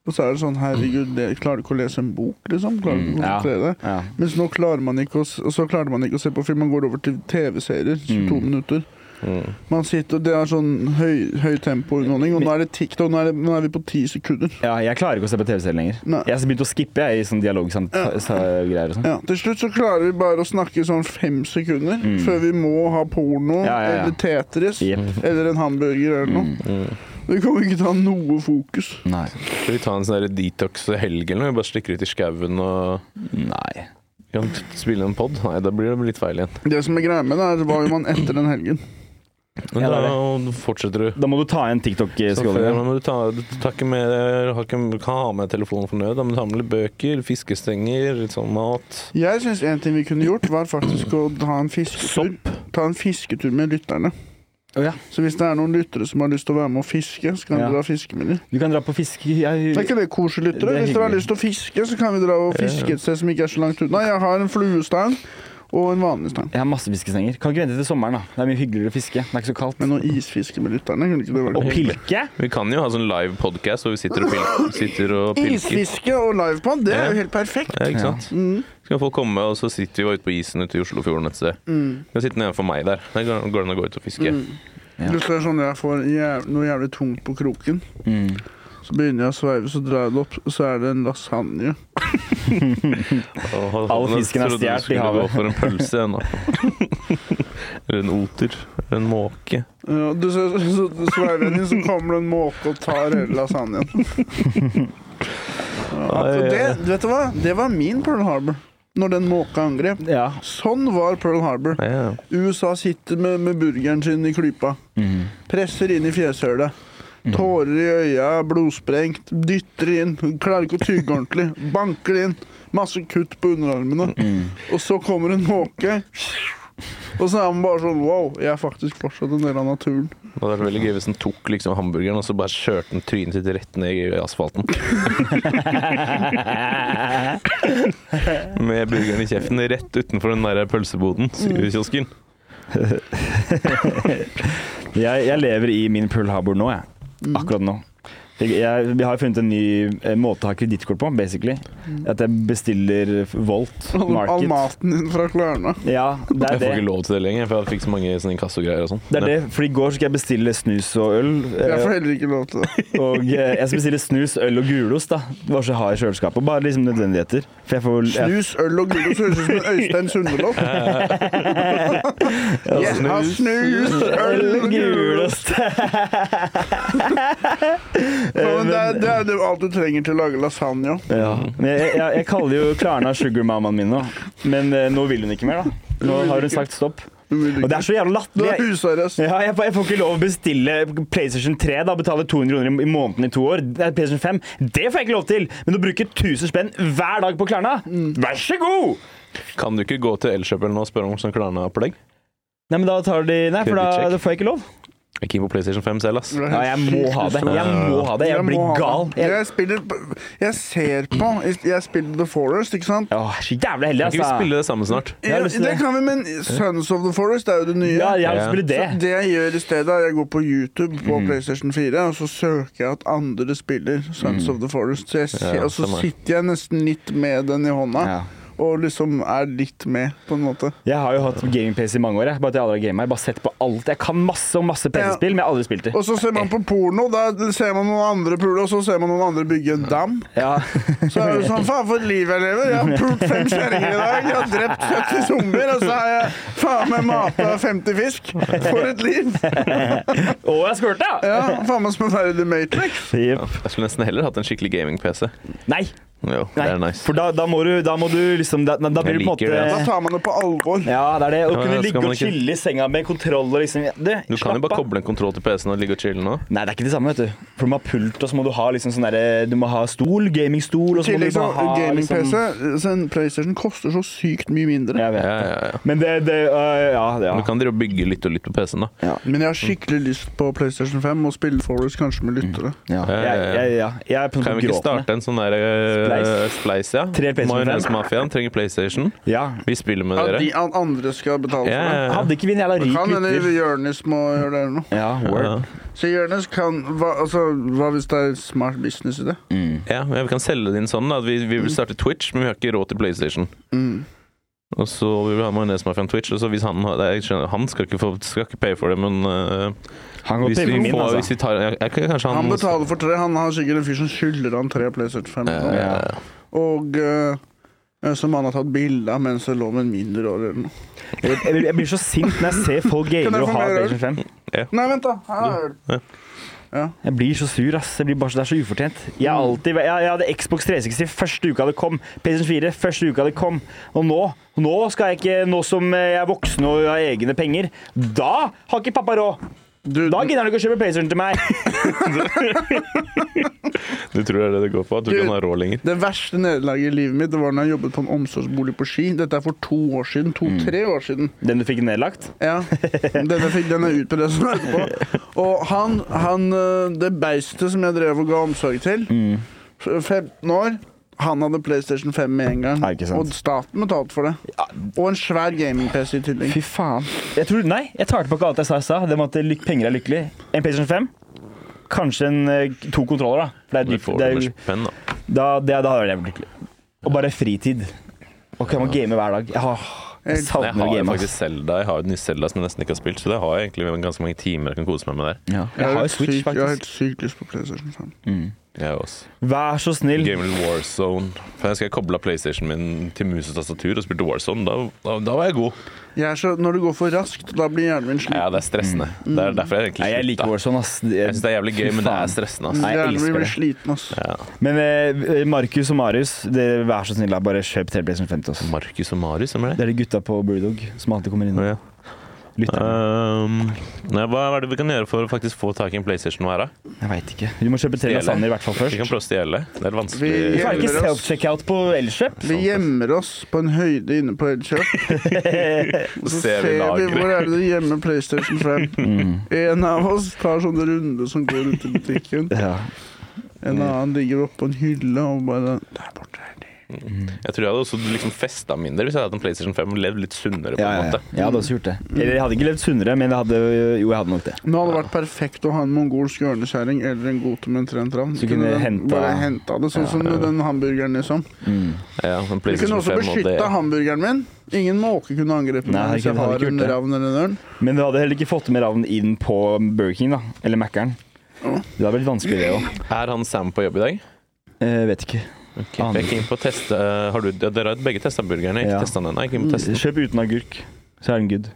og så er det sånn Herregud, det, klarer du ikke å lese en bok, liksom? Klarer du ikke å Mm, ja. konsentrere deg? Ja. Mm. Mens nå klarer man ikke å, s- og så klarer man ikke å se på film, man går over til TV-serier. 22 minutter. Man sitter, Det er sånn høy, høy tempo-underholdning. Og nå er det TikTok. Nå er, det, nå er vi på ti sekunder. Ja, jeg klarer ikke å se på TV-serier lenger. Nei. Jeg har begynt å skippe jeg, i sånn dialoggreier og sånn. Ja, Til slutt så klarer vi bare å snakke sånn fem sekunder før vi må ha porno Mm. Ja, ja, Mm, ja. eller Tetris Jepp. eller en hamburger eller noe. Vi kommer ikke til å ha noe fokus. Nei. Skal vi ta en sånn her detox-helg eller noe? Vi bare stikker ut i skauen og Nei. kan spille en pod? Nei, da blir det litt feil igjen. Det som er greia med det, er hva gjør man etter den helgen? Men Ja, det er da fortsetter du. Da må du ta en eh, Så før, TikTok-skåling. men du, tar, du tar ikke med, har ikke, kan ha med telefonen for nød, da, men du har med litt bøker, fiskestenger, litt sånn mat. Jeg syns en ting vi kunne gjort, var faktisk å ta en fisketur, ta en fisketur med lytterne. Å ja. Så hvis det er noen lyttere som har lyst til å være med og fiske, så kan Ja. vi dra og fiske med dem. Du kan dra på fiske... Jeg... Er ikke det koselig, lyttere? Det er Hvis dere har hyggelig. lyst til å fiske, så kan vi dra og fiske et sted som ikke er så langt unna. Jeg har en fluestang og en vanlig stang. Jeg har masse fiskestenger. Kan ikke vente til sommeren, da. Det er mye hyggeligere å fiske. Det er ikke så kaldt. Men å isfiske med lytterne, kunne ikke det vært Og gøy? pilke? Vi kan jo ha sånn live podcast hvor vi sitter og, [laughs] pil sitter og pilker. Isfiske og livepod, det er Ja. jo helt perfekt. Ja, Mm. ikke sant? Så kan folk komme, og så sitter vi ute på isen ute i Oslofjorden et sted. Da sitter den for meg der. Der går går det an å gå ut og fiske. Ja. Hvis det er sånn jeg får jæv noe jævlig tungt på kroken, Mm. så begynner jeg å sveive, så drar jeg det opp, så er det en lasagne. Og- All fisken er Jeg trodde du stjert i skulle havet. gå For en pølse [laughs] ennå. Eller en oter. Eller en måke. Ja, du ser, så, så, så sveiver jeg den inn, så kommer det en måke og tar hele lasagnen. Ja, altså, det, vet du hva? Det var min Pearl Harbor. Når den måka angrep. Ja. Sånn var Pearl Harbor. Ja. USA sitter med, med burgeren sin i klypa. Presser inn i fjeshølet. Tårer i øya, blodsprengt. Dytter inn. Klarer ikke å tygge ordentlig. Banker inn. Masse kutt på underarmene. Og så kommer en måke. Og så er man bare sånn Wow, jeg er faktisk fortsatt en del av naturen. Det hadde vært veldig gøy hvis den tok liksom hamburgeren og så bare kjørte den trynet sitt rett ned [laughs] i asfalten. Med burgeren i kjeften rett utenfor den der pølseboden. Mm. Sykehuskiosken. Jeg, jeg lever i min Pearl Harbor nå, jeg. Mm. Akkurat nå. Jeg, jeg, vi har funnet en ny eh, måte å ha kredittkort på, basically. Mm. At jeg bestiller Volt All Market. maten din fra Klarna. Ja, det Jeg er får ikke det. lov til det lenger, for jeg fikk så mange sånne inkassogreier og sånn. Det er det, for I går skulle jeg bestille snus og øl. eh, Jeg får heller ikke lov til det. Og eh, jeg skal bestille snus, øl og gulost. da Det var så hard i kjøleskapet. Bare liksom nødvendigheter. For jeg får jeg, Snus, øl og gulost høres ut som en Øystein [laughs] Sundelås. Jeg har snus, øl og gulost. Ja, Eh, men det, er, det er jo alt du trenger til å lage lasagne. Ja. Men jeg, jeg, jeg kaller jo Klarna sugarmammaen min nå, men eh, nå vil hun ikke mer, da. Nå har hun sagt stopp. Og det er så jævla Du har latterlig. husarrest. Ja, jeg, får- jeg får ikke lov å bestille PlayStation 3 da, betale 200 kroner i- i måneden i to år. Det er PlayStation 5, det får jeg ikke lov til! Men å bruke 1000 spenn hver dag på Klarna, vær så god! Kan du ikke gå til Elkjøperen nå og spørre om sånn Klarna-opplegg? Nei, men da tar de Nei, for da, Kredittsjekk. da får jeg ikke lov. Jeg er keen på PlayStation 5 selv, ass. Ja, jeg må ha det. Jeg må ha det. Jeg blir gal. Jeg, Jeg, spiller på- Jeg ser på Jeg spiller The Forest, ikke sant? Åh, så jævlig heldig, Kan ikke vi altså. spille det sammen snart? Jeg har Ja, lyst til det det. kan vi, men Sons of the Forest er jo det nye. Ja, jeg vil Ja. spille det. Mm. Så det jeg gjør i stedet, er jeg går på YouTube på PlayStation 4, og så søker jeg at andre spiller Sons Mm. of the Forest. Så jeg, ser- Ja, og så samme her. sitter jeg nesten litt med den i hånda, Ja. og liksom er litt med, på en måte. Jeg har jo hatt gaming-PC i mange år. Jeg. Bare at jeg aldri har gamet. Jeg har bare sett på alt. Jeg kan masse og masse PC-spill, men jeg har aldri spilt det. Og så ser man på porno, da ser man noen andre pule, og så ser man noen andre bygge en dam. Ja. [laughs] Så er det sånn, faen for et liv jeg lever. Jeg har pult fem kjerringer i dag, jeg har drept 70 zombier, og så har jeg faen meg mata 50 fisk. For et liv! Å, jeg squirta! Ja, faen meg som å være i The Matrix. Jep. Jeg skulle nesten heller hatt en skikkelig gaming-PC. Nei, Jo, det nei. er nice. for da, da, må du, da må du liksom Da, da blir Jeg du på en liker Da måte tar man det på alvor. Ja, det er det. Å Ja, kunne skal ligge man og ikke- chille i senga med kontroll og liksom Du, Du kan jo slapp bare av. koble en kontroll til PC-en og ligge og chille nå. Nei, det er ikke det samme, vet du. For du må ha pult, og så må du ha liksom sånn derre Du må ha stol, gamingstol, og I så må tillegg du så bare ha gaming-PC, liksom så en PlayStation koster så sykt mye mindre. Jeg vet. Ja, ja, ja. Men det, det øh, Ja, det, Du ja. kan drive og bygge litt og litt på PC-en, da. Men jeg har skikkelig lyst på PlayStation 5 og spille Forest kanskje med lyttere. ja. Ja, ja, Jeg, ja. jeg, ja. jeg er på Kan en vi ikke måte starte en sånn der eh, Spleis, ja. Tre PlayStation fem. Majones-mafiaen trenger PlayStation. Ja. Vi spiller med At dere. de at andre skal betale for Mm. Ja, det. ja, ja. Hadde ikke vi en jævla Det rik kan hende lytter? Jonis må gjøre det eller noe. Ja, word. Ja. Så Jonis kan hva, altså, hva hvis det er smart business i det? Ja, men vi kan selge det inn sånn da, at vi, vi vil starte Twitch, men vi har ikke råd til PlayStation. Og så vil vi ha majonesmafia på Twitch. Og så hvis han, har- jeg skjønner, han skal ikke, få, skal ikke paye for det, men øh, Han går hvis, til vi min, får, hvis altså. vi tar jeg, jeg, Kanskje han, Han betaler for tre. Han har sikkert en fyr som skylder han tre PlayStation 5. eller noe. Ja. Og eh, som han har tatt bilde av mens det lå med en mindreårig eller noe. Jeg, jeg, jeg blir så sint når jeg ser folk Kan gamer jeg og få har mer øl? PlayStation 5. Nei, vent, da. Her er øl. Jeg blir så sur, ass. Jeg blir bare så, det er så ufortjent. Jeg, har alltid, jeg, jeg hadde Xbox 360 første uka det kom. PlayStation 4 første uka det kom. Og nå, nå skal jeg ikke, nå som eh, jeg er voksen og har egne penger, da har ikke pappa råd. Du, Da gidder han ikke å kjøpe PlayStation til meg. Du tror det er det det går på? At du Du- ikke kan ha råd lenger? det verste nederlaget i livet mitt det var når jeg jobbet på en omsorgsbolig på Ski. Dette er for to år siden. To-tre år siden. Den du fikk nedlagt? Ja. Denne fikk den ut på det som er etterpå. Og han, han eh, det beistet som jeg drev og ga omsorg til, Mm. f- 15 år han hadde PlayStation 5 med en gang, Ja, ikke sant. og staten betalte for det. Og en svær gaming-PC i tillegg. Fy faen. Jeg tror, nei, jeg tar tilbake alt jeg sa i stad. Det med at lyk- penger er lykkelig. En PlayStation 5. Kanskje en, eh, to kontroller, da. For det er Du dyrt. får Det er, en jo- spenn, da. Da, det, da hadde jeg vært lykkelig. Og bare fritid. Og kan man game hver dag. Jeg, har, jeg Jeg savner å har jo game. faktisk ass. Zelda. Jeg har jo den nye Zelda som jeg nesten ikke har spilt, så det har jeg egentlig ganske mange timer jeg kan kose meg med der. Ja. Jeg har jo helt Switch, sykt- Jeg faktisk. har helt sykt lyst på PlayStation 5. Jeg også. Vær så snill. Gamer Warzone. For jeg skal koble av PlayStation min til mus og tastatur og spilte Warzone. Da, da, da var jeg god. Jeg er så, når det går for raskt, da blir hjernen min sliten. Ja, det er stressende. Det er derfor jeg Mm. Nei, egentlig jeg liker slutta. Warzone, ass. Jeg syns det er jævlig gøy, men det er stressende. ass. Nei, jeg Hjernen min elsker blir det. sliten, ass. Men eh, Markus og Marius, det, vær så snill, da, bare kjøp Teleblazen 50 oss. Markus og Marius, hvem er det? Det er de gutta på Brewdog som alltid kommer inn. Å, ja. Lytter. Ehm, nei, hva er det vi kan gjøre for å faktisk få tak i en PlayStation nå her, da? Jeg veit ikke. Du må kjøpe tre Stjele. lasagne i hvert fall Vi kan først. prøve å stjele. Det er vanskelig. Vi- Du kan ikke Gjemmer oss. self-checkout på Elkjøp. Vi gjemmer oss på en høyde inne på Elkjøp. [laughs] Og så ser ser vi vi lageret. hvor er det de gjemmer PlayStation Mm. 5. En av oss tar sånne runde som går rundt i butikken. Ja. En annen ligger oppå en hylle og bare Der borte er de. Jeg tror jeg hadde også liksom festa mindre hvis jeg hadde hatt en PlayStation 5 og levd litt sunnere. på Ja, ja, en ja. måte. Jeg hadde også gjort det. Eller jeg hadde ikke levd sunnere, men jeg hadde, jo, jeg hadde nok det. Nå hadde det vært perfekt å ha en mongolsk ørnekjerring eller en gote med en trent ravn. Så kunne den henta- Bare henta det, sånn som den hamburgeren, liksom. Ja, en liksom Du kunne PlayStation også 5 og det. beskytta hamburgeren min. Ingen måke kunne angrepe Nei, meg det hvis jeg hadde har ikke gjort en det. ravn eller en ørn. Men du hadde heller ikke fått med ravn inn på Burger King, da. Eller Mækkern. Det hadde blitt vanskelig, det òg. Er han Sam på jobb i dag? Eh, vet ikke. Jeg er keen på å teste eh, har du, ja, Dere har begge testa burgeren. Jeg Ja. har ikke testet den ennå. Jeg er keen på å teste den. Kjøp uten agurk, så er den good.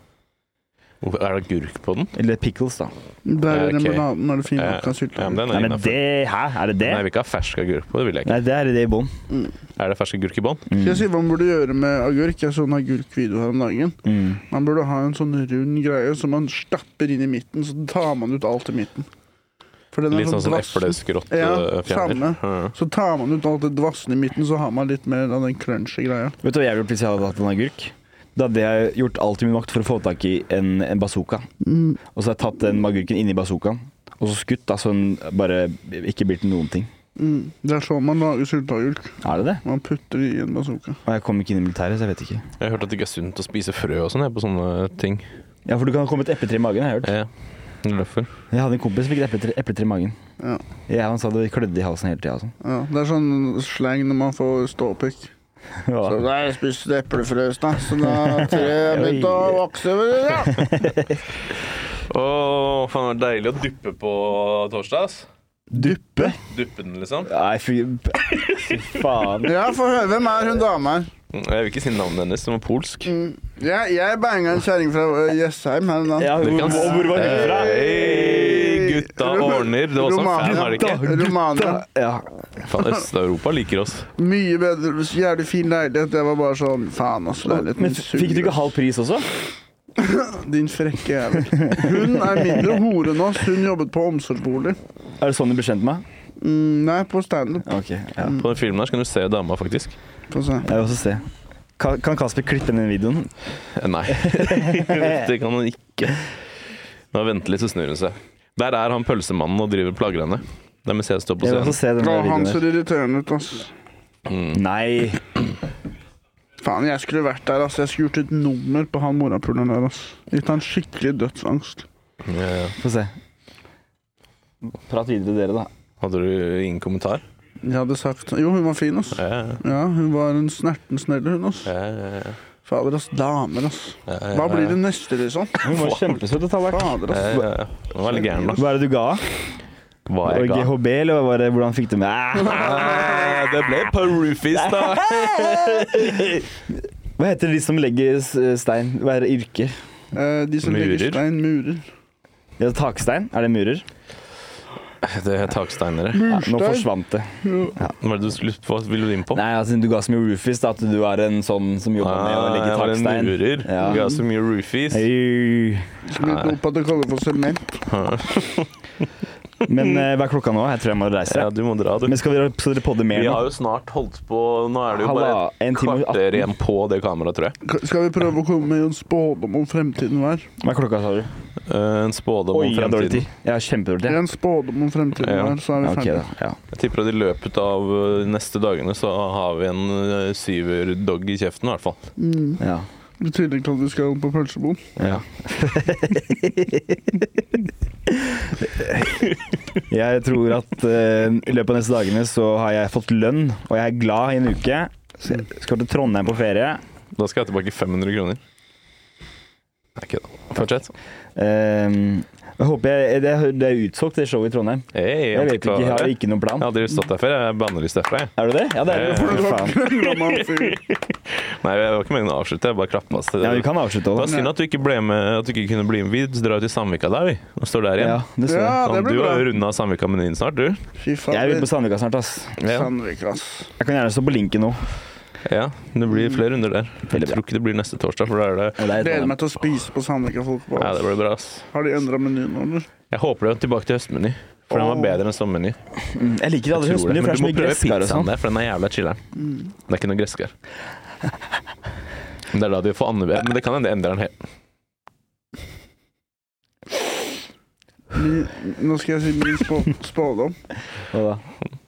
Hvorfor- Er det agurk på den? Eller pickles, da. Der Ja, i ok. remouladen er det fin Ja, akka Eh, ja, men syltetøy. den Nei, er men innafor. det Hæ, er det det? Nei, jeg vil ikke ha fersk agurk på det. vil jeg ikke. Nei, det er det i bånn. Er det fersk agurk i bånn? Skal jeg si hva man burde gjøre med agurk? Jeg så en agurkvideo her om dagen. Mm. Man burde ha en sånn rund greie som man stapper inn i midten, så tar man ut alt i midten. For den er Litt sånn som dvassen. epleskrott Ja, eh, fjerner. samme. Så tar man ut alt det dvassen i midten, så har man litt mer av den crunchy greia. Vet du hva jeg ville gjort hvis jeg hadde hatt en agurk? Da hadde jeg gjort alt i min makt for å få tak i en, en bazooka. Og så hadde jeg tatt den agurken inni bazookaen, og så skutt, da, så den bare ikke blir til noen ting. Mm. Det er sånn man lager sylteagurk. Er det det? Man putter det i en bazooka. Og jeg kom ikke inn i militæret, så jeg vet ikke. Jeg har hørt at det ikke er sunt å spise frø og sånn jeg, på sånne ting. Ja, for du kan komme et epletre i magen, har jeg hørt. Ja, det er derfor. Jeg hadde en kompis som fikk et epletre, epletre i magen. Ja. Jeg, han sa det klødde i halsen hele tida og sånn. Ja, det er sånn slang når man får ståpikk. altså. Så Ja. der spiste du eplefrøs, da. Så [laughs] da treet begynte å vokse. Ja. Å, faen, det var deilig å duppe på torsdag. ass. Duppe? Duppe den, liksom. Nei, fy [laughs] fy faen. ja, få høre. Hvem er hun dama her? Jeg vil ikke si navnet hennes, hun var polsk. Mm. Ja, jeg banga en kjerring fra ø, Jessheim her en Ja, dag. hvor, Det kan- hvor, hvor var hun fra? Hei, gutta ordner. Det var også en fan, Romania. var det ikke? Romania. Ja. Faen, Øst-Europa liker oss. Mye bedre. Jævlig fin leilighet. Jeg var bare sånn Faen, ass. Leiligheten Men min suger. fikk du ikke halv pris også? Din frekke jævel. Hun er mindre hore enn oss. Hun jobbet på omsorgsbolig. Er det sånn du ble kjent med meg? Mm, nei, på standup. Ok, ja. På den filmen her så kan du se dama, faktisk. Få se. Jeg vil også se. Kan, kan Kasper klippe ned den videoen? Eh, Nei, det kan hun ikke. Nå venter litt, så snur hun seg. Der er han pølsemannen og driver og plager henne. Det er mens jeg står på Jeg vil også scenen. se den Å, der han videoen ser der. irriterende ut, ass. Nei. Faen, jeg skulle vært der, ass. Jeg skulle gjort et nummer på han morapuleren der, ass. Gitt han skikkelig dødsangst. Ja, ja. Få se. Prat videre dere, da. Hadde du ingen kommentar? Jeg hadde sagt Jo, hun var fin, ass. Ja, ja, Ja, hun var en snerten snelle, hun, ass. ja, ja. Fader, ass. Damer, ass. Ja, ja, Hva ja, blir ja. det neste, liksom? Hun var kjempesøt, Tallak. Fader, Ja, ass. ja, ja. Nå var jeg litt gæren, da. Hva er det du ga? Hva Var jeg det ga? GHB, eller var det, hvordan fikk du med? Ah, Det ble Parufis, da. Hva heter de som legger s- stein? Hva er det yrke? Eh, de som legger Murer. stein, murer. Ja, takstein? Er det murer? [laughs] Det er taksteinere. Ja, nå forsvant det. Hva er det du skulle på? Vil du inn på? Nei, altså, du ga så mye roofies da, at du er en sånn som jobber med å legge Ah, jeg var en takstein. murer. Ja. Ga så mye roofies. Øy. Skulle ikke opp at det kaller for sement. Men eh, hva er klokka nå? Jeg tror jeg må reise. Ja, du må dra, du. Men skal dere, skal dere podde mer Vi nå? har jo snart holdt på Nå er det jo bare Halla, en et time og kvarter 18. igjen på det kameraet, tror jeg. Ka- Skal vi prøve å komme med en spådom om fremtiden hver? Hva er klokka, sa du? Eh, En spådom Oi, om jeg har dårlig fremtiden. tid. Jeg har kjempedårlig tid. En spådom om fremtiden Ja. hver, så er Ja, vi ok, ferdige. da. Ja. Jeg tipper at i løpet av eh, neste dagene så har vi en eh, syverdog i kjeften, i hvert fall. Ja. I tillegg til at vi skal på pølsebom. Ja. jeg tror at eh, i løpet av neste dagene så har jeg fått lønn, og jeg er glad i en uke. Så jeg skal til Trondheim på ferie. Da skal jeg tilbake 500 kroner. Nei, kødda. Fortsett. Ehm, jeg håper jeg, det, er- det er utsolgt, det showet i Trondheim. Hey, Jeg vet ikke, jeg har ikke noen Jeg plan. har aldri stått der før. Jeg er bannelyst derfra, jeg. Er du det? Ja, det er Ja, du. Fy [laughs] faen. Nei, jeg var ikke meningen å avslutte. Jeg bare klappa. Ja, vi kan avslutte Det var òg. synd at du ikke ble med At du ikke kunne bli med. Vi drar til Sandvika der, vi. Og står der igjen. Sånn, Ja, det står jeg. Ja, det blir du bra. har runda Sandvika-menyen snart, du. Fy Jeg vil fader. på Sandvika snart, ass. Sandvik, ass. Jeg kan gjerne stå på linken nå. Ja, Det blir flere runder der. Mm. Veldig Jeg bra. tror ikke det blir neste torsdag, for da er det Ja, det er i Gleder Trondheim. meg til å spise på Sandvika Folkebad. Ja, det blir bra, ass. Har de endra menyen, eller? Jeg håper det er tilbake til høstmeny, for den var Åh. bedre enn sommermeny. Mm. Jeg liker det aldri Jeg tror det. høstmeny, for det er så mye Men du må prøve gresskar og pizzaen sånn. der, for den er jævla chiller'n. Mm. Det er ikke noe gresskar. Det er da de får andre Men det kan hende de endrer den helt. Min, nå skal jeg si min spå, spådom. Hva da?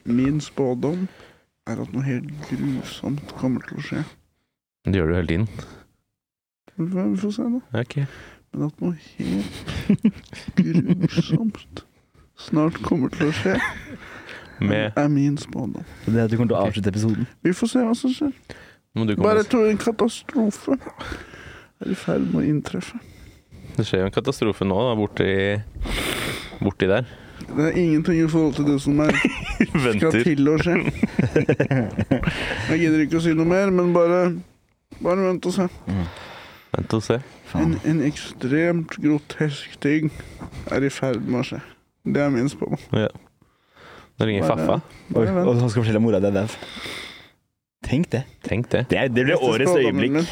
Min spådom er at noe helt grusomt kommer til å skje. Det gjør du hele tiden. Vi får- vi får se, da. Ok. Men at noe helt grusomt snart kommer til å skje, Med er min spådom. Det er at du kommer til å avslutte episoden. Vi får se hva som skjer. må du komme Bare og- tror en katastrofe er i ferd med å inntreffe. Det skjer jo en katastrofe nå, da, borti Borti der. Det er ingenting i forhold til det som er skal Venter. til å [laughs] skje. Jeg gidder ikke å si noe mer, men bare, bare vent og se. Vent og se. En, en ekstremt grotesk ting er i ferd med å skje. Det er min spådom. Ja. Nå ringer Bare- Faffa. Oi, Bare vent. og han skal fortelle mora di at jeg er dau. Tenk det. Tenk det. Det, er, det blir Neste årets spådommen øyeblikk. min.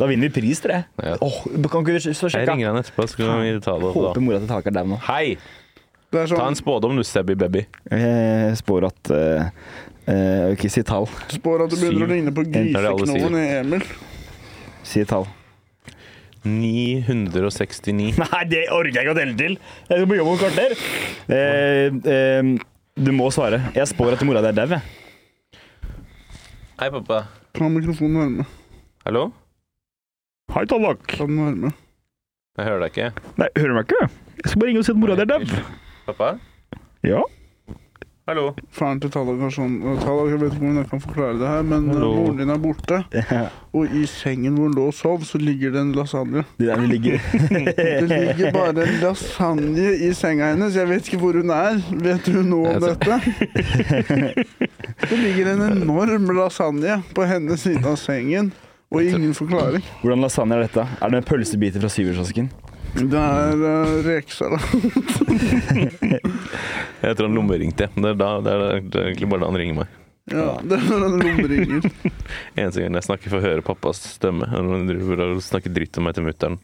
Da vinner vi pris, tror jeg. Ja. Åh, kan ikke vi så Jeg sjekke? ringer han etterpå, så kan vi ta det opp da. Håper mora til Taka er dau nå. Hei! Det er Ta en sånn, spådom, du stabby baby. Jeg spår at eh, eh, Jeg vil ikke si tall. spår at du begynner å Syv. ligne på det alle griseknoen i Emil. Si tall. [laughs] 969. Nei, det orker jeg ikke å telle til! Jeg skal på jobb om et kvarter. Eh, eh, du må svare. Jeg spår at mora di er dau, jeg. Hei, pappa. Ta mikrofonen varme. Hallo? Hei, Tallak. Ta den varme. Jeg hører deg ikke. Nei, hører du meg ikke? Jeg skal bare ringe og si at mora di er dau. Pappa? [laughs] Ja. Hallo? Faren til Tallak har sånn og Tallak, jeg vet ikke om jeg kan forklare det her, men Hallo. eh, moren din er borte. Og i sengen hvor hun lå og sov, så ligger det en lasagne. Det der [laughs] ligger Det ligger bare en lasagne i senga hennes. Jeg vet ikke hvor hun er. Vet du noe om Jeg dette? [laughs] Det ligger en enorm lasagne på hennes side av sengen. Og ingen forklaring. Hvordan lasagne er dette? Er det med pølsebiter fra syverkiosken? Det er uh, rekesalat. Jeg tror han lommeringte. Det er, da, det er det er egentlig bare da han ringer meg. Ja, det er når han lomringer. Eneste gang jeg snakker, får jeg høre pappas stemme. og Han driver og snakker dritt om meg til mutter'n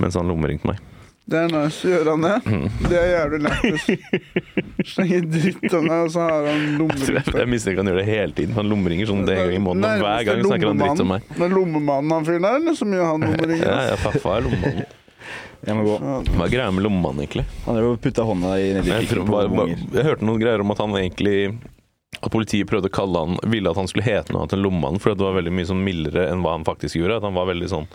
mens han lommeringte meg. [laughs] Det er nice. Gjør han det? Mm. Det er jævlig lættis. Slenger dritt om deg, og så har han Jeg tror- lomringer. jeg mistenker han gjør det hele tiden. for Han lommeringer sånn en gang i måneden. og Hver gang snakker han dritt om meg. Men lommemannen han fyren der, eller som gjør [laughs] han Ja, lommeringer? ja, pappa er lommemannen. Jeg må gå. Hva er greia med lommemannen, egentlig? Han drev og putta hånda i nedi Jeg, tror, pikken på bare, bare, unger. jeg hørte noen greier om at han egentlig at politiet prøvde å kalle han ville at han skulle hete noe annet enn Lommannen, fordi det var veldig mye sånn mildere enn hva han faktisk gjorde. At han var veldig sånn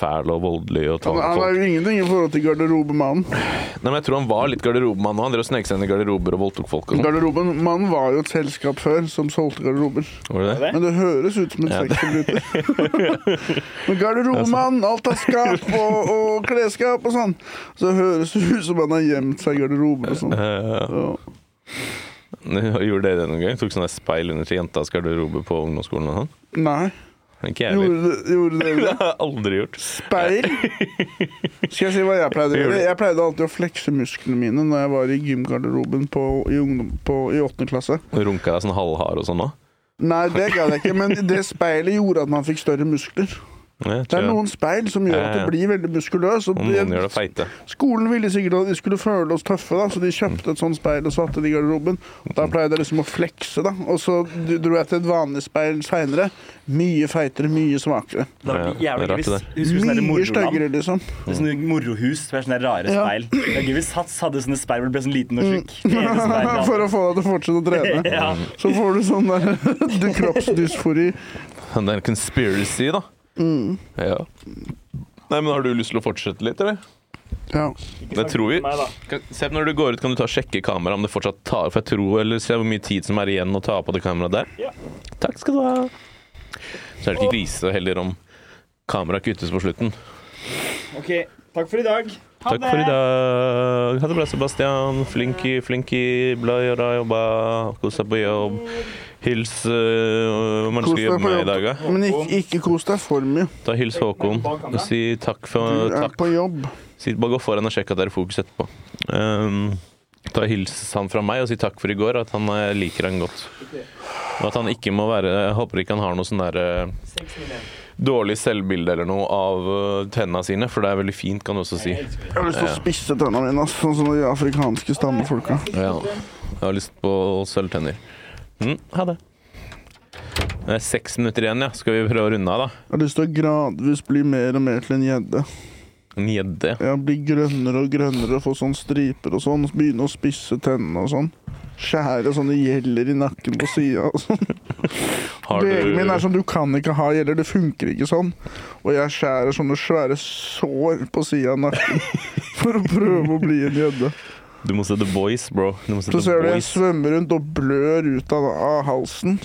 fæl og voldelig og Han, tvang han har folk. jo ingenting i forhold til garderobemannen. Nei, men jeg tror han var litt garderobemann nå. Han drev og snek seg inn i garderober og voldtok folk. Og sånn. Garderobemannen var jo et selskap før som solgte garderober. Var det det? Men det høres ut som en Ja, det- sexforbryter. [laughs] Men garderobemann, alt av skap og, og klesskap og sånn. Så det høres ut som han har gjemt seg i garderoben og sånn. Eh, [laughs] Ja. Gjorde dere det noen gang? Tok sånn der speil under til jentas garderobe på ungdomsskolen og sånn? Nei. Ikke jeg heller. Gjorde, gjorde dere Det det? har [laughs] jeg aldri gjort. [laughs] Speil? Skal jeg si hva jeg pleide å Gjør gjøre? det. Jeg pleide alltid å flekse musklene mine når jeg var i gymgarderoben på, i, ungdom, på, i 8. klasse. Runka deg sånn halvhard og sånn nå? Nei, det gadd jeg ikke, men det speilet gjorde at man fikk større muskler. Jeg Det tror er jeg- noen speil som gjør at Ja, ja. du blir veldig muskuløs. Og Og noen det, gjør det feite. skolen ville sikkert at de skulle føle oss tøffe, da, så de kjøpte et sånt speil og satte det i garderoben. Da pleide jeg liksom å flekse, da. Og så d- dro jeg til et vanlig speil seinere. Mye feitere, mye svakere. Ja, Det det er var jævlig gøy rart hvis det der. Husker du sånn der Mye moroland? styggere, liksom. Det er sånne morohus med sånne rare Ja. speil. Det er gøy hvis Sats hadde sånne speil hvor du ble sånn liten og tjukk. [laughs] [laughs] For å få deg til å fortsette å [laughs] trene. ja. Så får du sånn der [laughs] du kroppsdysfori. Men Det er en conspiracy, da. Mm. Ja. Nei, men Har du lyst til å fortsette litt, eller? Ja. Det tror vi. Meg, da. Kan- Se når du går ut, kan du ta og sjekke kameraet om det fortsatt tar For jeg tror, eller se hvor mye tid som er igjen å ta på det kameraet der. Ja. Takk skal du ha. Så er det ikke krise heller om kameraet kuttes på slutten. Ok, takk for i dag. Ha Takk for i dag. Ha det bra, Sebastian. Flinky, flinky. Bla, gjøre jobba. Kos deg på jobb. Hils øh, Hva man Kos skal deg jobbe på med i dag, da? jobb. Men ikke, ikke kos deg for mye. Ta hils Håkon. og Si takk for Du er takk. på jobb. Si, bare gå foran og sjekk at det er fokus etterpå. Ehm, ta hils han fra meg og si takk for i går, at han eh, liker han godt. Og at han ikke må være Jeg håper ikke han har noe sånn derre dårlig selvbilde eller noe av eh, tenna sine, for det er veldig fint, kan du også si. Jeg har lyst til å spisse tennene mine, ass, sånn som de afrikanske stammefolka. Ja. Jeg har lyst på sølvtenner. Mm, ha det. Det er seks minutter igjen, ja. Skal vi prøve å runde av, da? Jeg har lyst til å gradvis bli mer og mer til en gjedde. En gjedde. Ja, Bli grønnere og grønnere, få sånn striper og sånn. Begynne å spisse tennene og sånn. Skjære sånne gjeller i nakken på sida og sånn. Har Delen min er du sånn du kan ikke ha gjeller, det funker ikke sånn. Og jeg skjærer sånne svære sår på sida av nakken [laughs] for å prøve å bli en gjedde. Du må se The Boys, bro. Du må se Så The ser du jeg Boys. Mm. svømmer rundt og blør ut av, av halsen.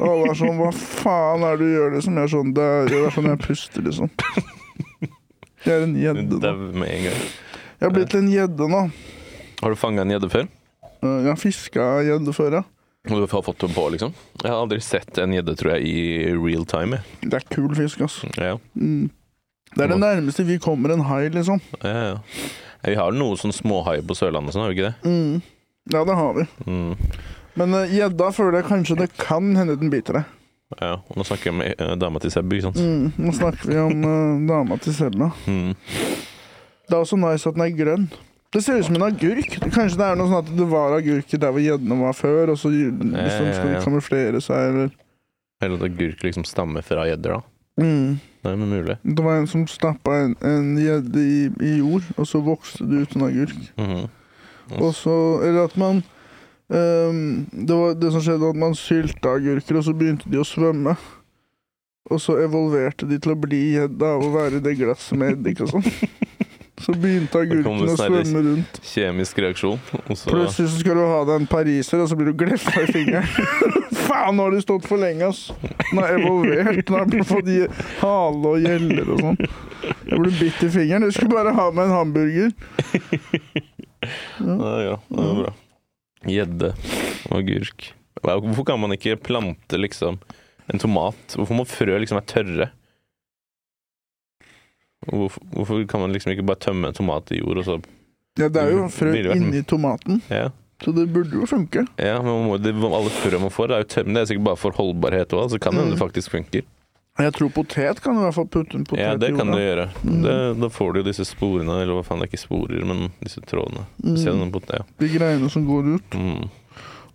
Og alle er sånn Hva faen er det du gjør? Liksom? Jeg er sånn, det, er, det er sånn jeg puster, liksom. Jeg er en Du gjedde nå. dauer med en gang. Jeg er blitt en gjedde nå. Eh, Har du fanga en gjedde før? Jeg har fiska gjedde før, ja. Og du har fått den på, liksom? Jeg har aldri sett en gjedde, tror jeg, i real time. jeg. Det er kul fisk, ass. Ja, ja. Mm. Det er det nærmeste vi kommer en hai, liksom. ja, ja. Vi har noe sånn småhai på Sørlandet og sånn, har vi ikke det? Mm. Ja, det har vi. Mm. Men eh, gjedda føler jeg kanskje det kan hende den biter deg. Ja, og nå snakker jeg med eh, dama til Sebby, ikke sant? Mm. Nå snakker vi om eh, dama til Selma. Mm. Det er også nice at den er grønn. Det ser ut som en agurk. Kanskje det er noe sånn at det var agurker der hvor gjeddene var før, og så liksom Ja, ja, ja, skal de ja. kamuflere seg, eller Eller at agurk liksom stammer fra gjedder, da. mm. Det er mulig. Det var en som stappa en- en gjedde i, i jord, og så vokste det ut en agurk. Mhm. Og så Eller at man ehm, Det var det som skjedde, at man sylta agurker, og så begynte de å svømme. Og så evolverte de til å bli gjedda av å være i det glasset med eddik og [laughs] sånn. Så begynte Da kom det agurkene å snarere- svømme rundt. Kjemisk reaksjon. Og så Plutselig så skal du ha deg en pariser, og så blir du gleffa i fingeren. [laughs] Faen, nå har de stått for lenge, ass. Den har evolvert. Den har blitt fått gje- hale og gjeller og sånn. Jeg ble bitt i fingeren. Jeg skulle bare ha meg en hamburger. Ja, ja, det er bra. Gjedde og agurk. Hva- Hvorfor kan man ikke plante liksom en tomat? Hvorfor må frø liksom være tørre? Hvorfor, hvorfor kan man liksom ikke bare tømme en tomat i jord og så Ja, det er jo frø Mm, Ville vært den. inni tomaten, Ja, så det burde jo funke. ja men man må, det, alle frø man får, det er jo tømme. Det er sikkert bare for holdbarhet og alt, så kan det hende det faktisk funker. Jeg tror potet kan du i hvert fall putte en potet Ja, det i kan du jorda. gjøre. Mm. Det, da får du jo disse sporene, eller hva faen, det er ikke sporer, men disse trådene. Ser du Mm, den på det? de greiene som går ut. Ja. Mm.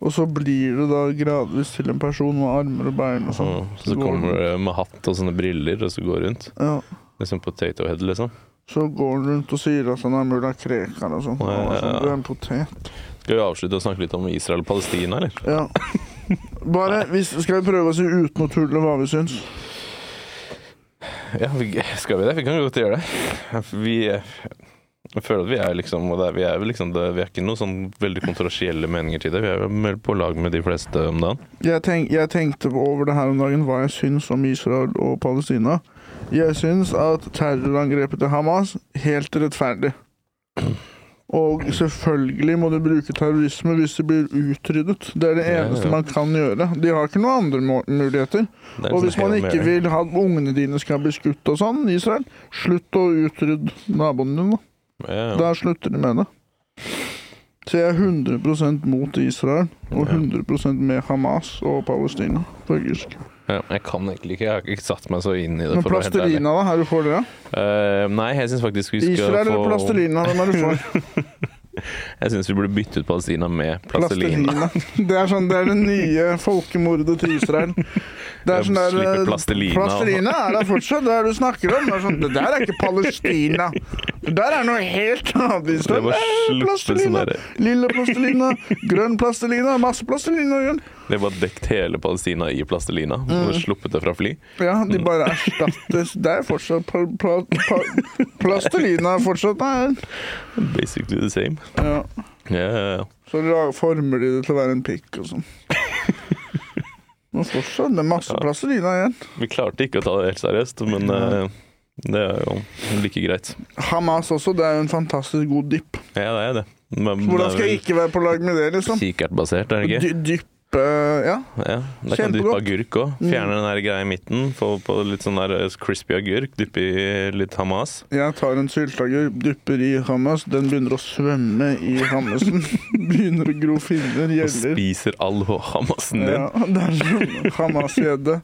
Og så blir det da gradvis til en person med armer og bein og sånn. Så, så kommer du med hatt og sånne briller og så går rundt. Ja. Liksom potato head, liksom. Så går han rundt og sier at han er mulla Krekar og sånn. Han er sånn, Du er en potet. Skal vi avslutte og snakke litt om Israel og Palestina, eller? Ja. Bare, hvis, skal vi prøve å si uten å tulle hva vi syns? Ja, vi, skal vi det? Vi kan godt gjøre det. Vi eh, jeg føler at vi er liksom og det er, Vi er vel liksom det, Vi er ikke noen sånn veldig kontroversielle meninger til det. Vi er vel på lag med de fleste om dagen. Jeg, tenk, jeg tenkte over det her om dagen hva jeg syns om Israel og Palestina. Jeg syns at terrorangrepet til Hamas helt rettferdig. Og selvfølgelig må du bruke terrorisme hvis de blir utryddet. Det er det Ja, ja. eneste man kan gjøre. De har ikke noen andre må- muligheter. Det er en Og sånn hvis man Hail ikke Mary. vil ha at ungene dine skal bli skutt og sånn, Israel, slutt å utrydde naboene dine. ja, ja. Da slutter de med det. Så jeg er 100 mot Israel og Ja. 100 med Hamas og Palestina, faktisk. Ja, jeg kan egentlig ikke. Jeg har ikke satt meg så inn i det. Men for å være helt ærlig. plastelina, da? Er du for det? Eh, nei, jeg syns faktisk vi skal Israel få eller plastelina? Hvem er du for? Jeg syns vi burde bytte ut Palestina med [laughs] plastelina. [laughs] Plastelina. Det er sånn, det er det nye folkemordet til Israel. Det er Jeg sånn der, slipper eh, plastelina. Plastelina er der fortsatt, det er det du snakker om. Det, er sånn, det der er ikke Palestina. Det der er noe helt annet. Israel. Det var Eh, slutt med plastelina. sånn der- Lille plastelina, grønn plastelina, masse plastelina. Grønn. Det var dekt hele Palestina i plastelina Mm. og sluppet det fra fly. Ja, Mm. de bare erstattes. Det er fortsatt pla, pla, pla, Plastelina er fortsatt der. Basically the same. Ja. Ja, ja, ja. Så la- former de det til å være en pikk og sånn. Men fortsatt, det er masse plastelina igjen. Vi klarte ikke å ta det helt seriøst, men eh, det er jo like greit. Hamas også, det er jo en fantastisk god dipp. Ja, det er det. Men Hvordan skal jeg ikke være på lag med det, liksom? Kikertbasert, er det ikke? Dy, dyppe Ja. Ja, Da kan du dyppe Kjempegodt. Mm. agurk òg. Fjerne den der greia i midten. Få på litt sånn der crispy agurk. Dyppe i litt Hamas. Jeg tar en sylteagurk, dypper i Hamas, den begynner å svømme i Hamasen. [laughs] Begynner å gro finner, Og gjeller. spiser all [laughs] Hamasen din. Ja, [laughs] det er som Hamas-gjedde.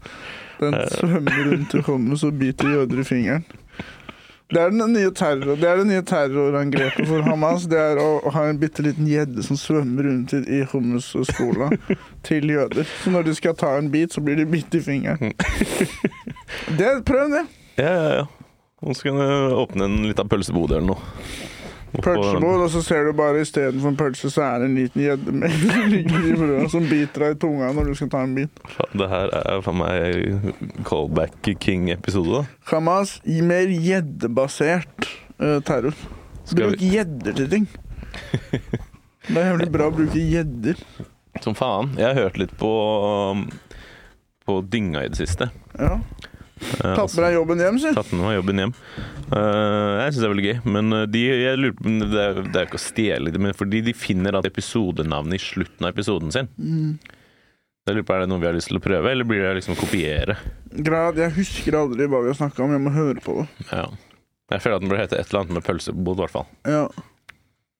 Den svømmer rundt i Hommes og biter jøder i fingeren. Det er, den nye terror, det er det nye terrorangrepet for Hamas. Det er å ha en bitte liten gjedde som svømmer rundt i- i Hommes og skola til jøder. Så når de skal ta en bit, så blir de bitt i fingeren. Mm. [laughs] Det, prøv det. Ja, ja, ja. Og så kan du åpne en liten pølsebod eller noe. Oppå den- Pølsebod, og så ser du bare istedenfor en pølse, så er det en liten gjedde med [laughs] ligger i brødet som biter deg i tunga når du skal ta en bit. Det her er for meg Callback King-episode. da. Hamas gi mer gjeddebasert eh, terror. Skal Bruk vi- gjedder til [laughs] ting. Det er jævlig bra å bruke gjedder. Som faen. Jeg har hørt litt på um, På dynga i det siste. Ja. Eh, Tatt med deg jobben hjem, si. Tatt med meg jobben hjem. Eh, jeg syns det er veldig gøy, men eh, de, jeg lurer på, men det, er, det er ikke å stjele det, men fordi de finner at episodenavnet i slutten av episoden sin. Mm. Jeg lurer på, Er det noe vi har lyst til å prøve, eller blir det liksom å kopiere? Grad, jeg husker aldri hva vi har snakka om, jeg må høre på det. Ja. Jeg føler at den bør hete et eller annet med pølsebod, i hvert fall. Ja.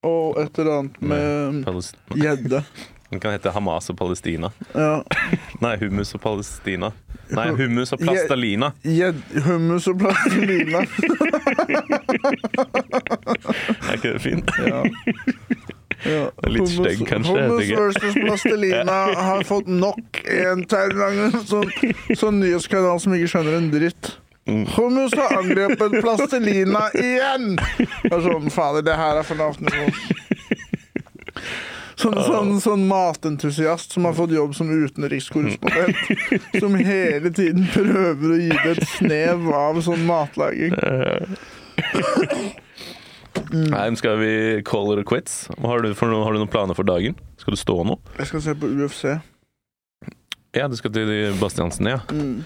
Og et eller annet med Palest- gjedde. Den kan hete Hamas og Palestina. Ja. Nei, Hummus og Palestina. Nei, Hummus og Plastalina. Gjed- Hummus og plastelina. Er ikke det fint? Ja. Ja. Det er litt Hummus- stygg, kanskje, jeg vet Hummus ikke. versus plastelina har fått nok en terrorangrep. Sånn så nyhetskanal som ikke skjønner en dritt. Mm. Hummus har angrepet plastelina igjen! Det er sånn, fader, det her er for lavt nivå. Sånn, sånn, sånn matentusiast som har fått jobb som utenrikskorrespondent. Som hele tiden prøver å gi det et snev av sånn matlaging. Nei, men skal vi call it quits? Har du, for, noe- har du noen planer for dagen? Skal du stå nå? Jeg skal se på UFC. Ja, du skal til Bastiansen, ja. Mm.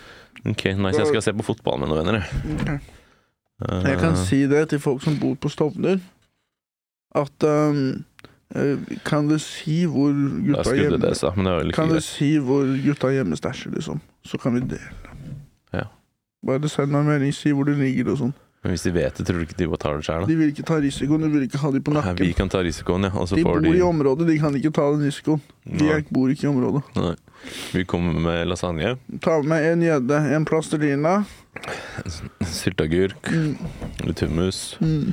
Ok, nice. Jeg skal se på fotball med noen venner. jeg. Ok. Eh, Jeg kan si det til folk som bor på Stovner, at ehm, eh, Kan du si hvor Da gutta skulle du gjemmer det, sa men det var vel ikke Kan du greit. si hvor gutta gjemmer stæsjet, liksom? Så kan vi dele. Ja. Bare send meg en melding, si hvor det ligger og sånn. Men hvis de vet det, tror du ikke de bare tar det sjøl, da? De vil ikke ta risikoen, de vil ikke ha de på Nei, vi nakken. kan ta risikoen, ja. Og så De bor får de i området, de kan ikke ta den risikoen. De Nei, er- bor ikke i området. nei. Vi kommer med lasagne, Ta med en gjedde, en plastelina. sylteagurk, Mm, litt hummus mm.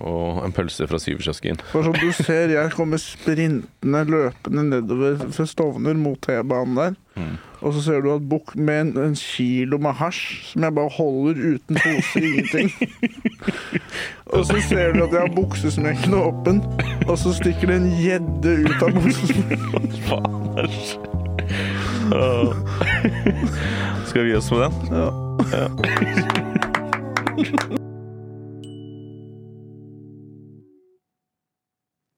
og en pølse fra Syverkiosken. For som du ser, jeg kommer sprintende løpende nedover fra Stovner mot T-banen der. Mm. Og så ser du at bukk med en, en kilo med hasj som jeg bare holder uten pose, ingenting. Og så ser du at jeg har buksesmekken åpen, og så stikker det en gjedde ut av buksesmekken. Faen, æsj. Åh. Skal vi gi oss med den? Ja. Takk.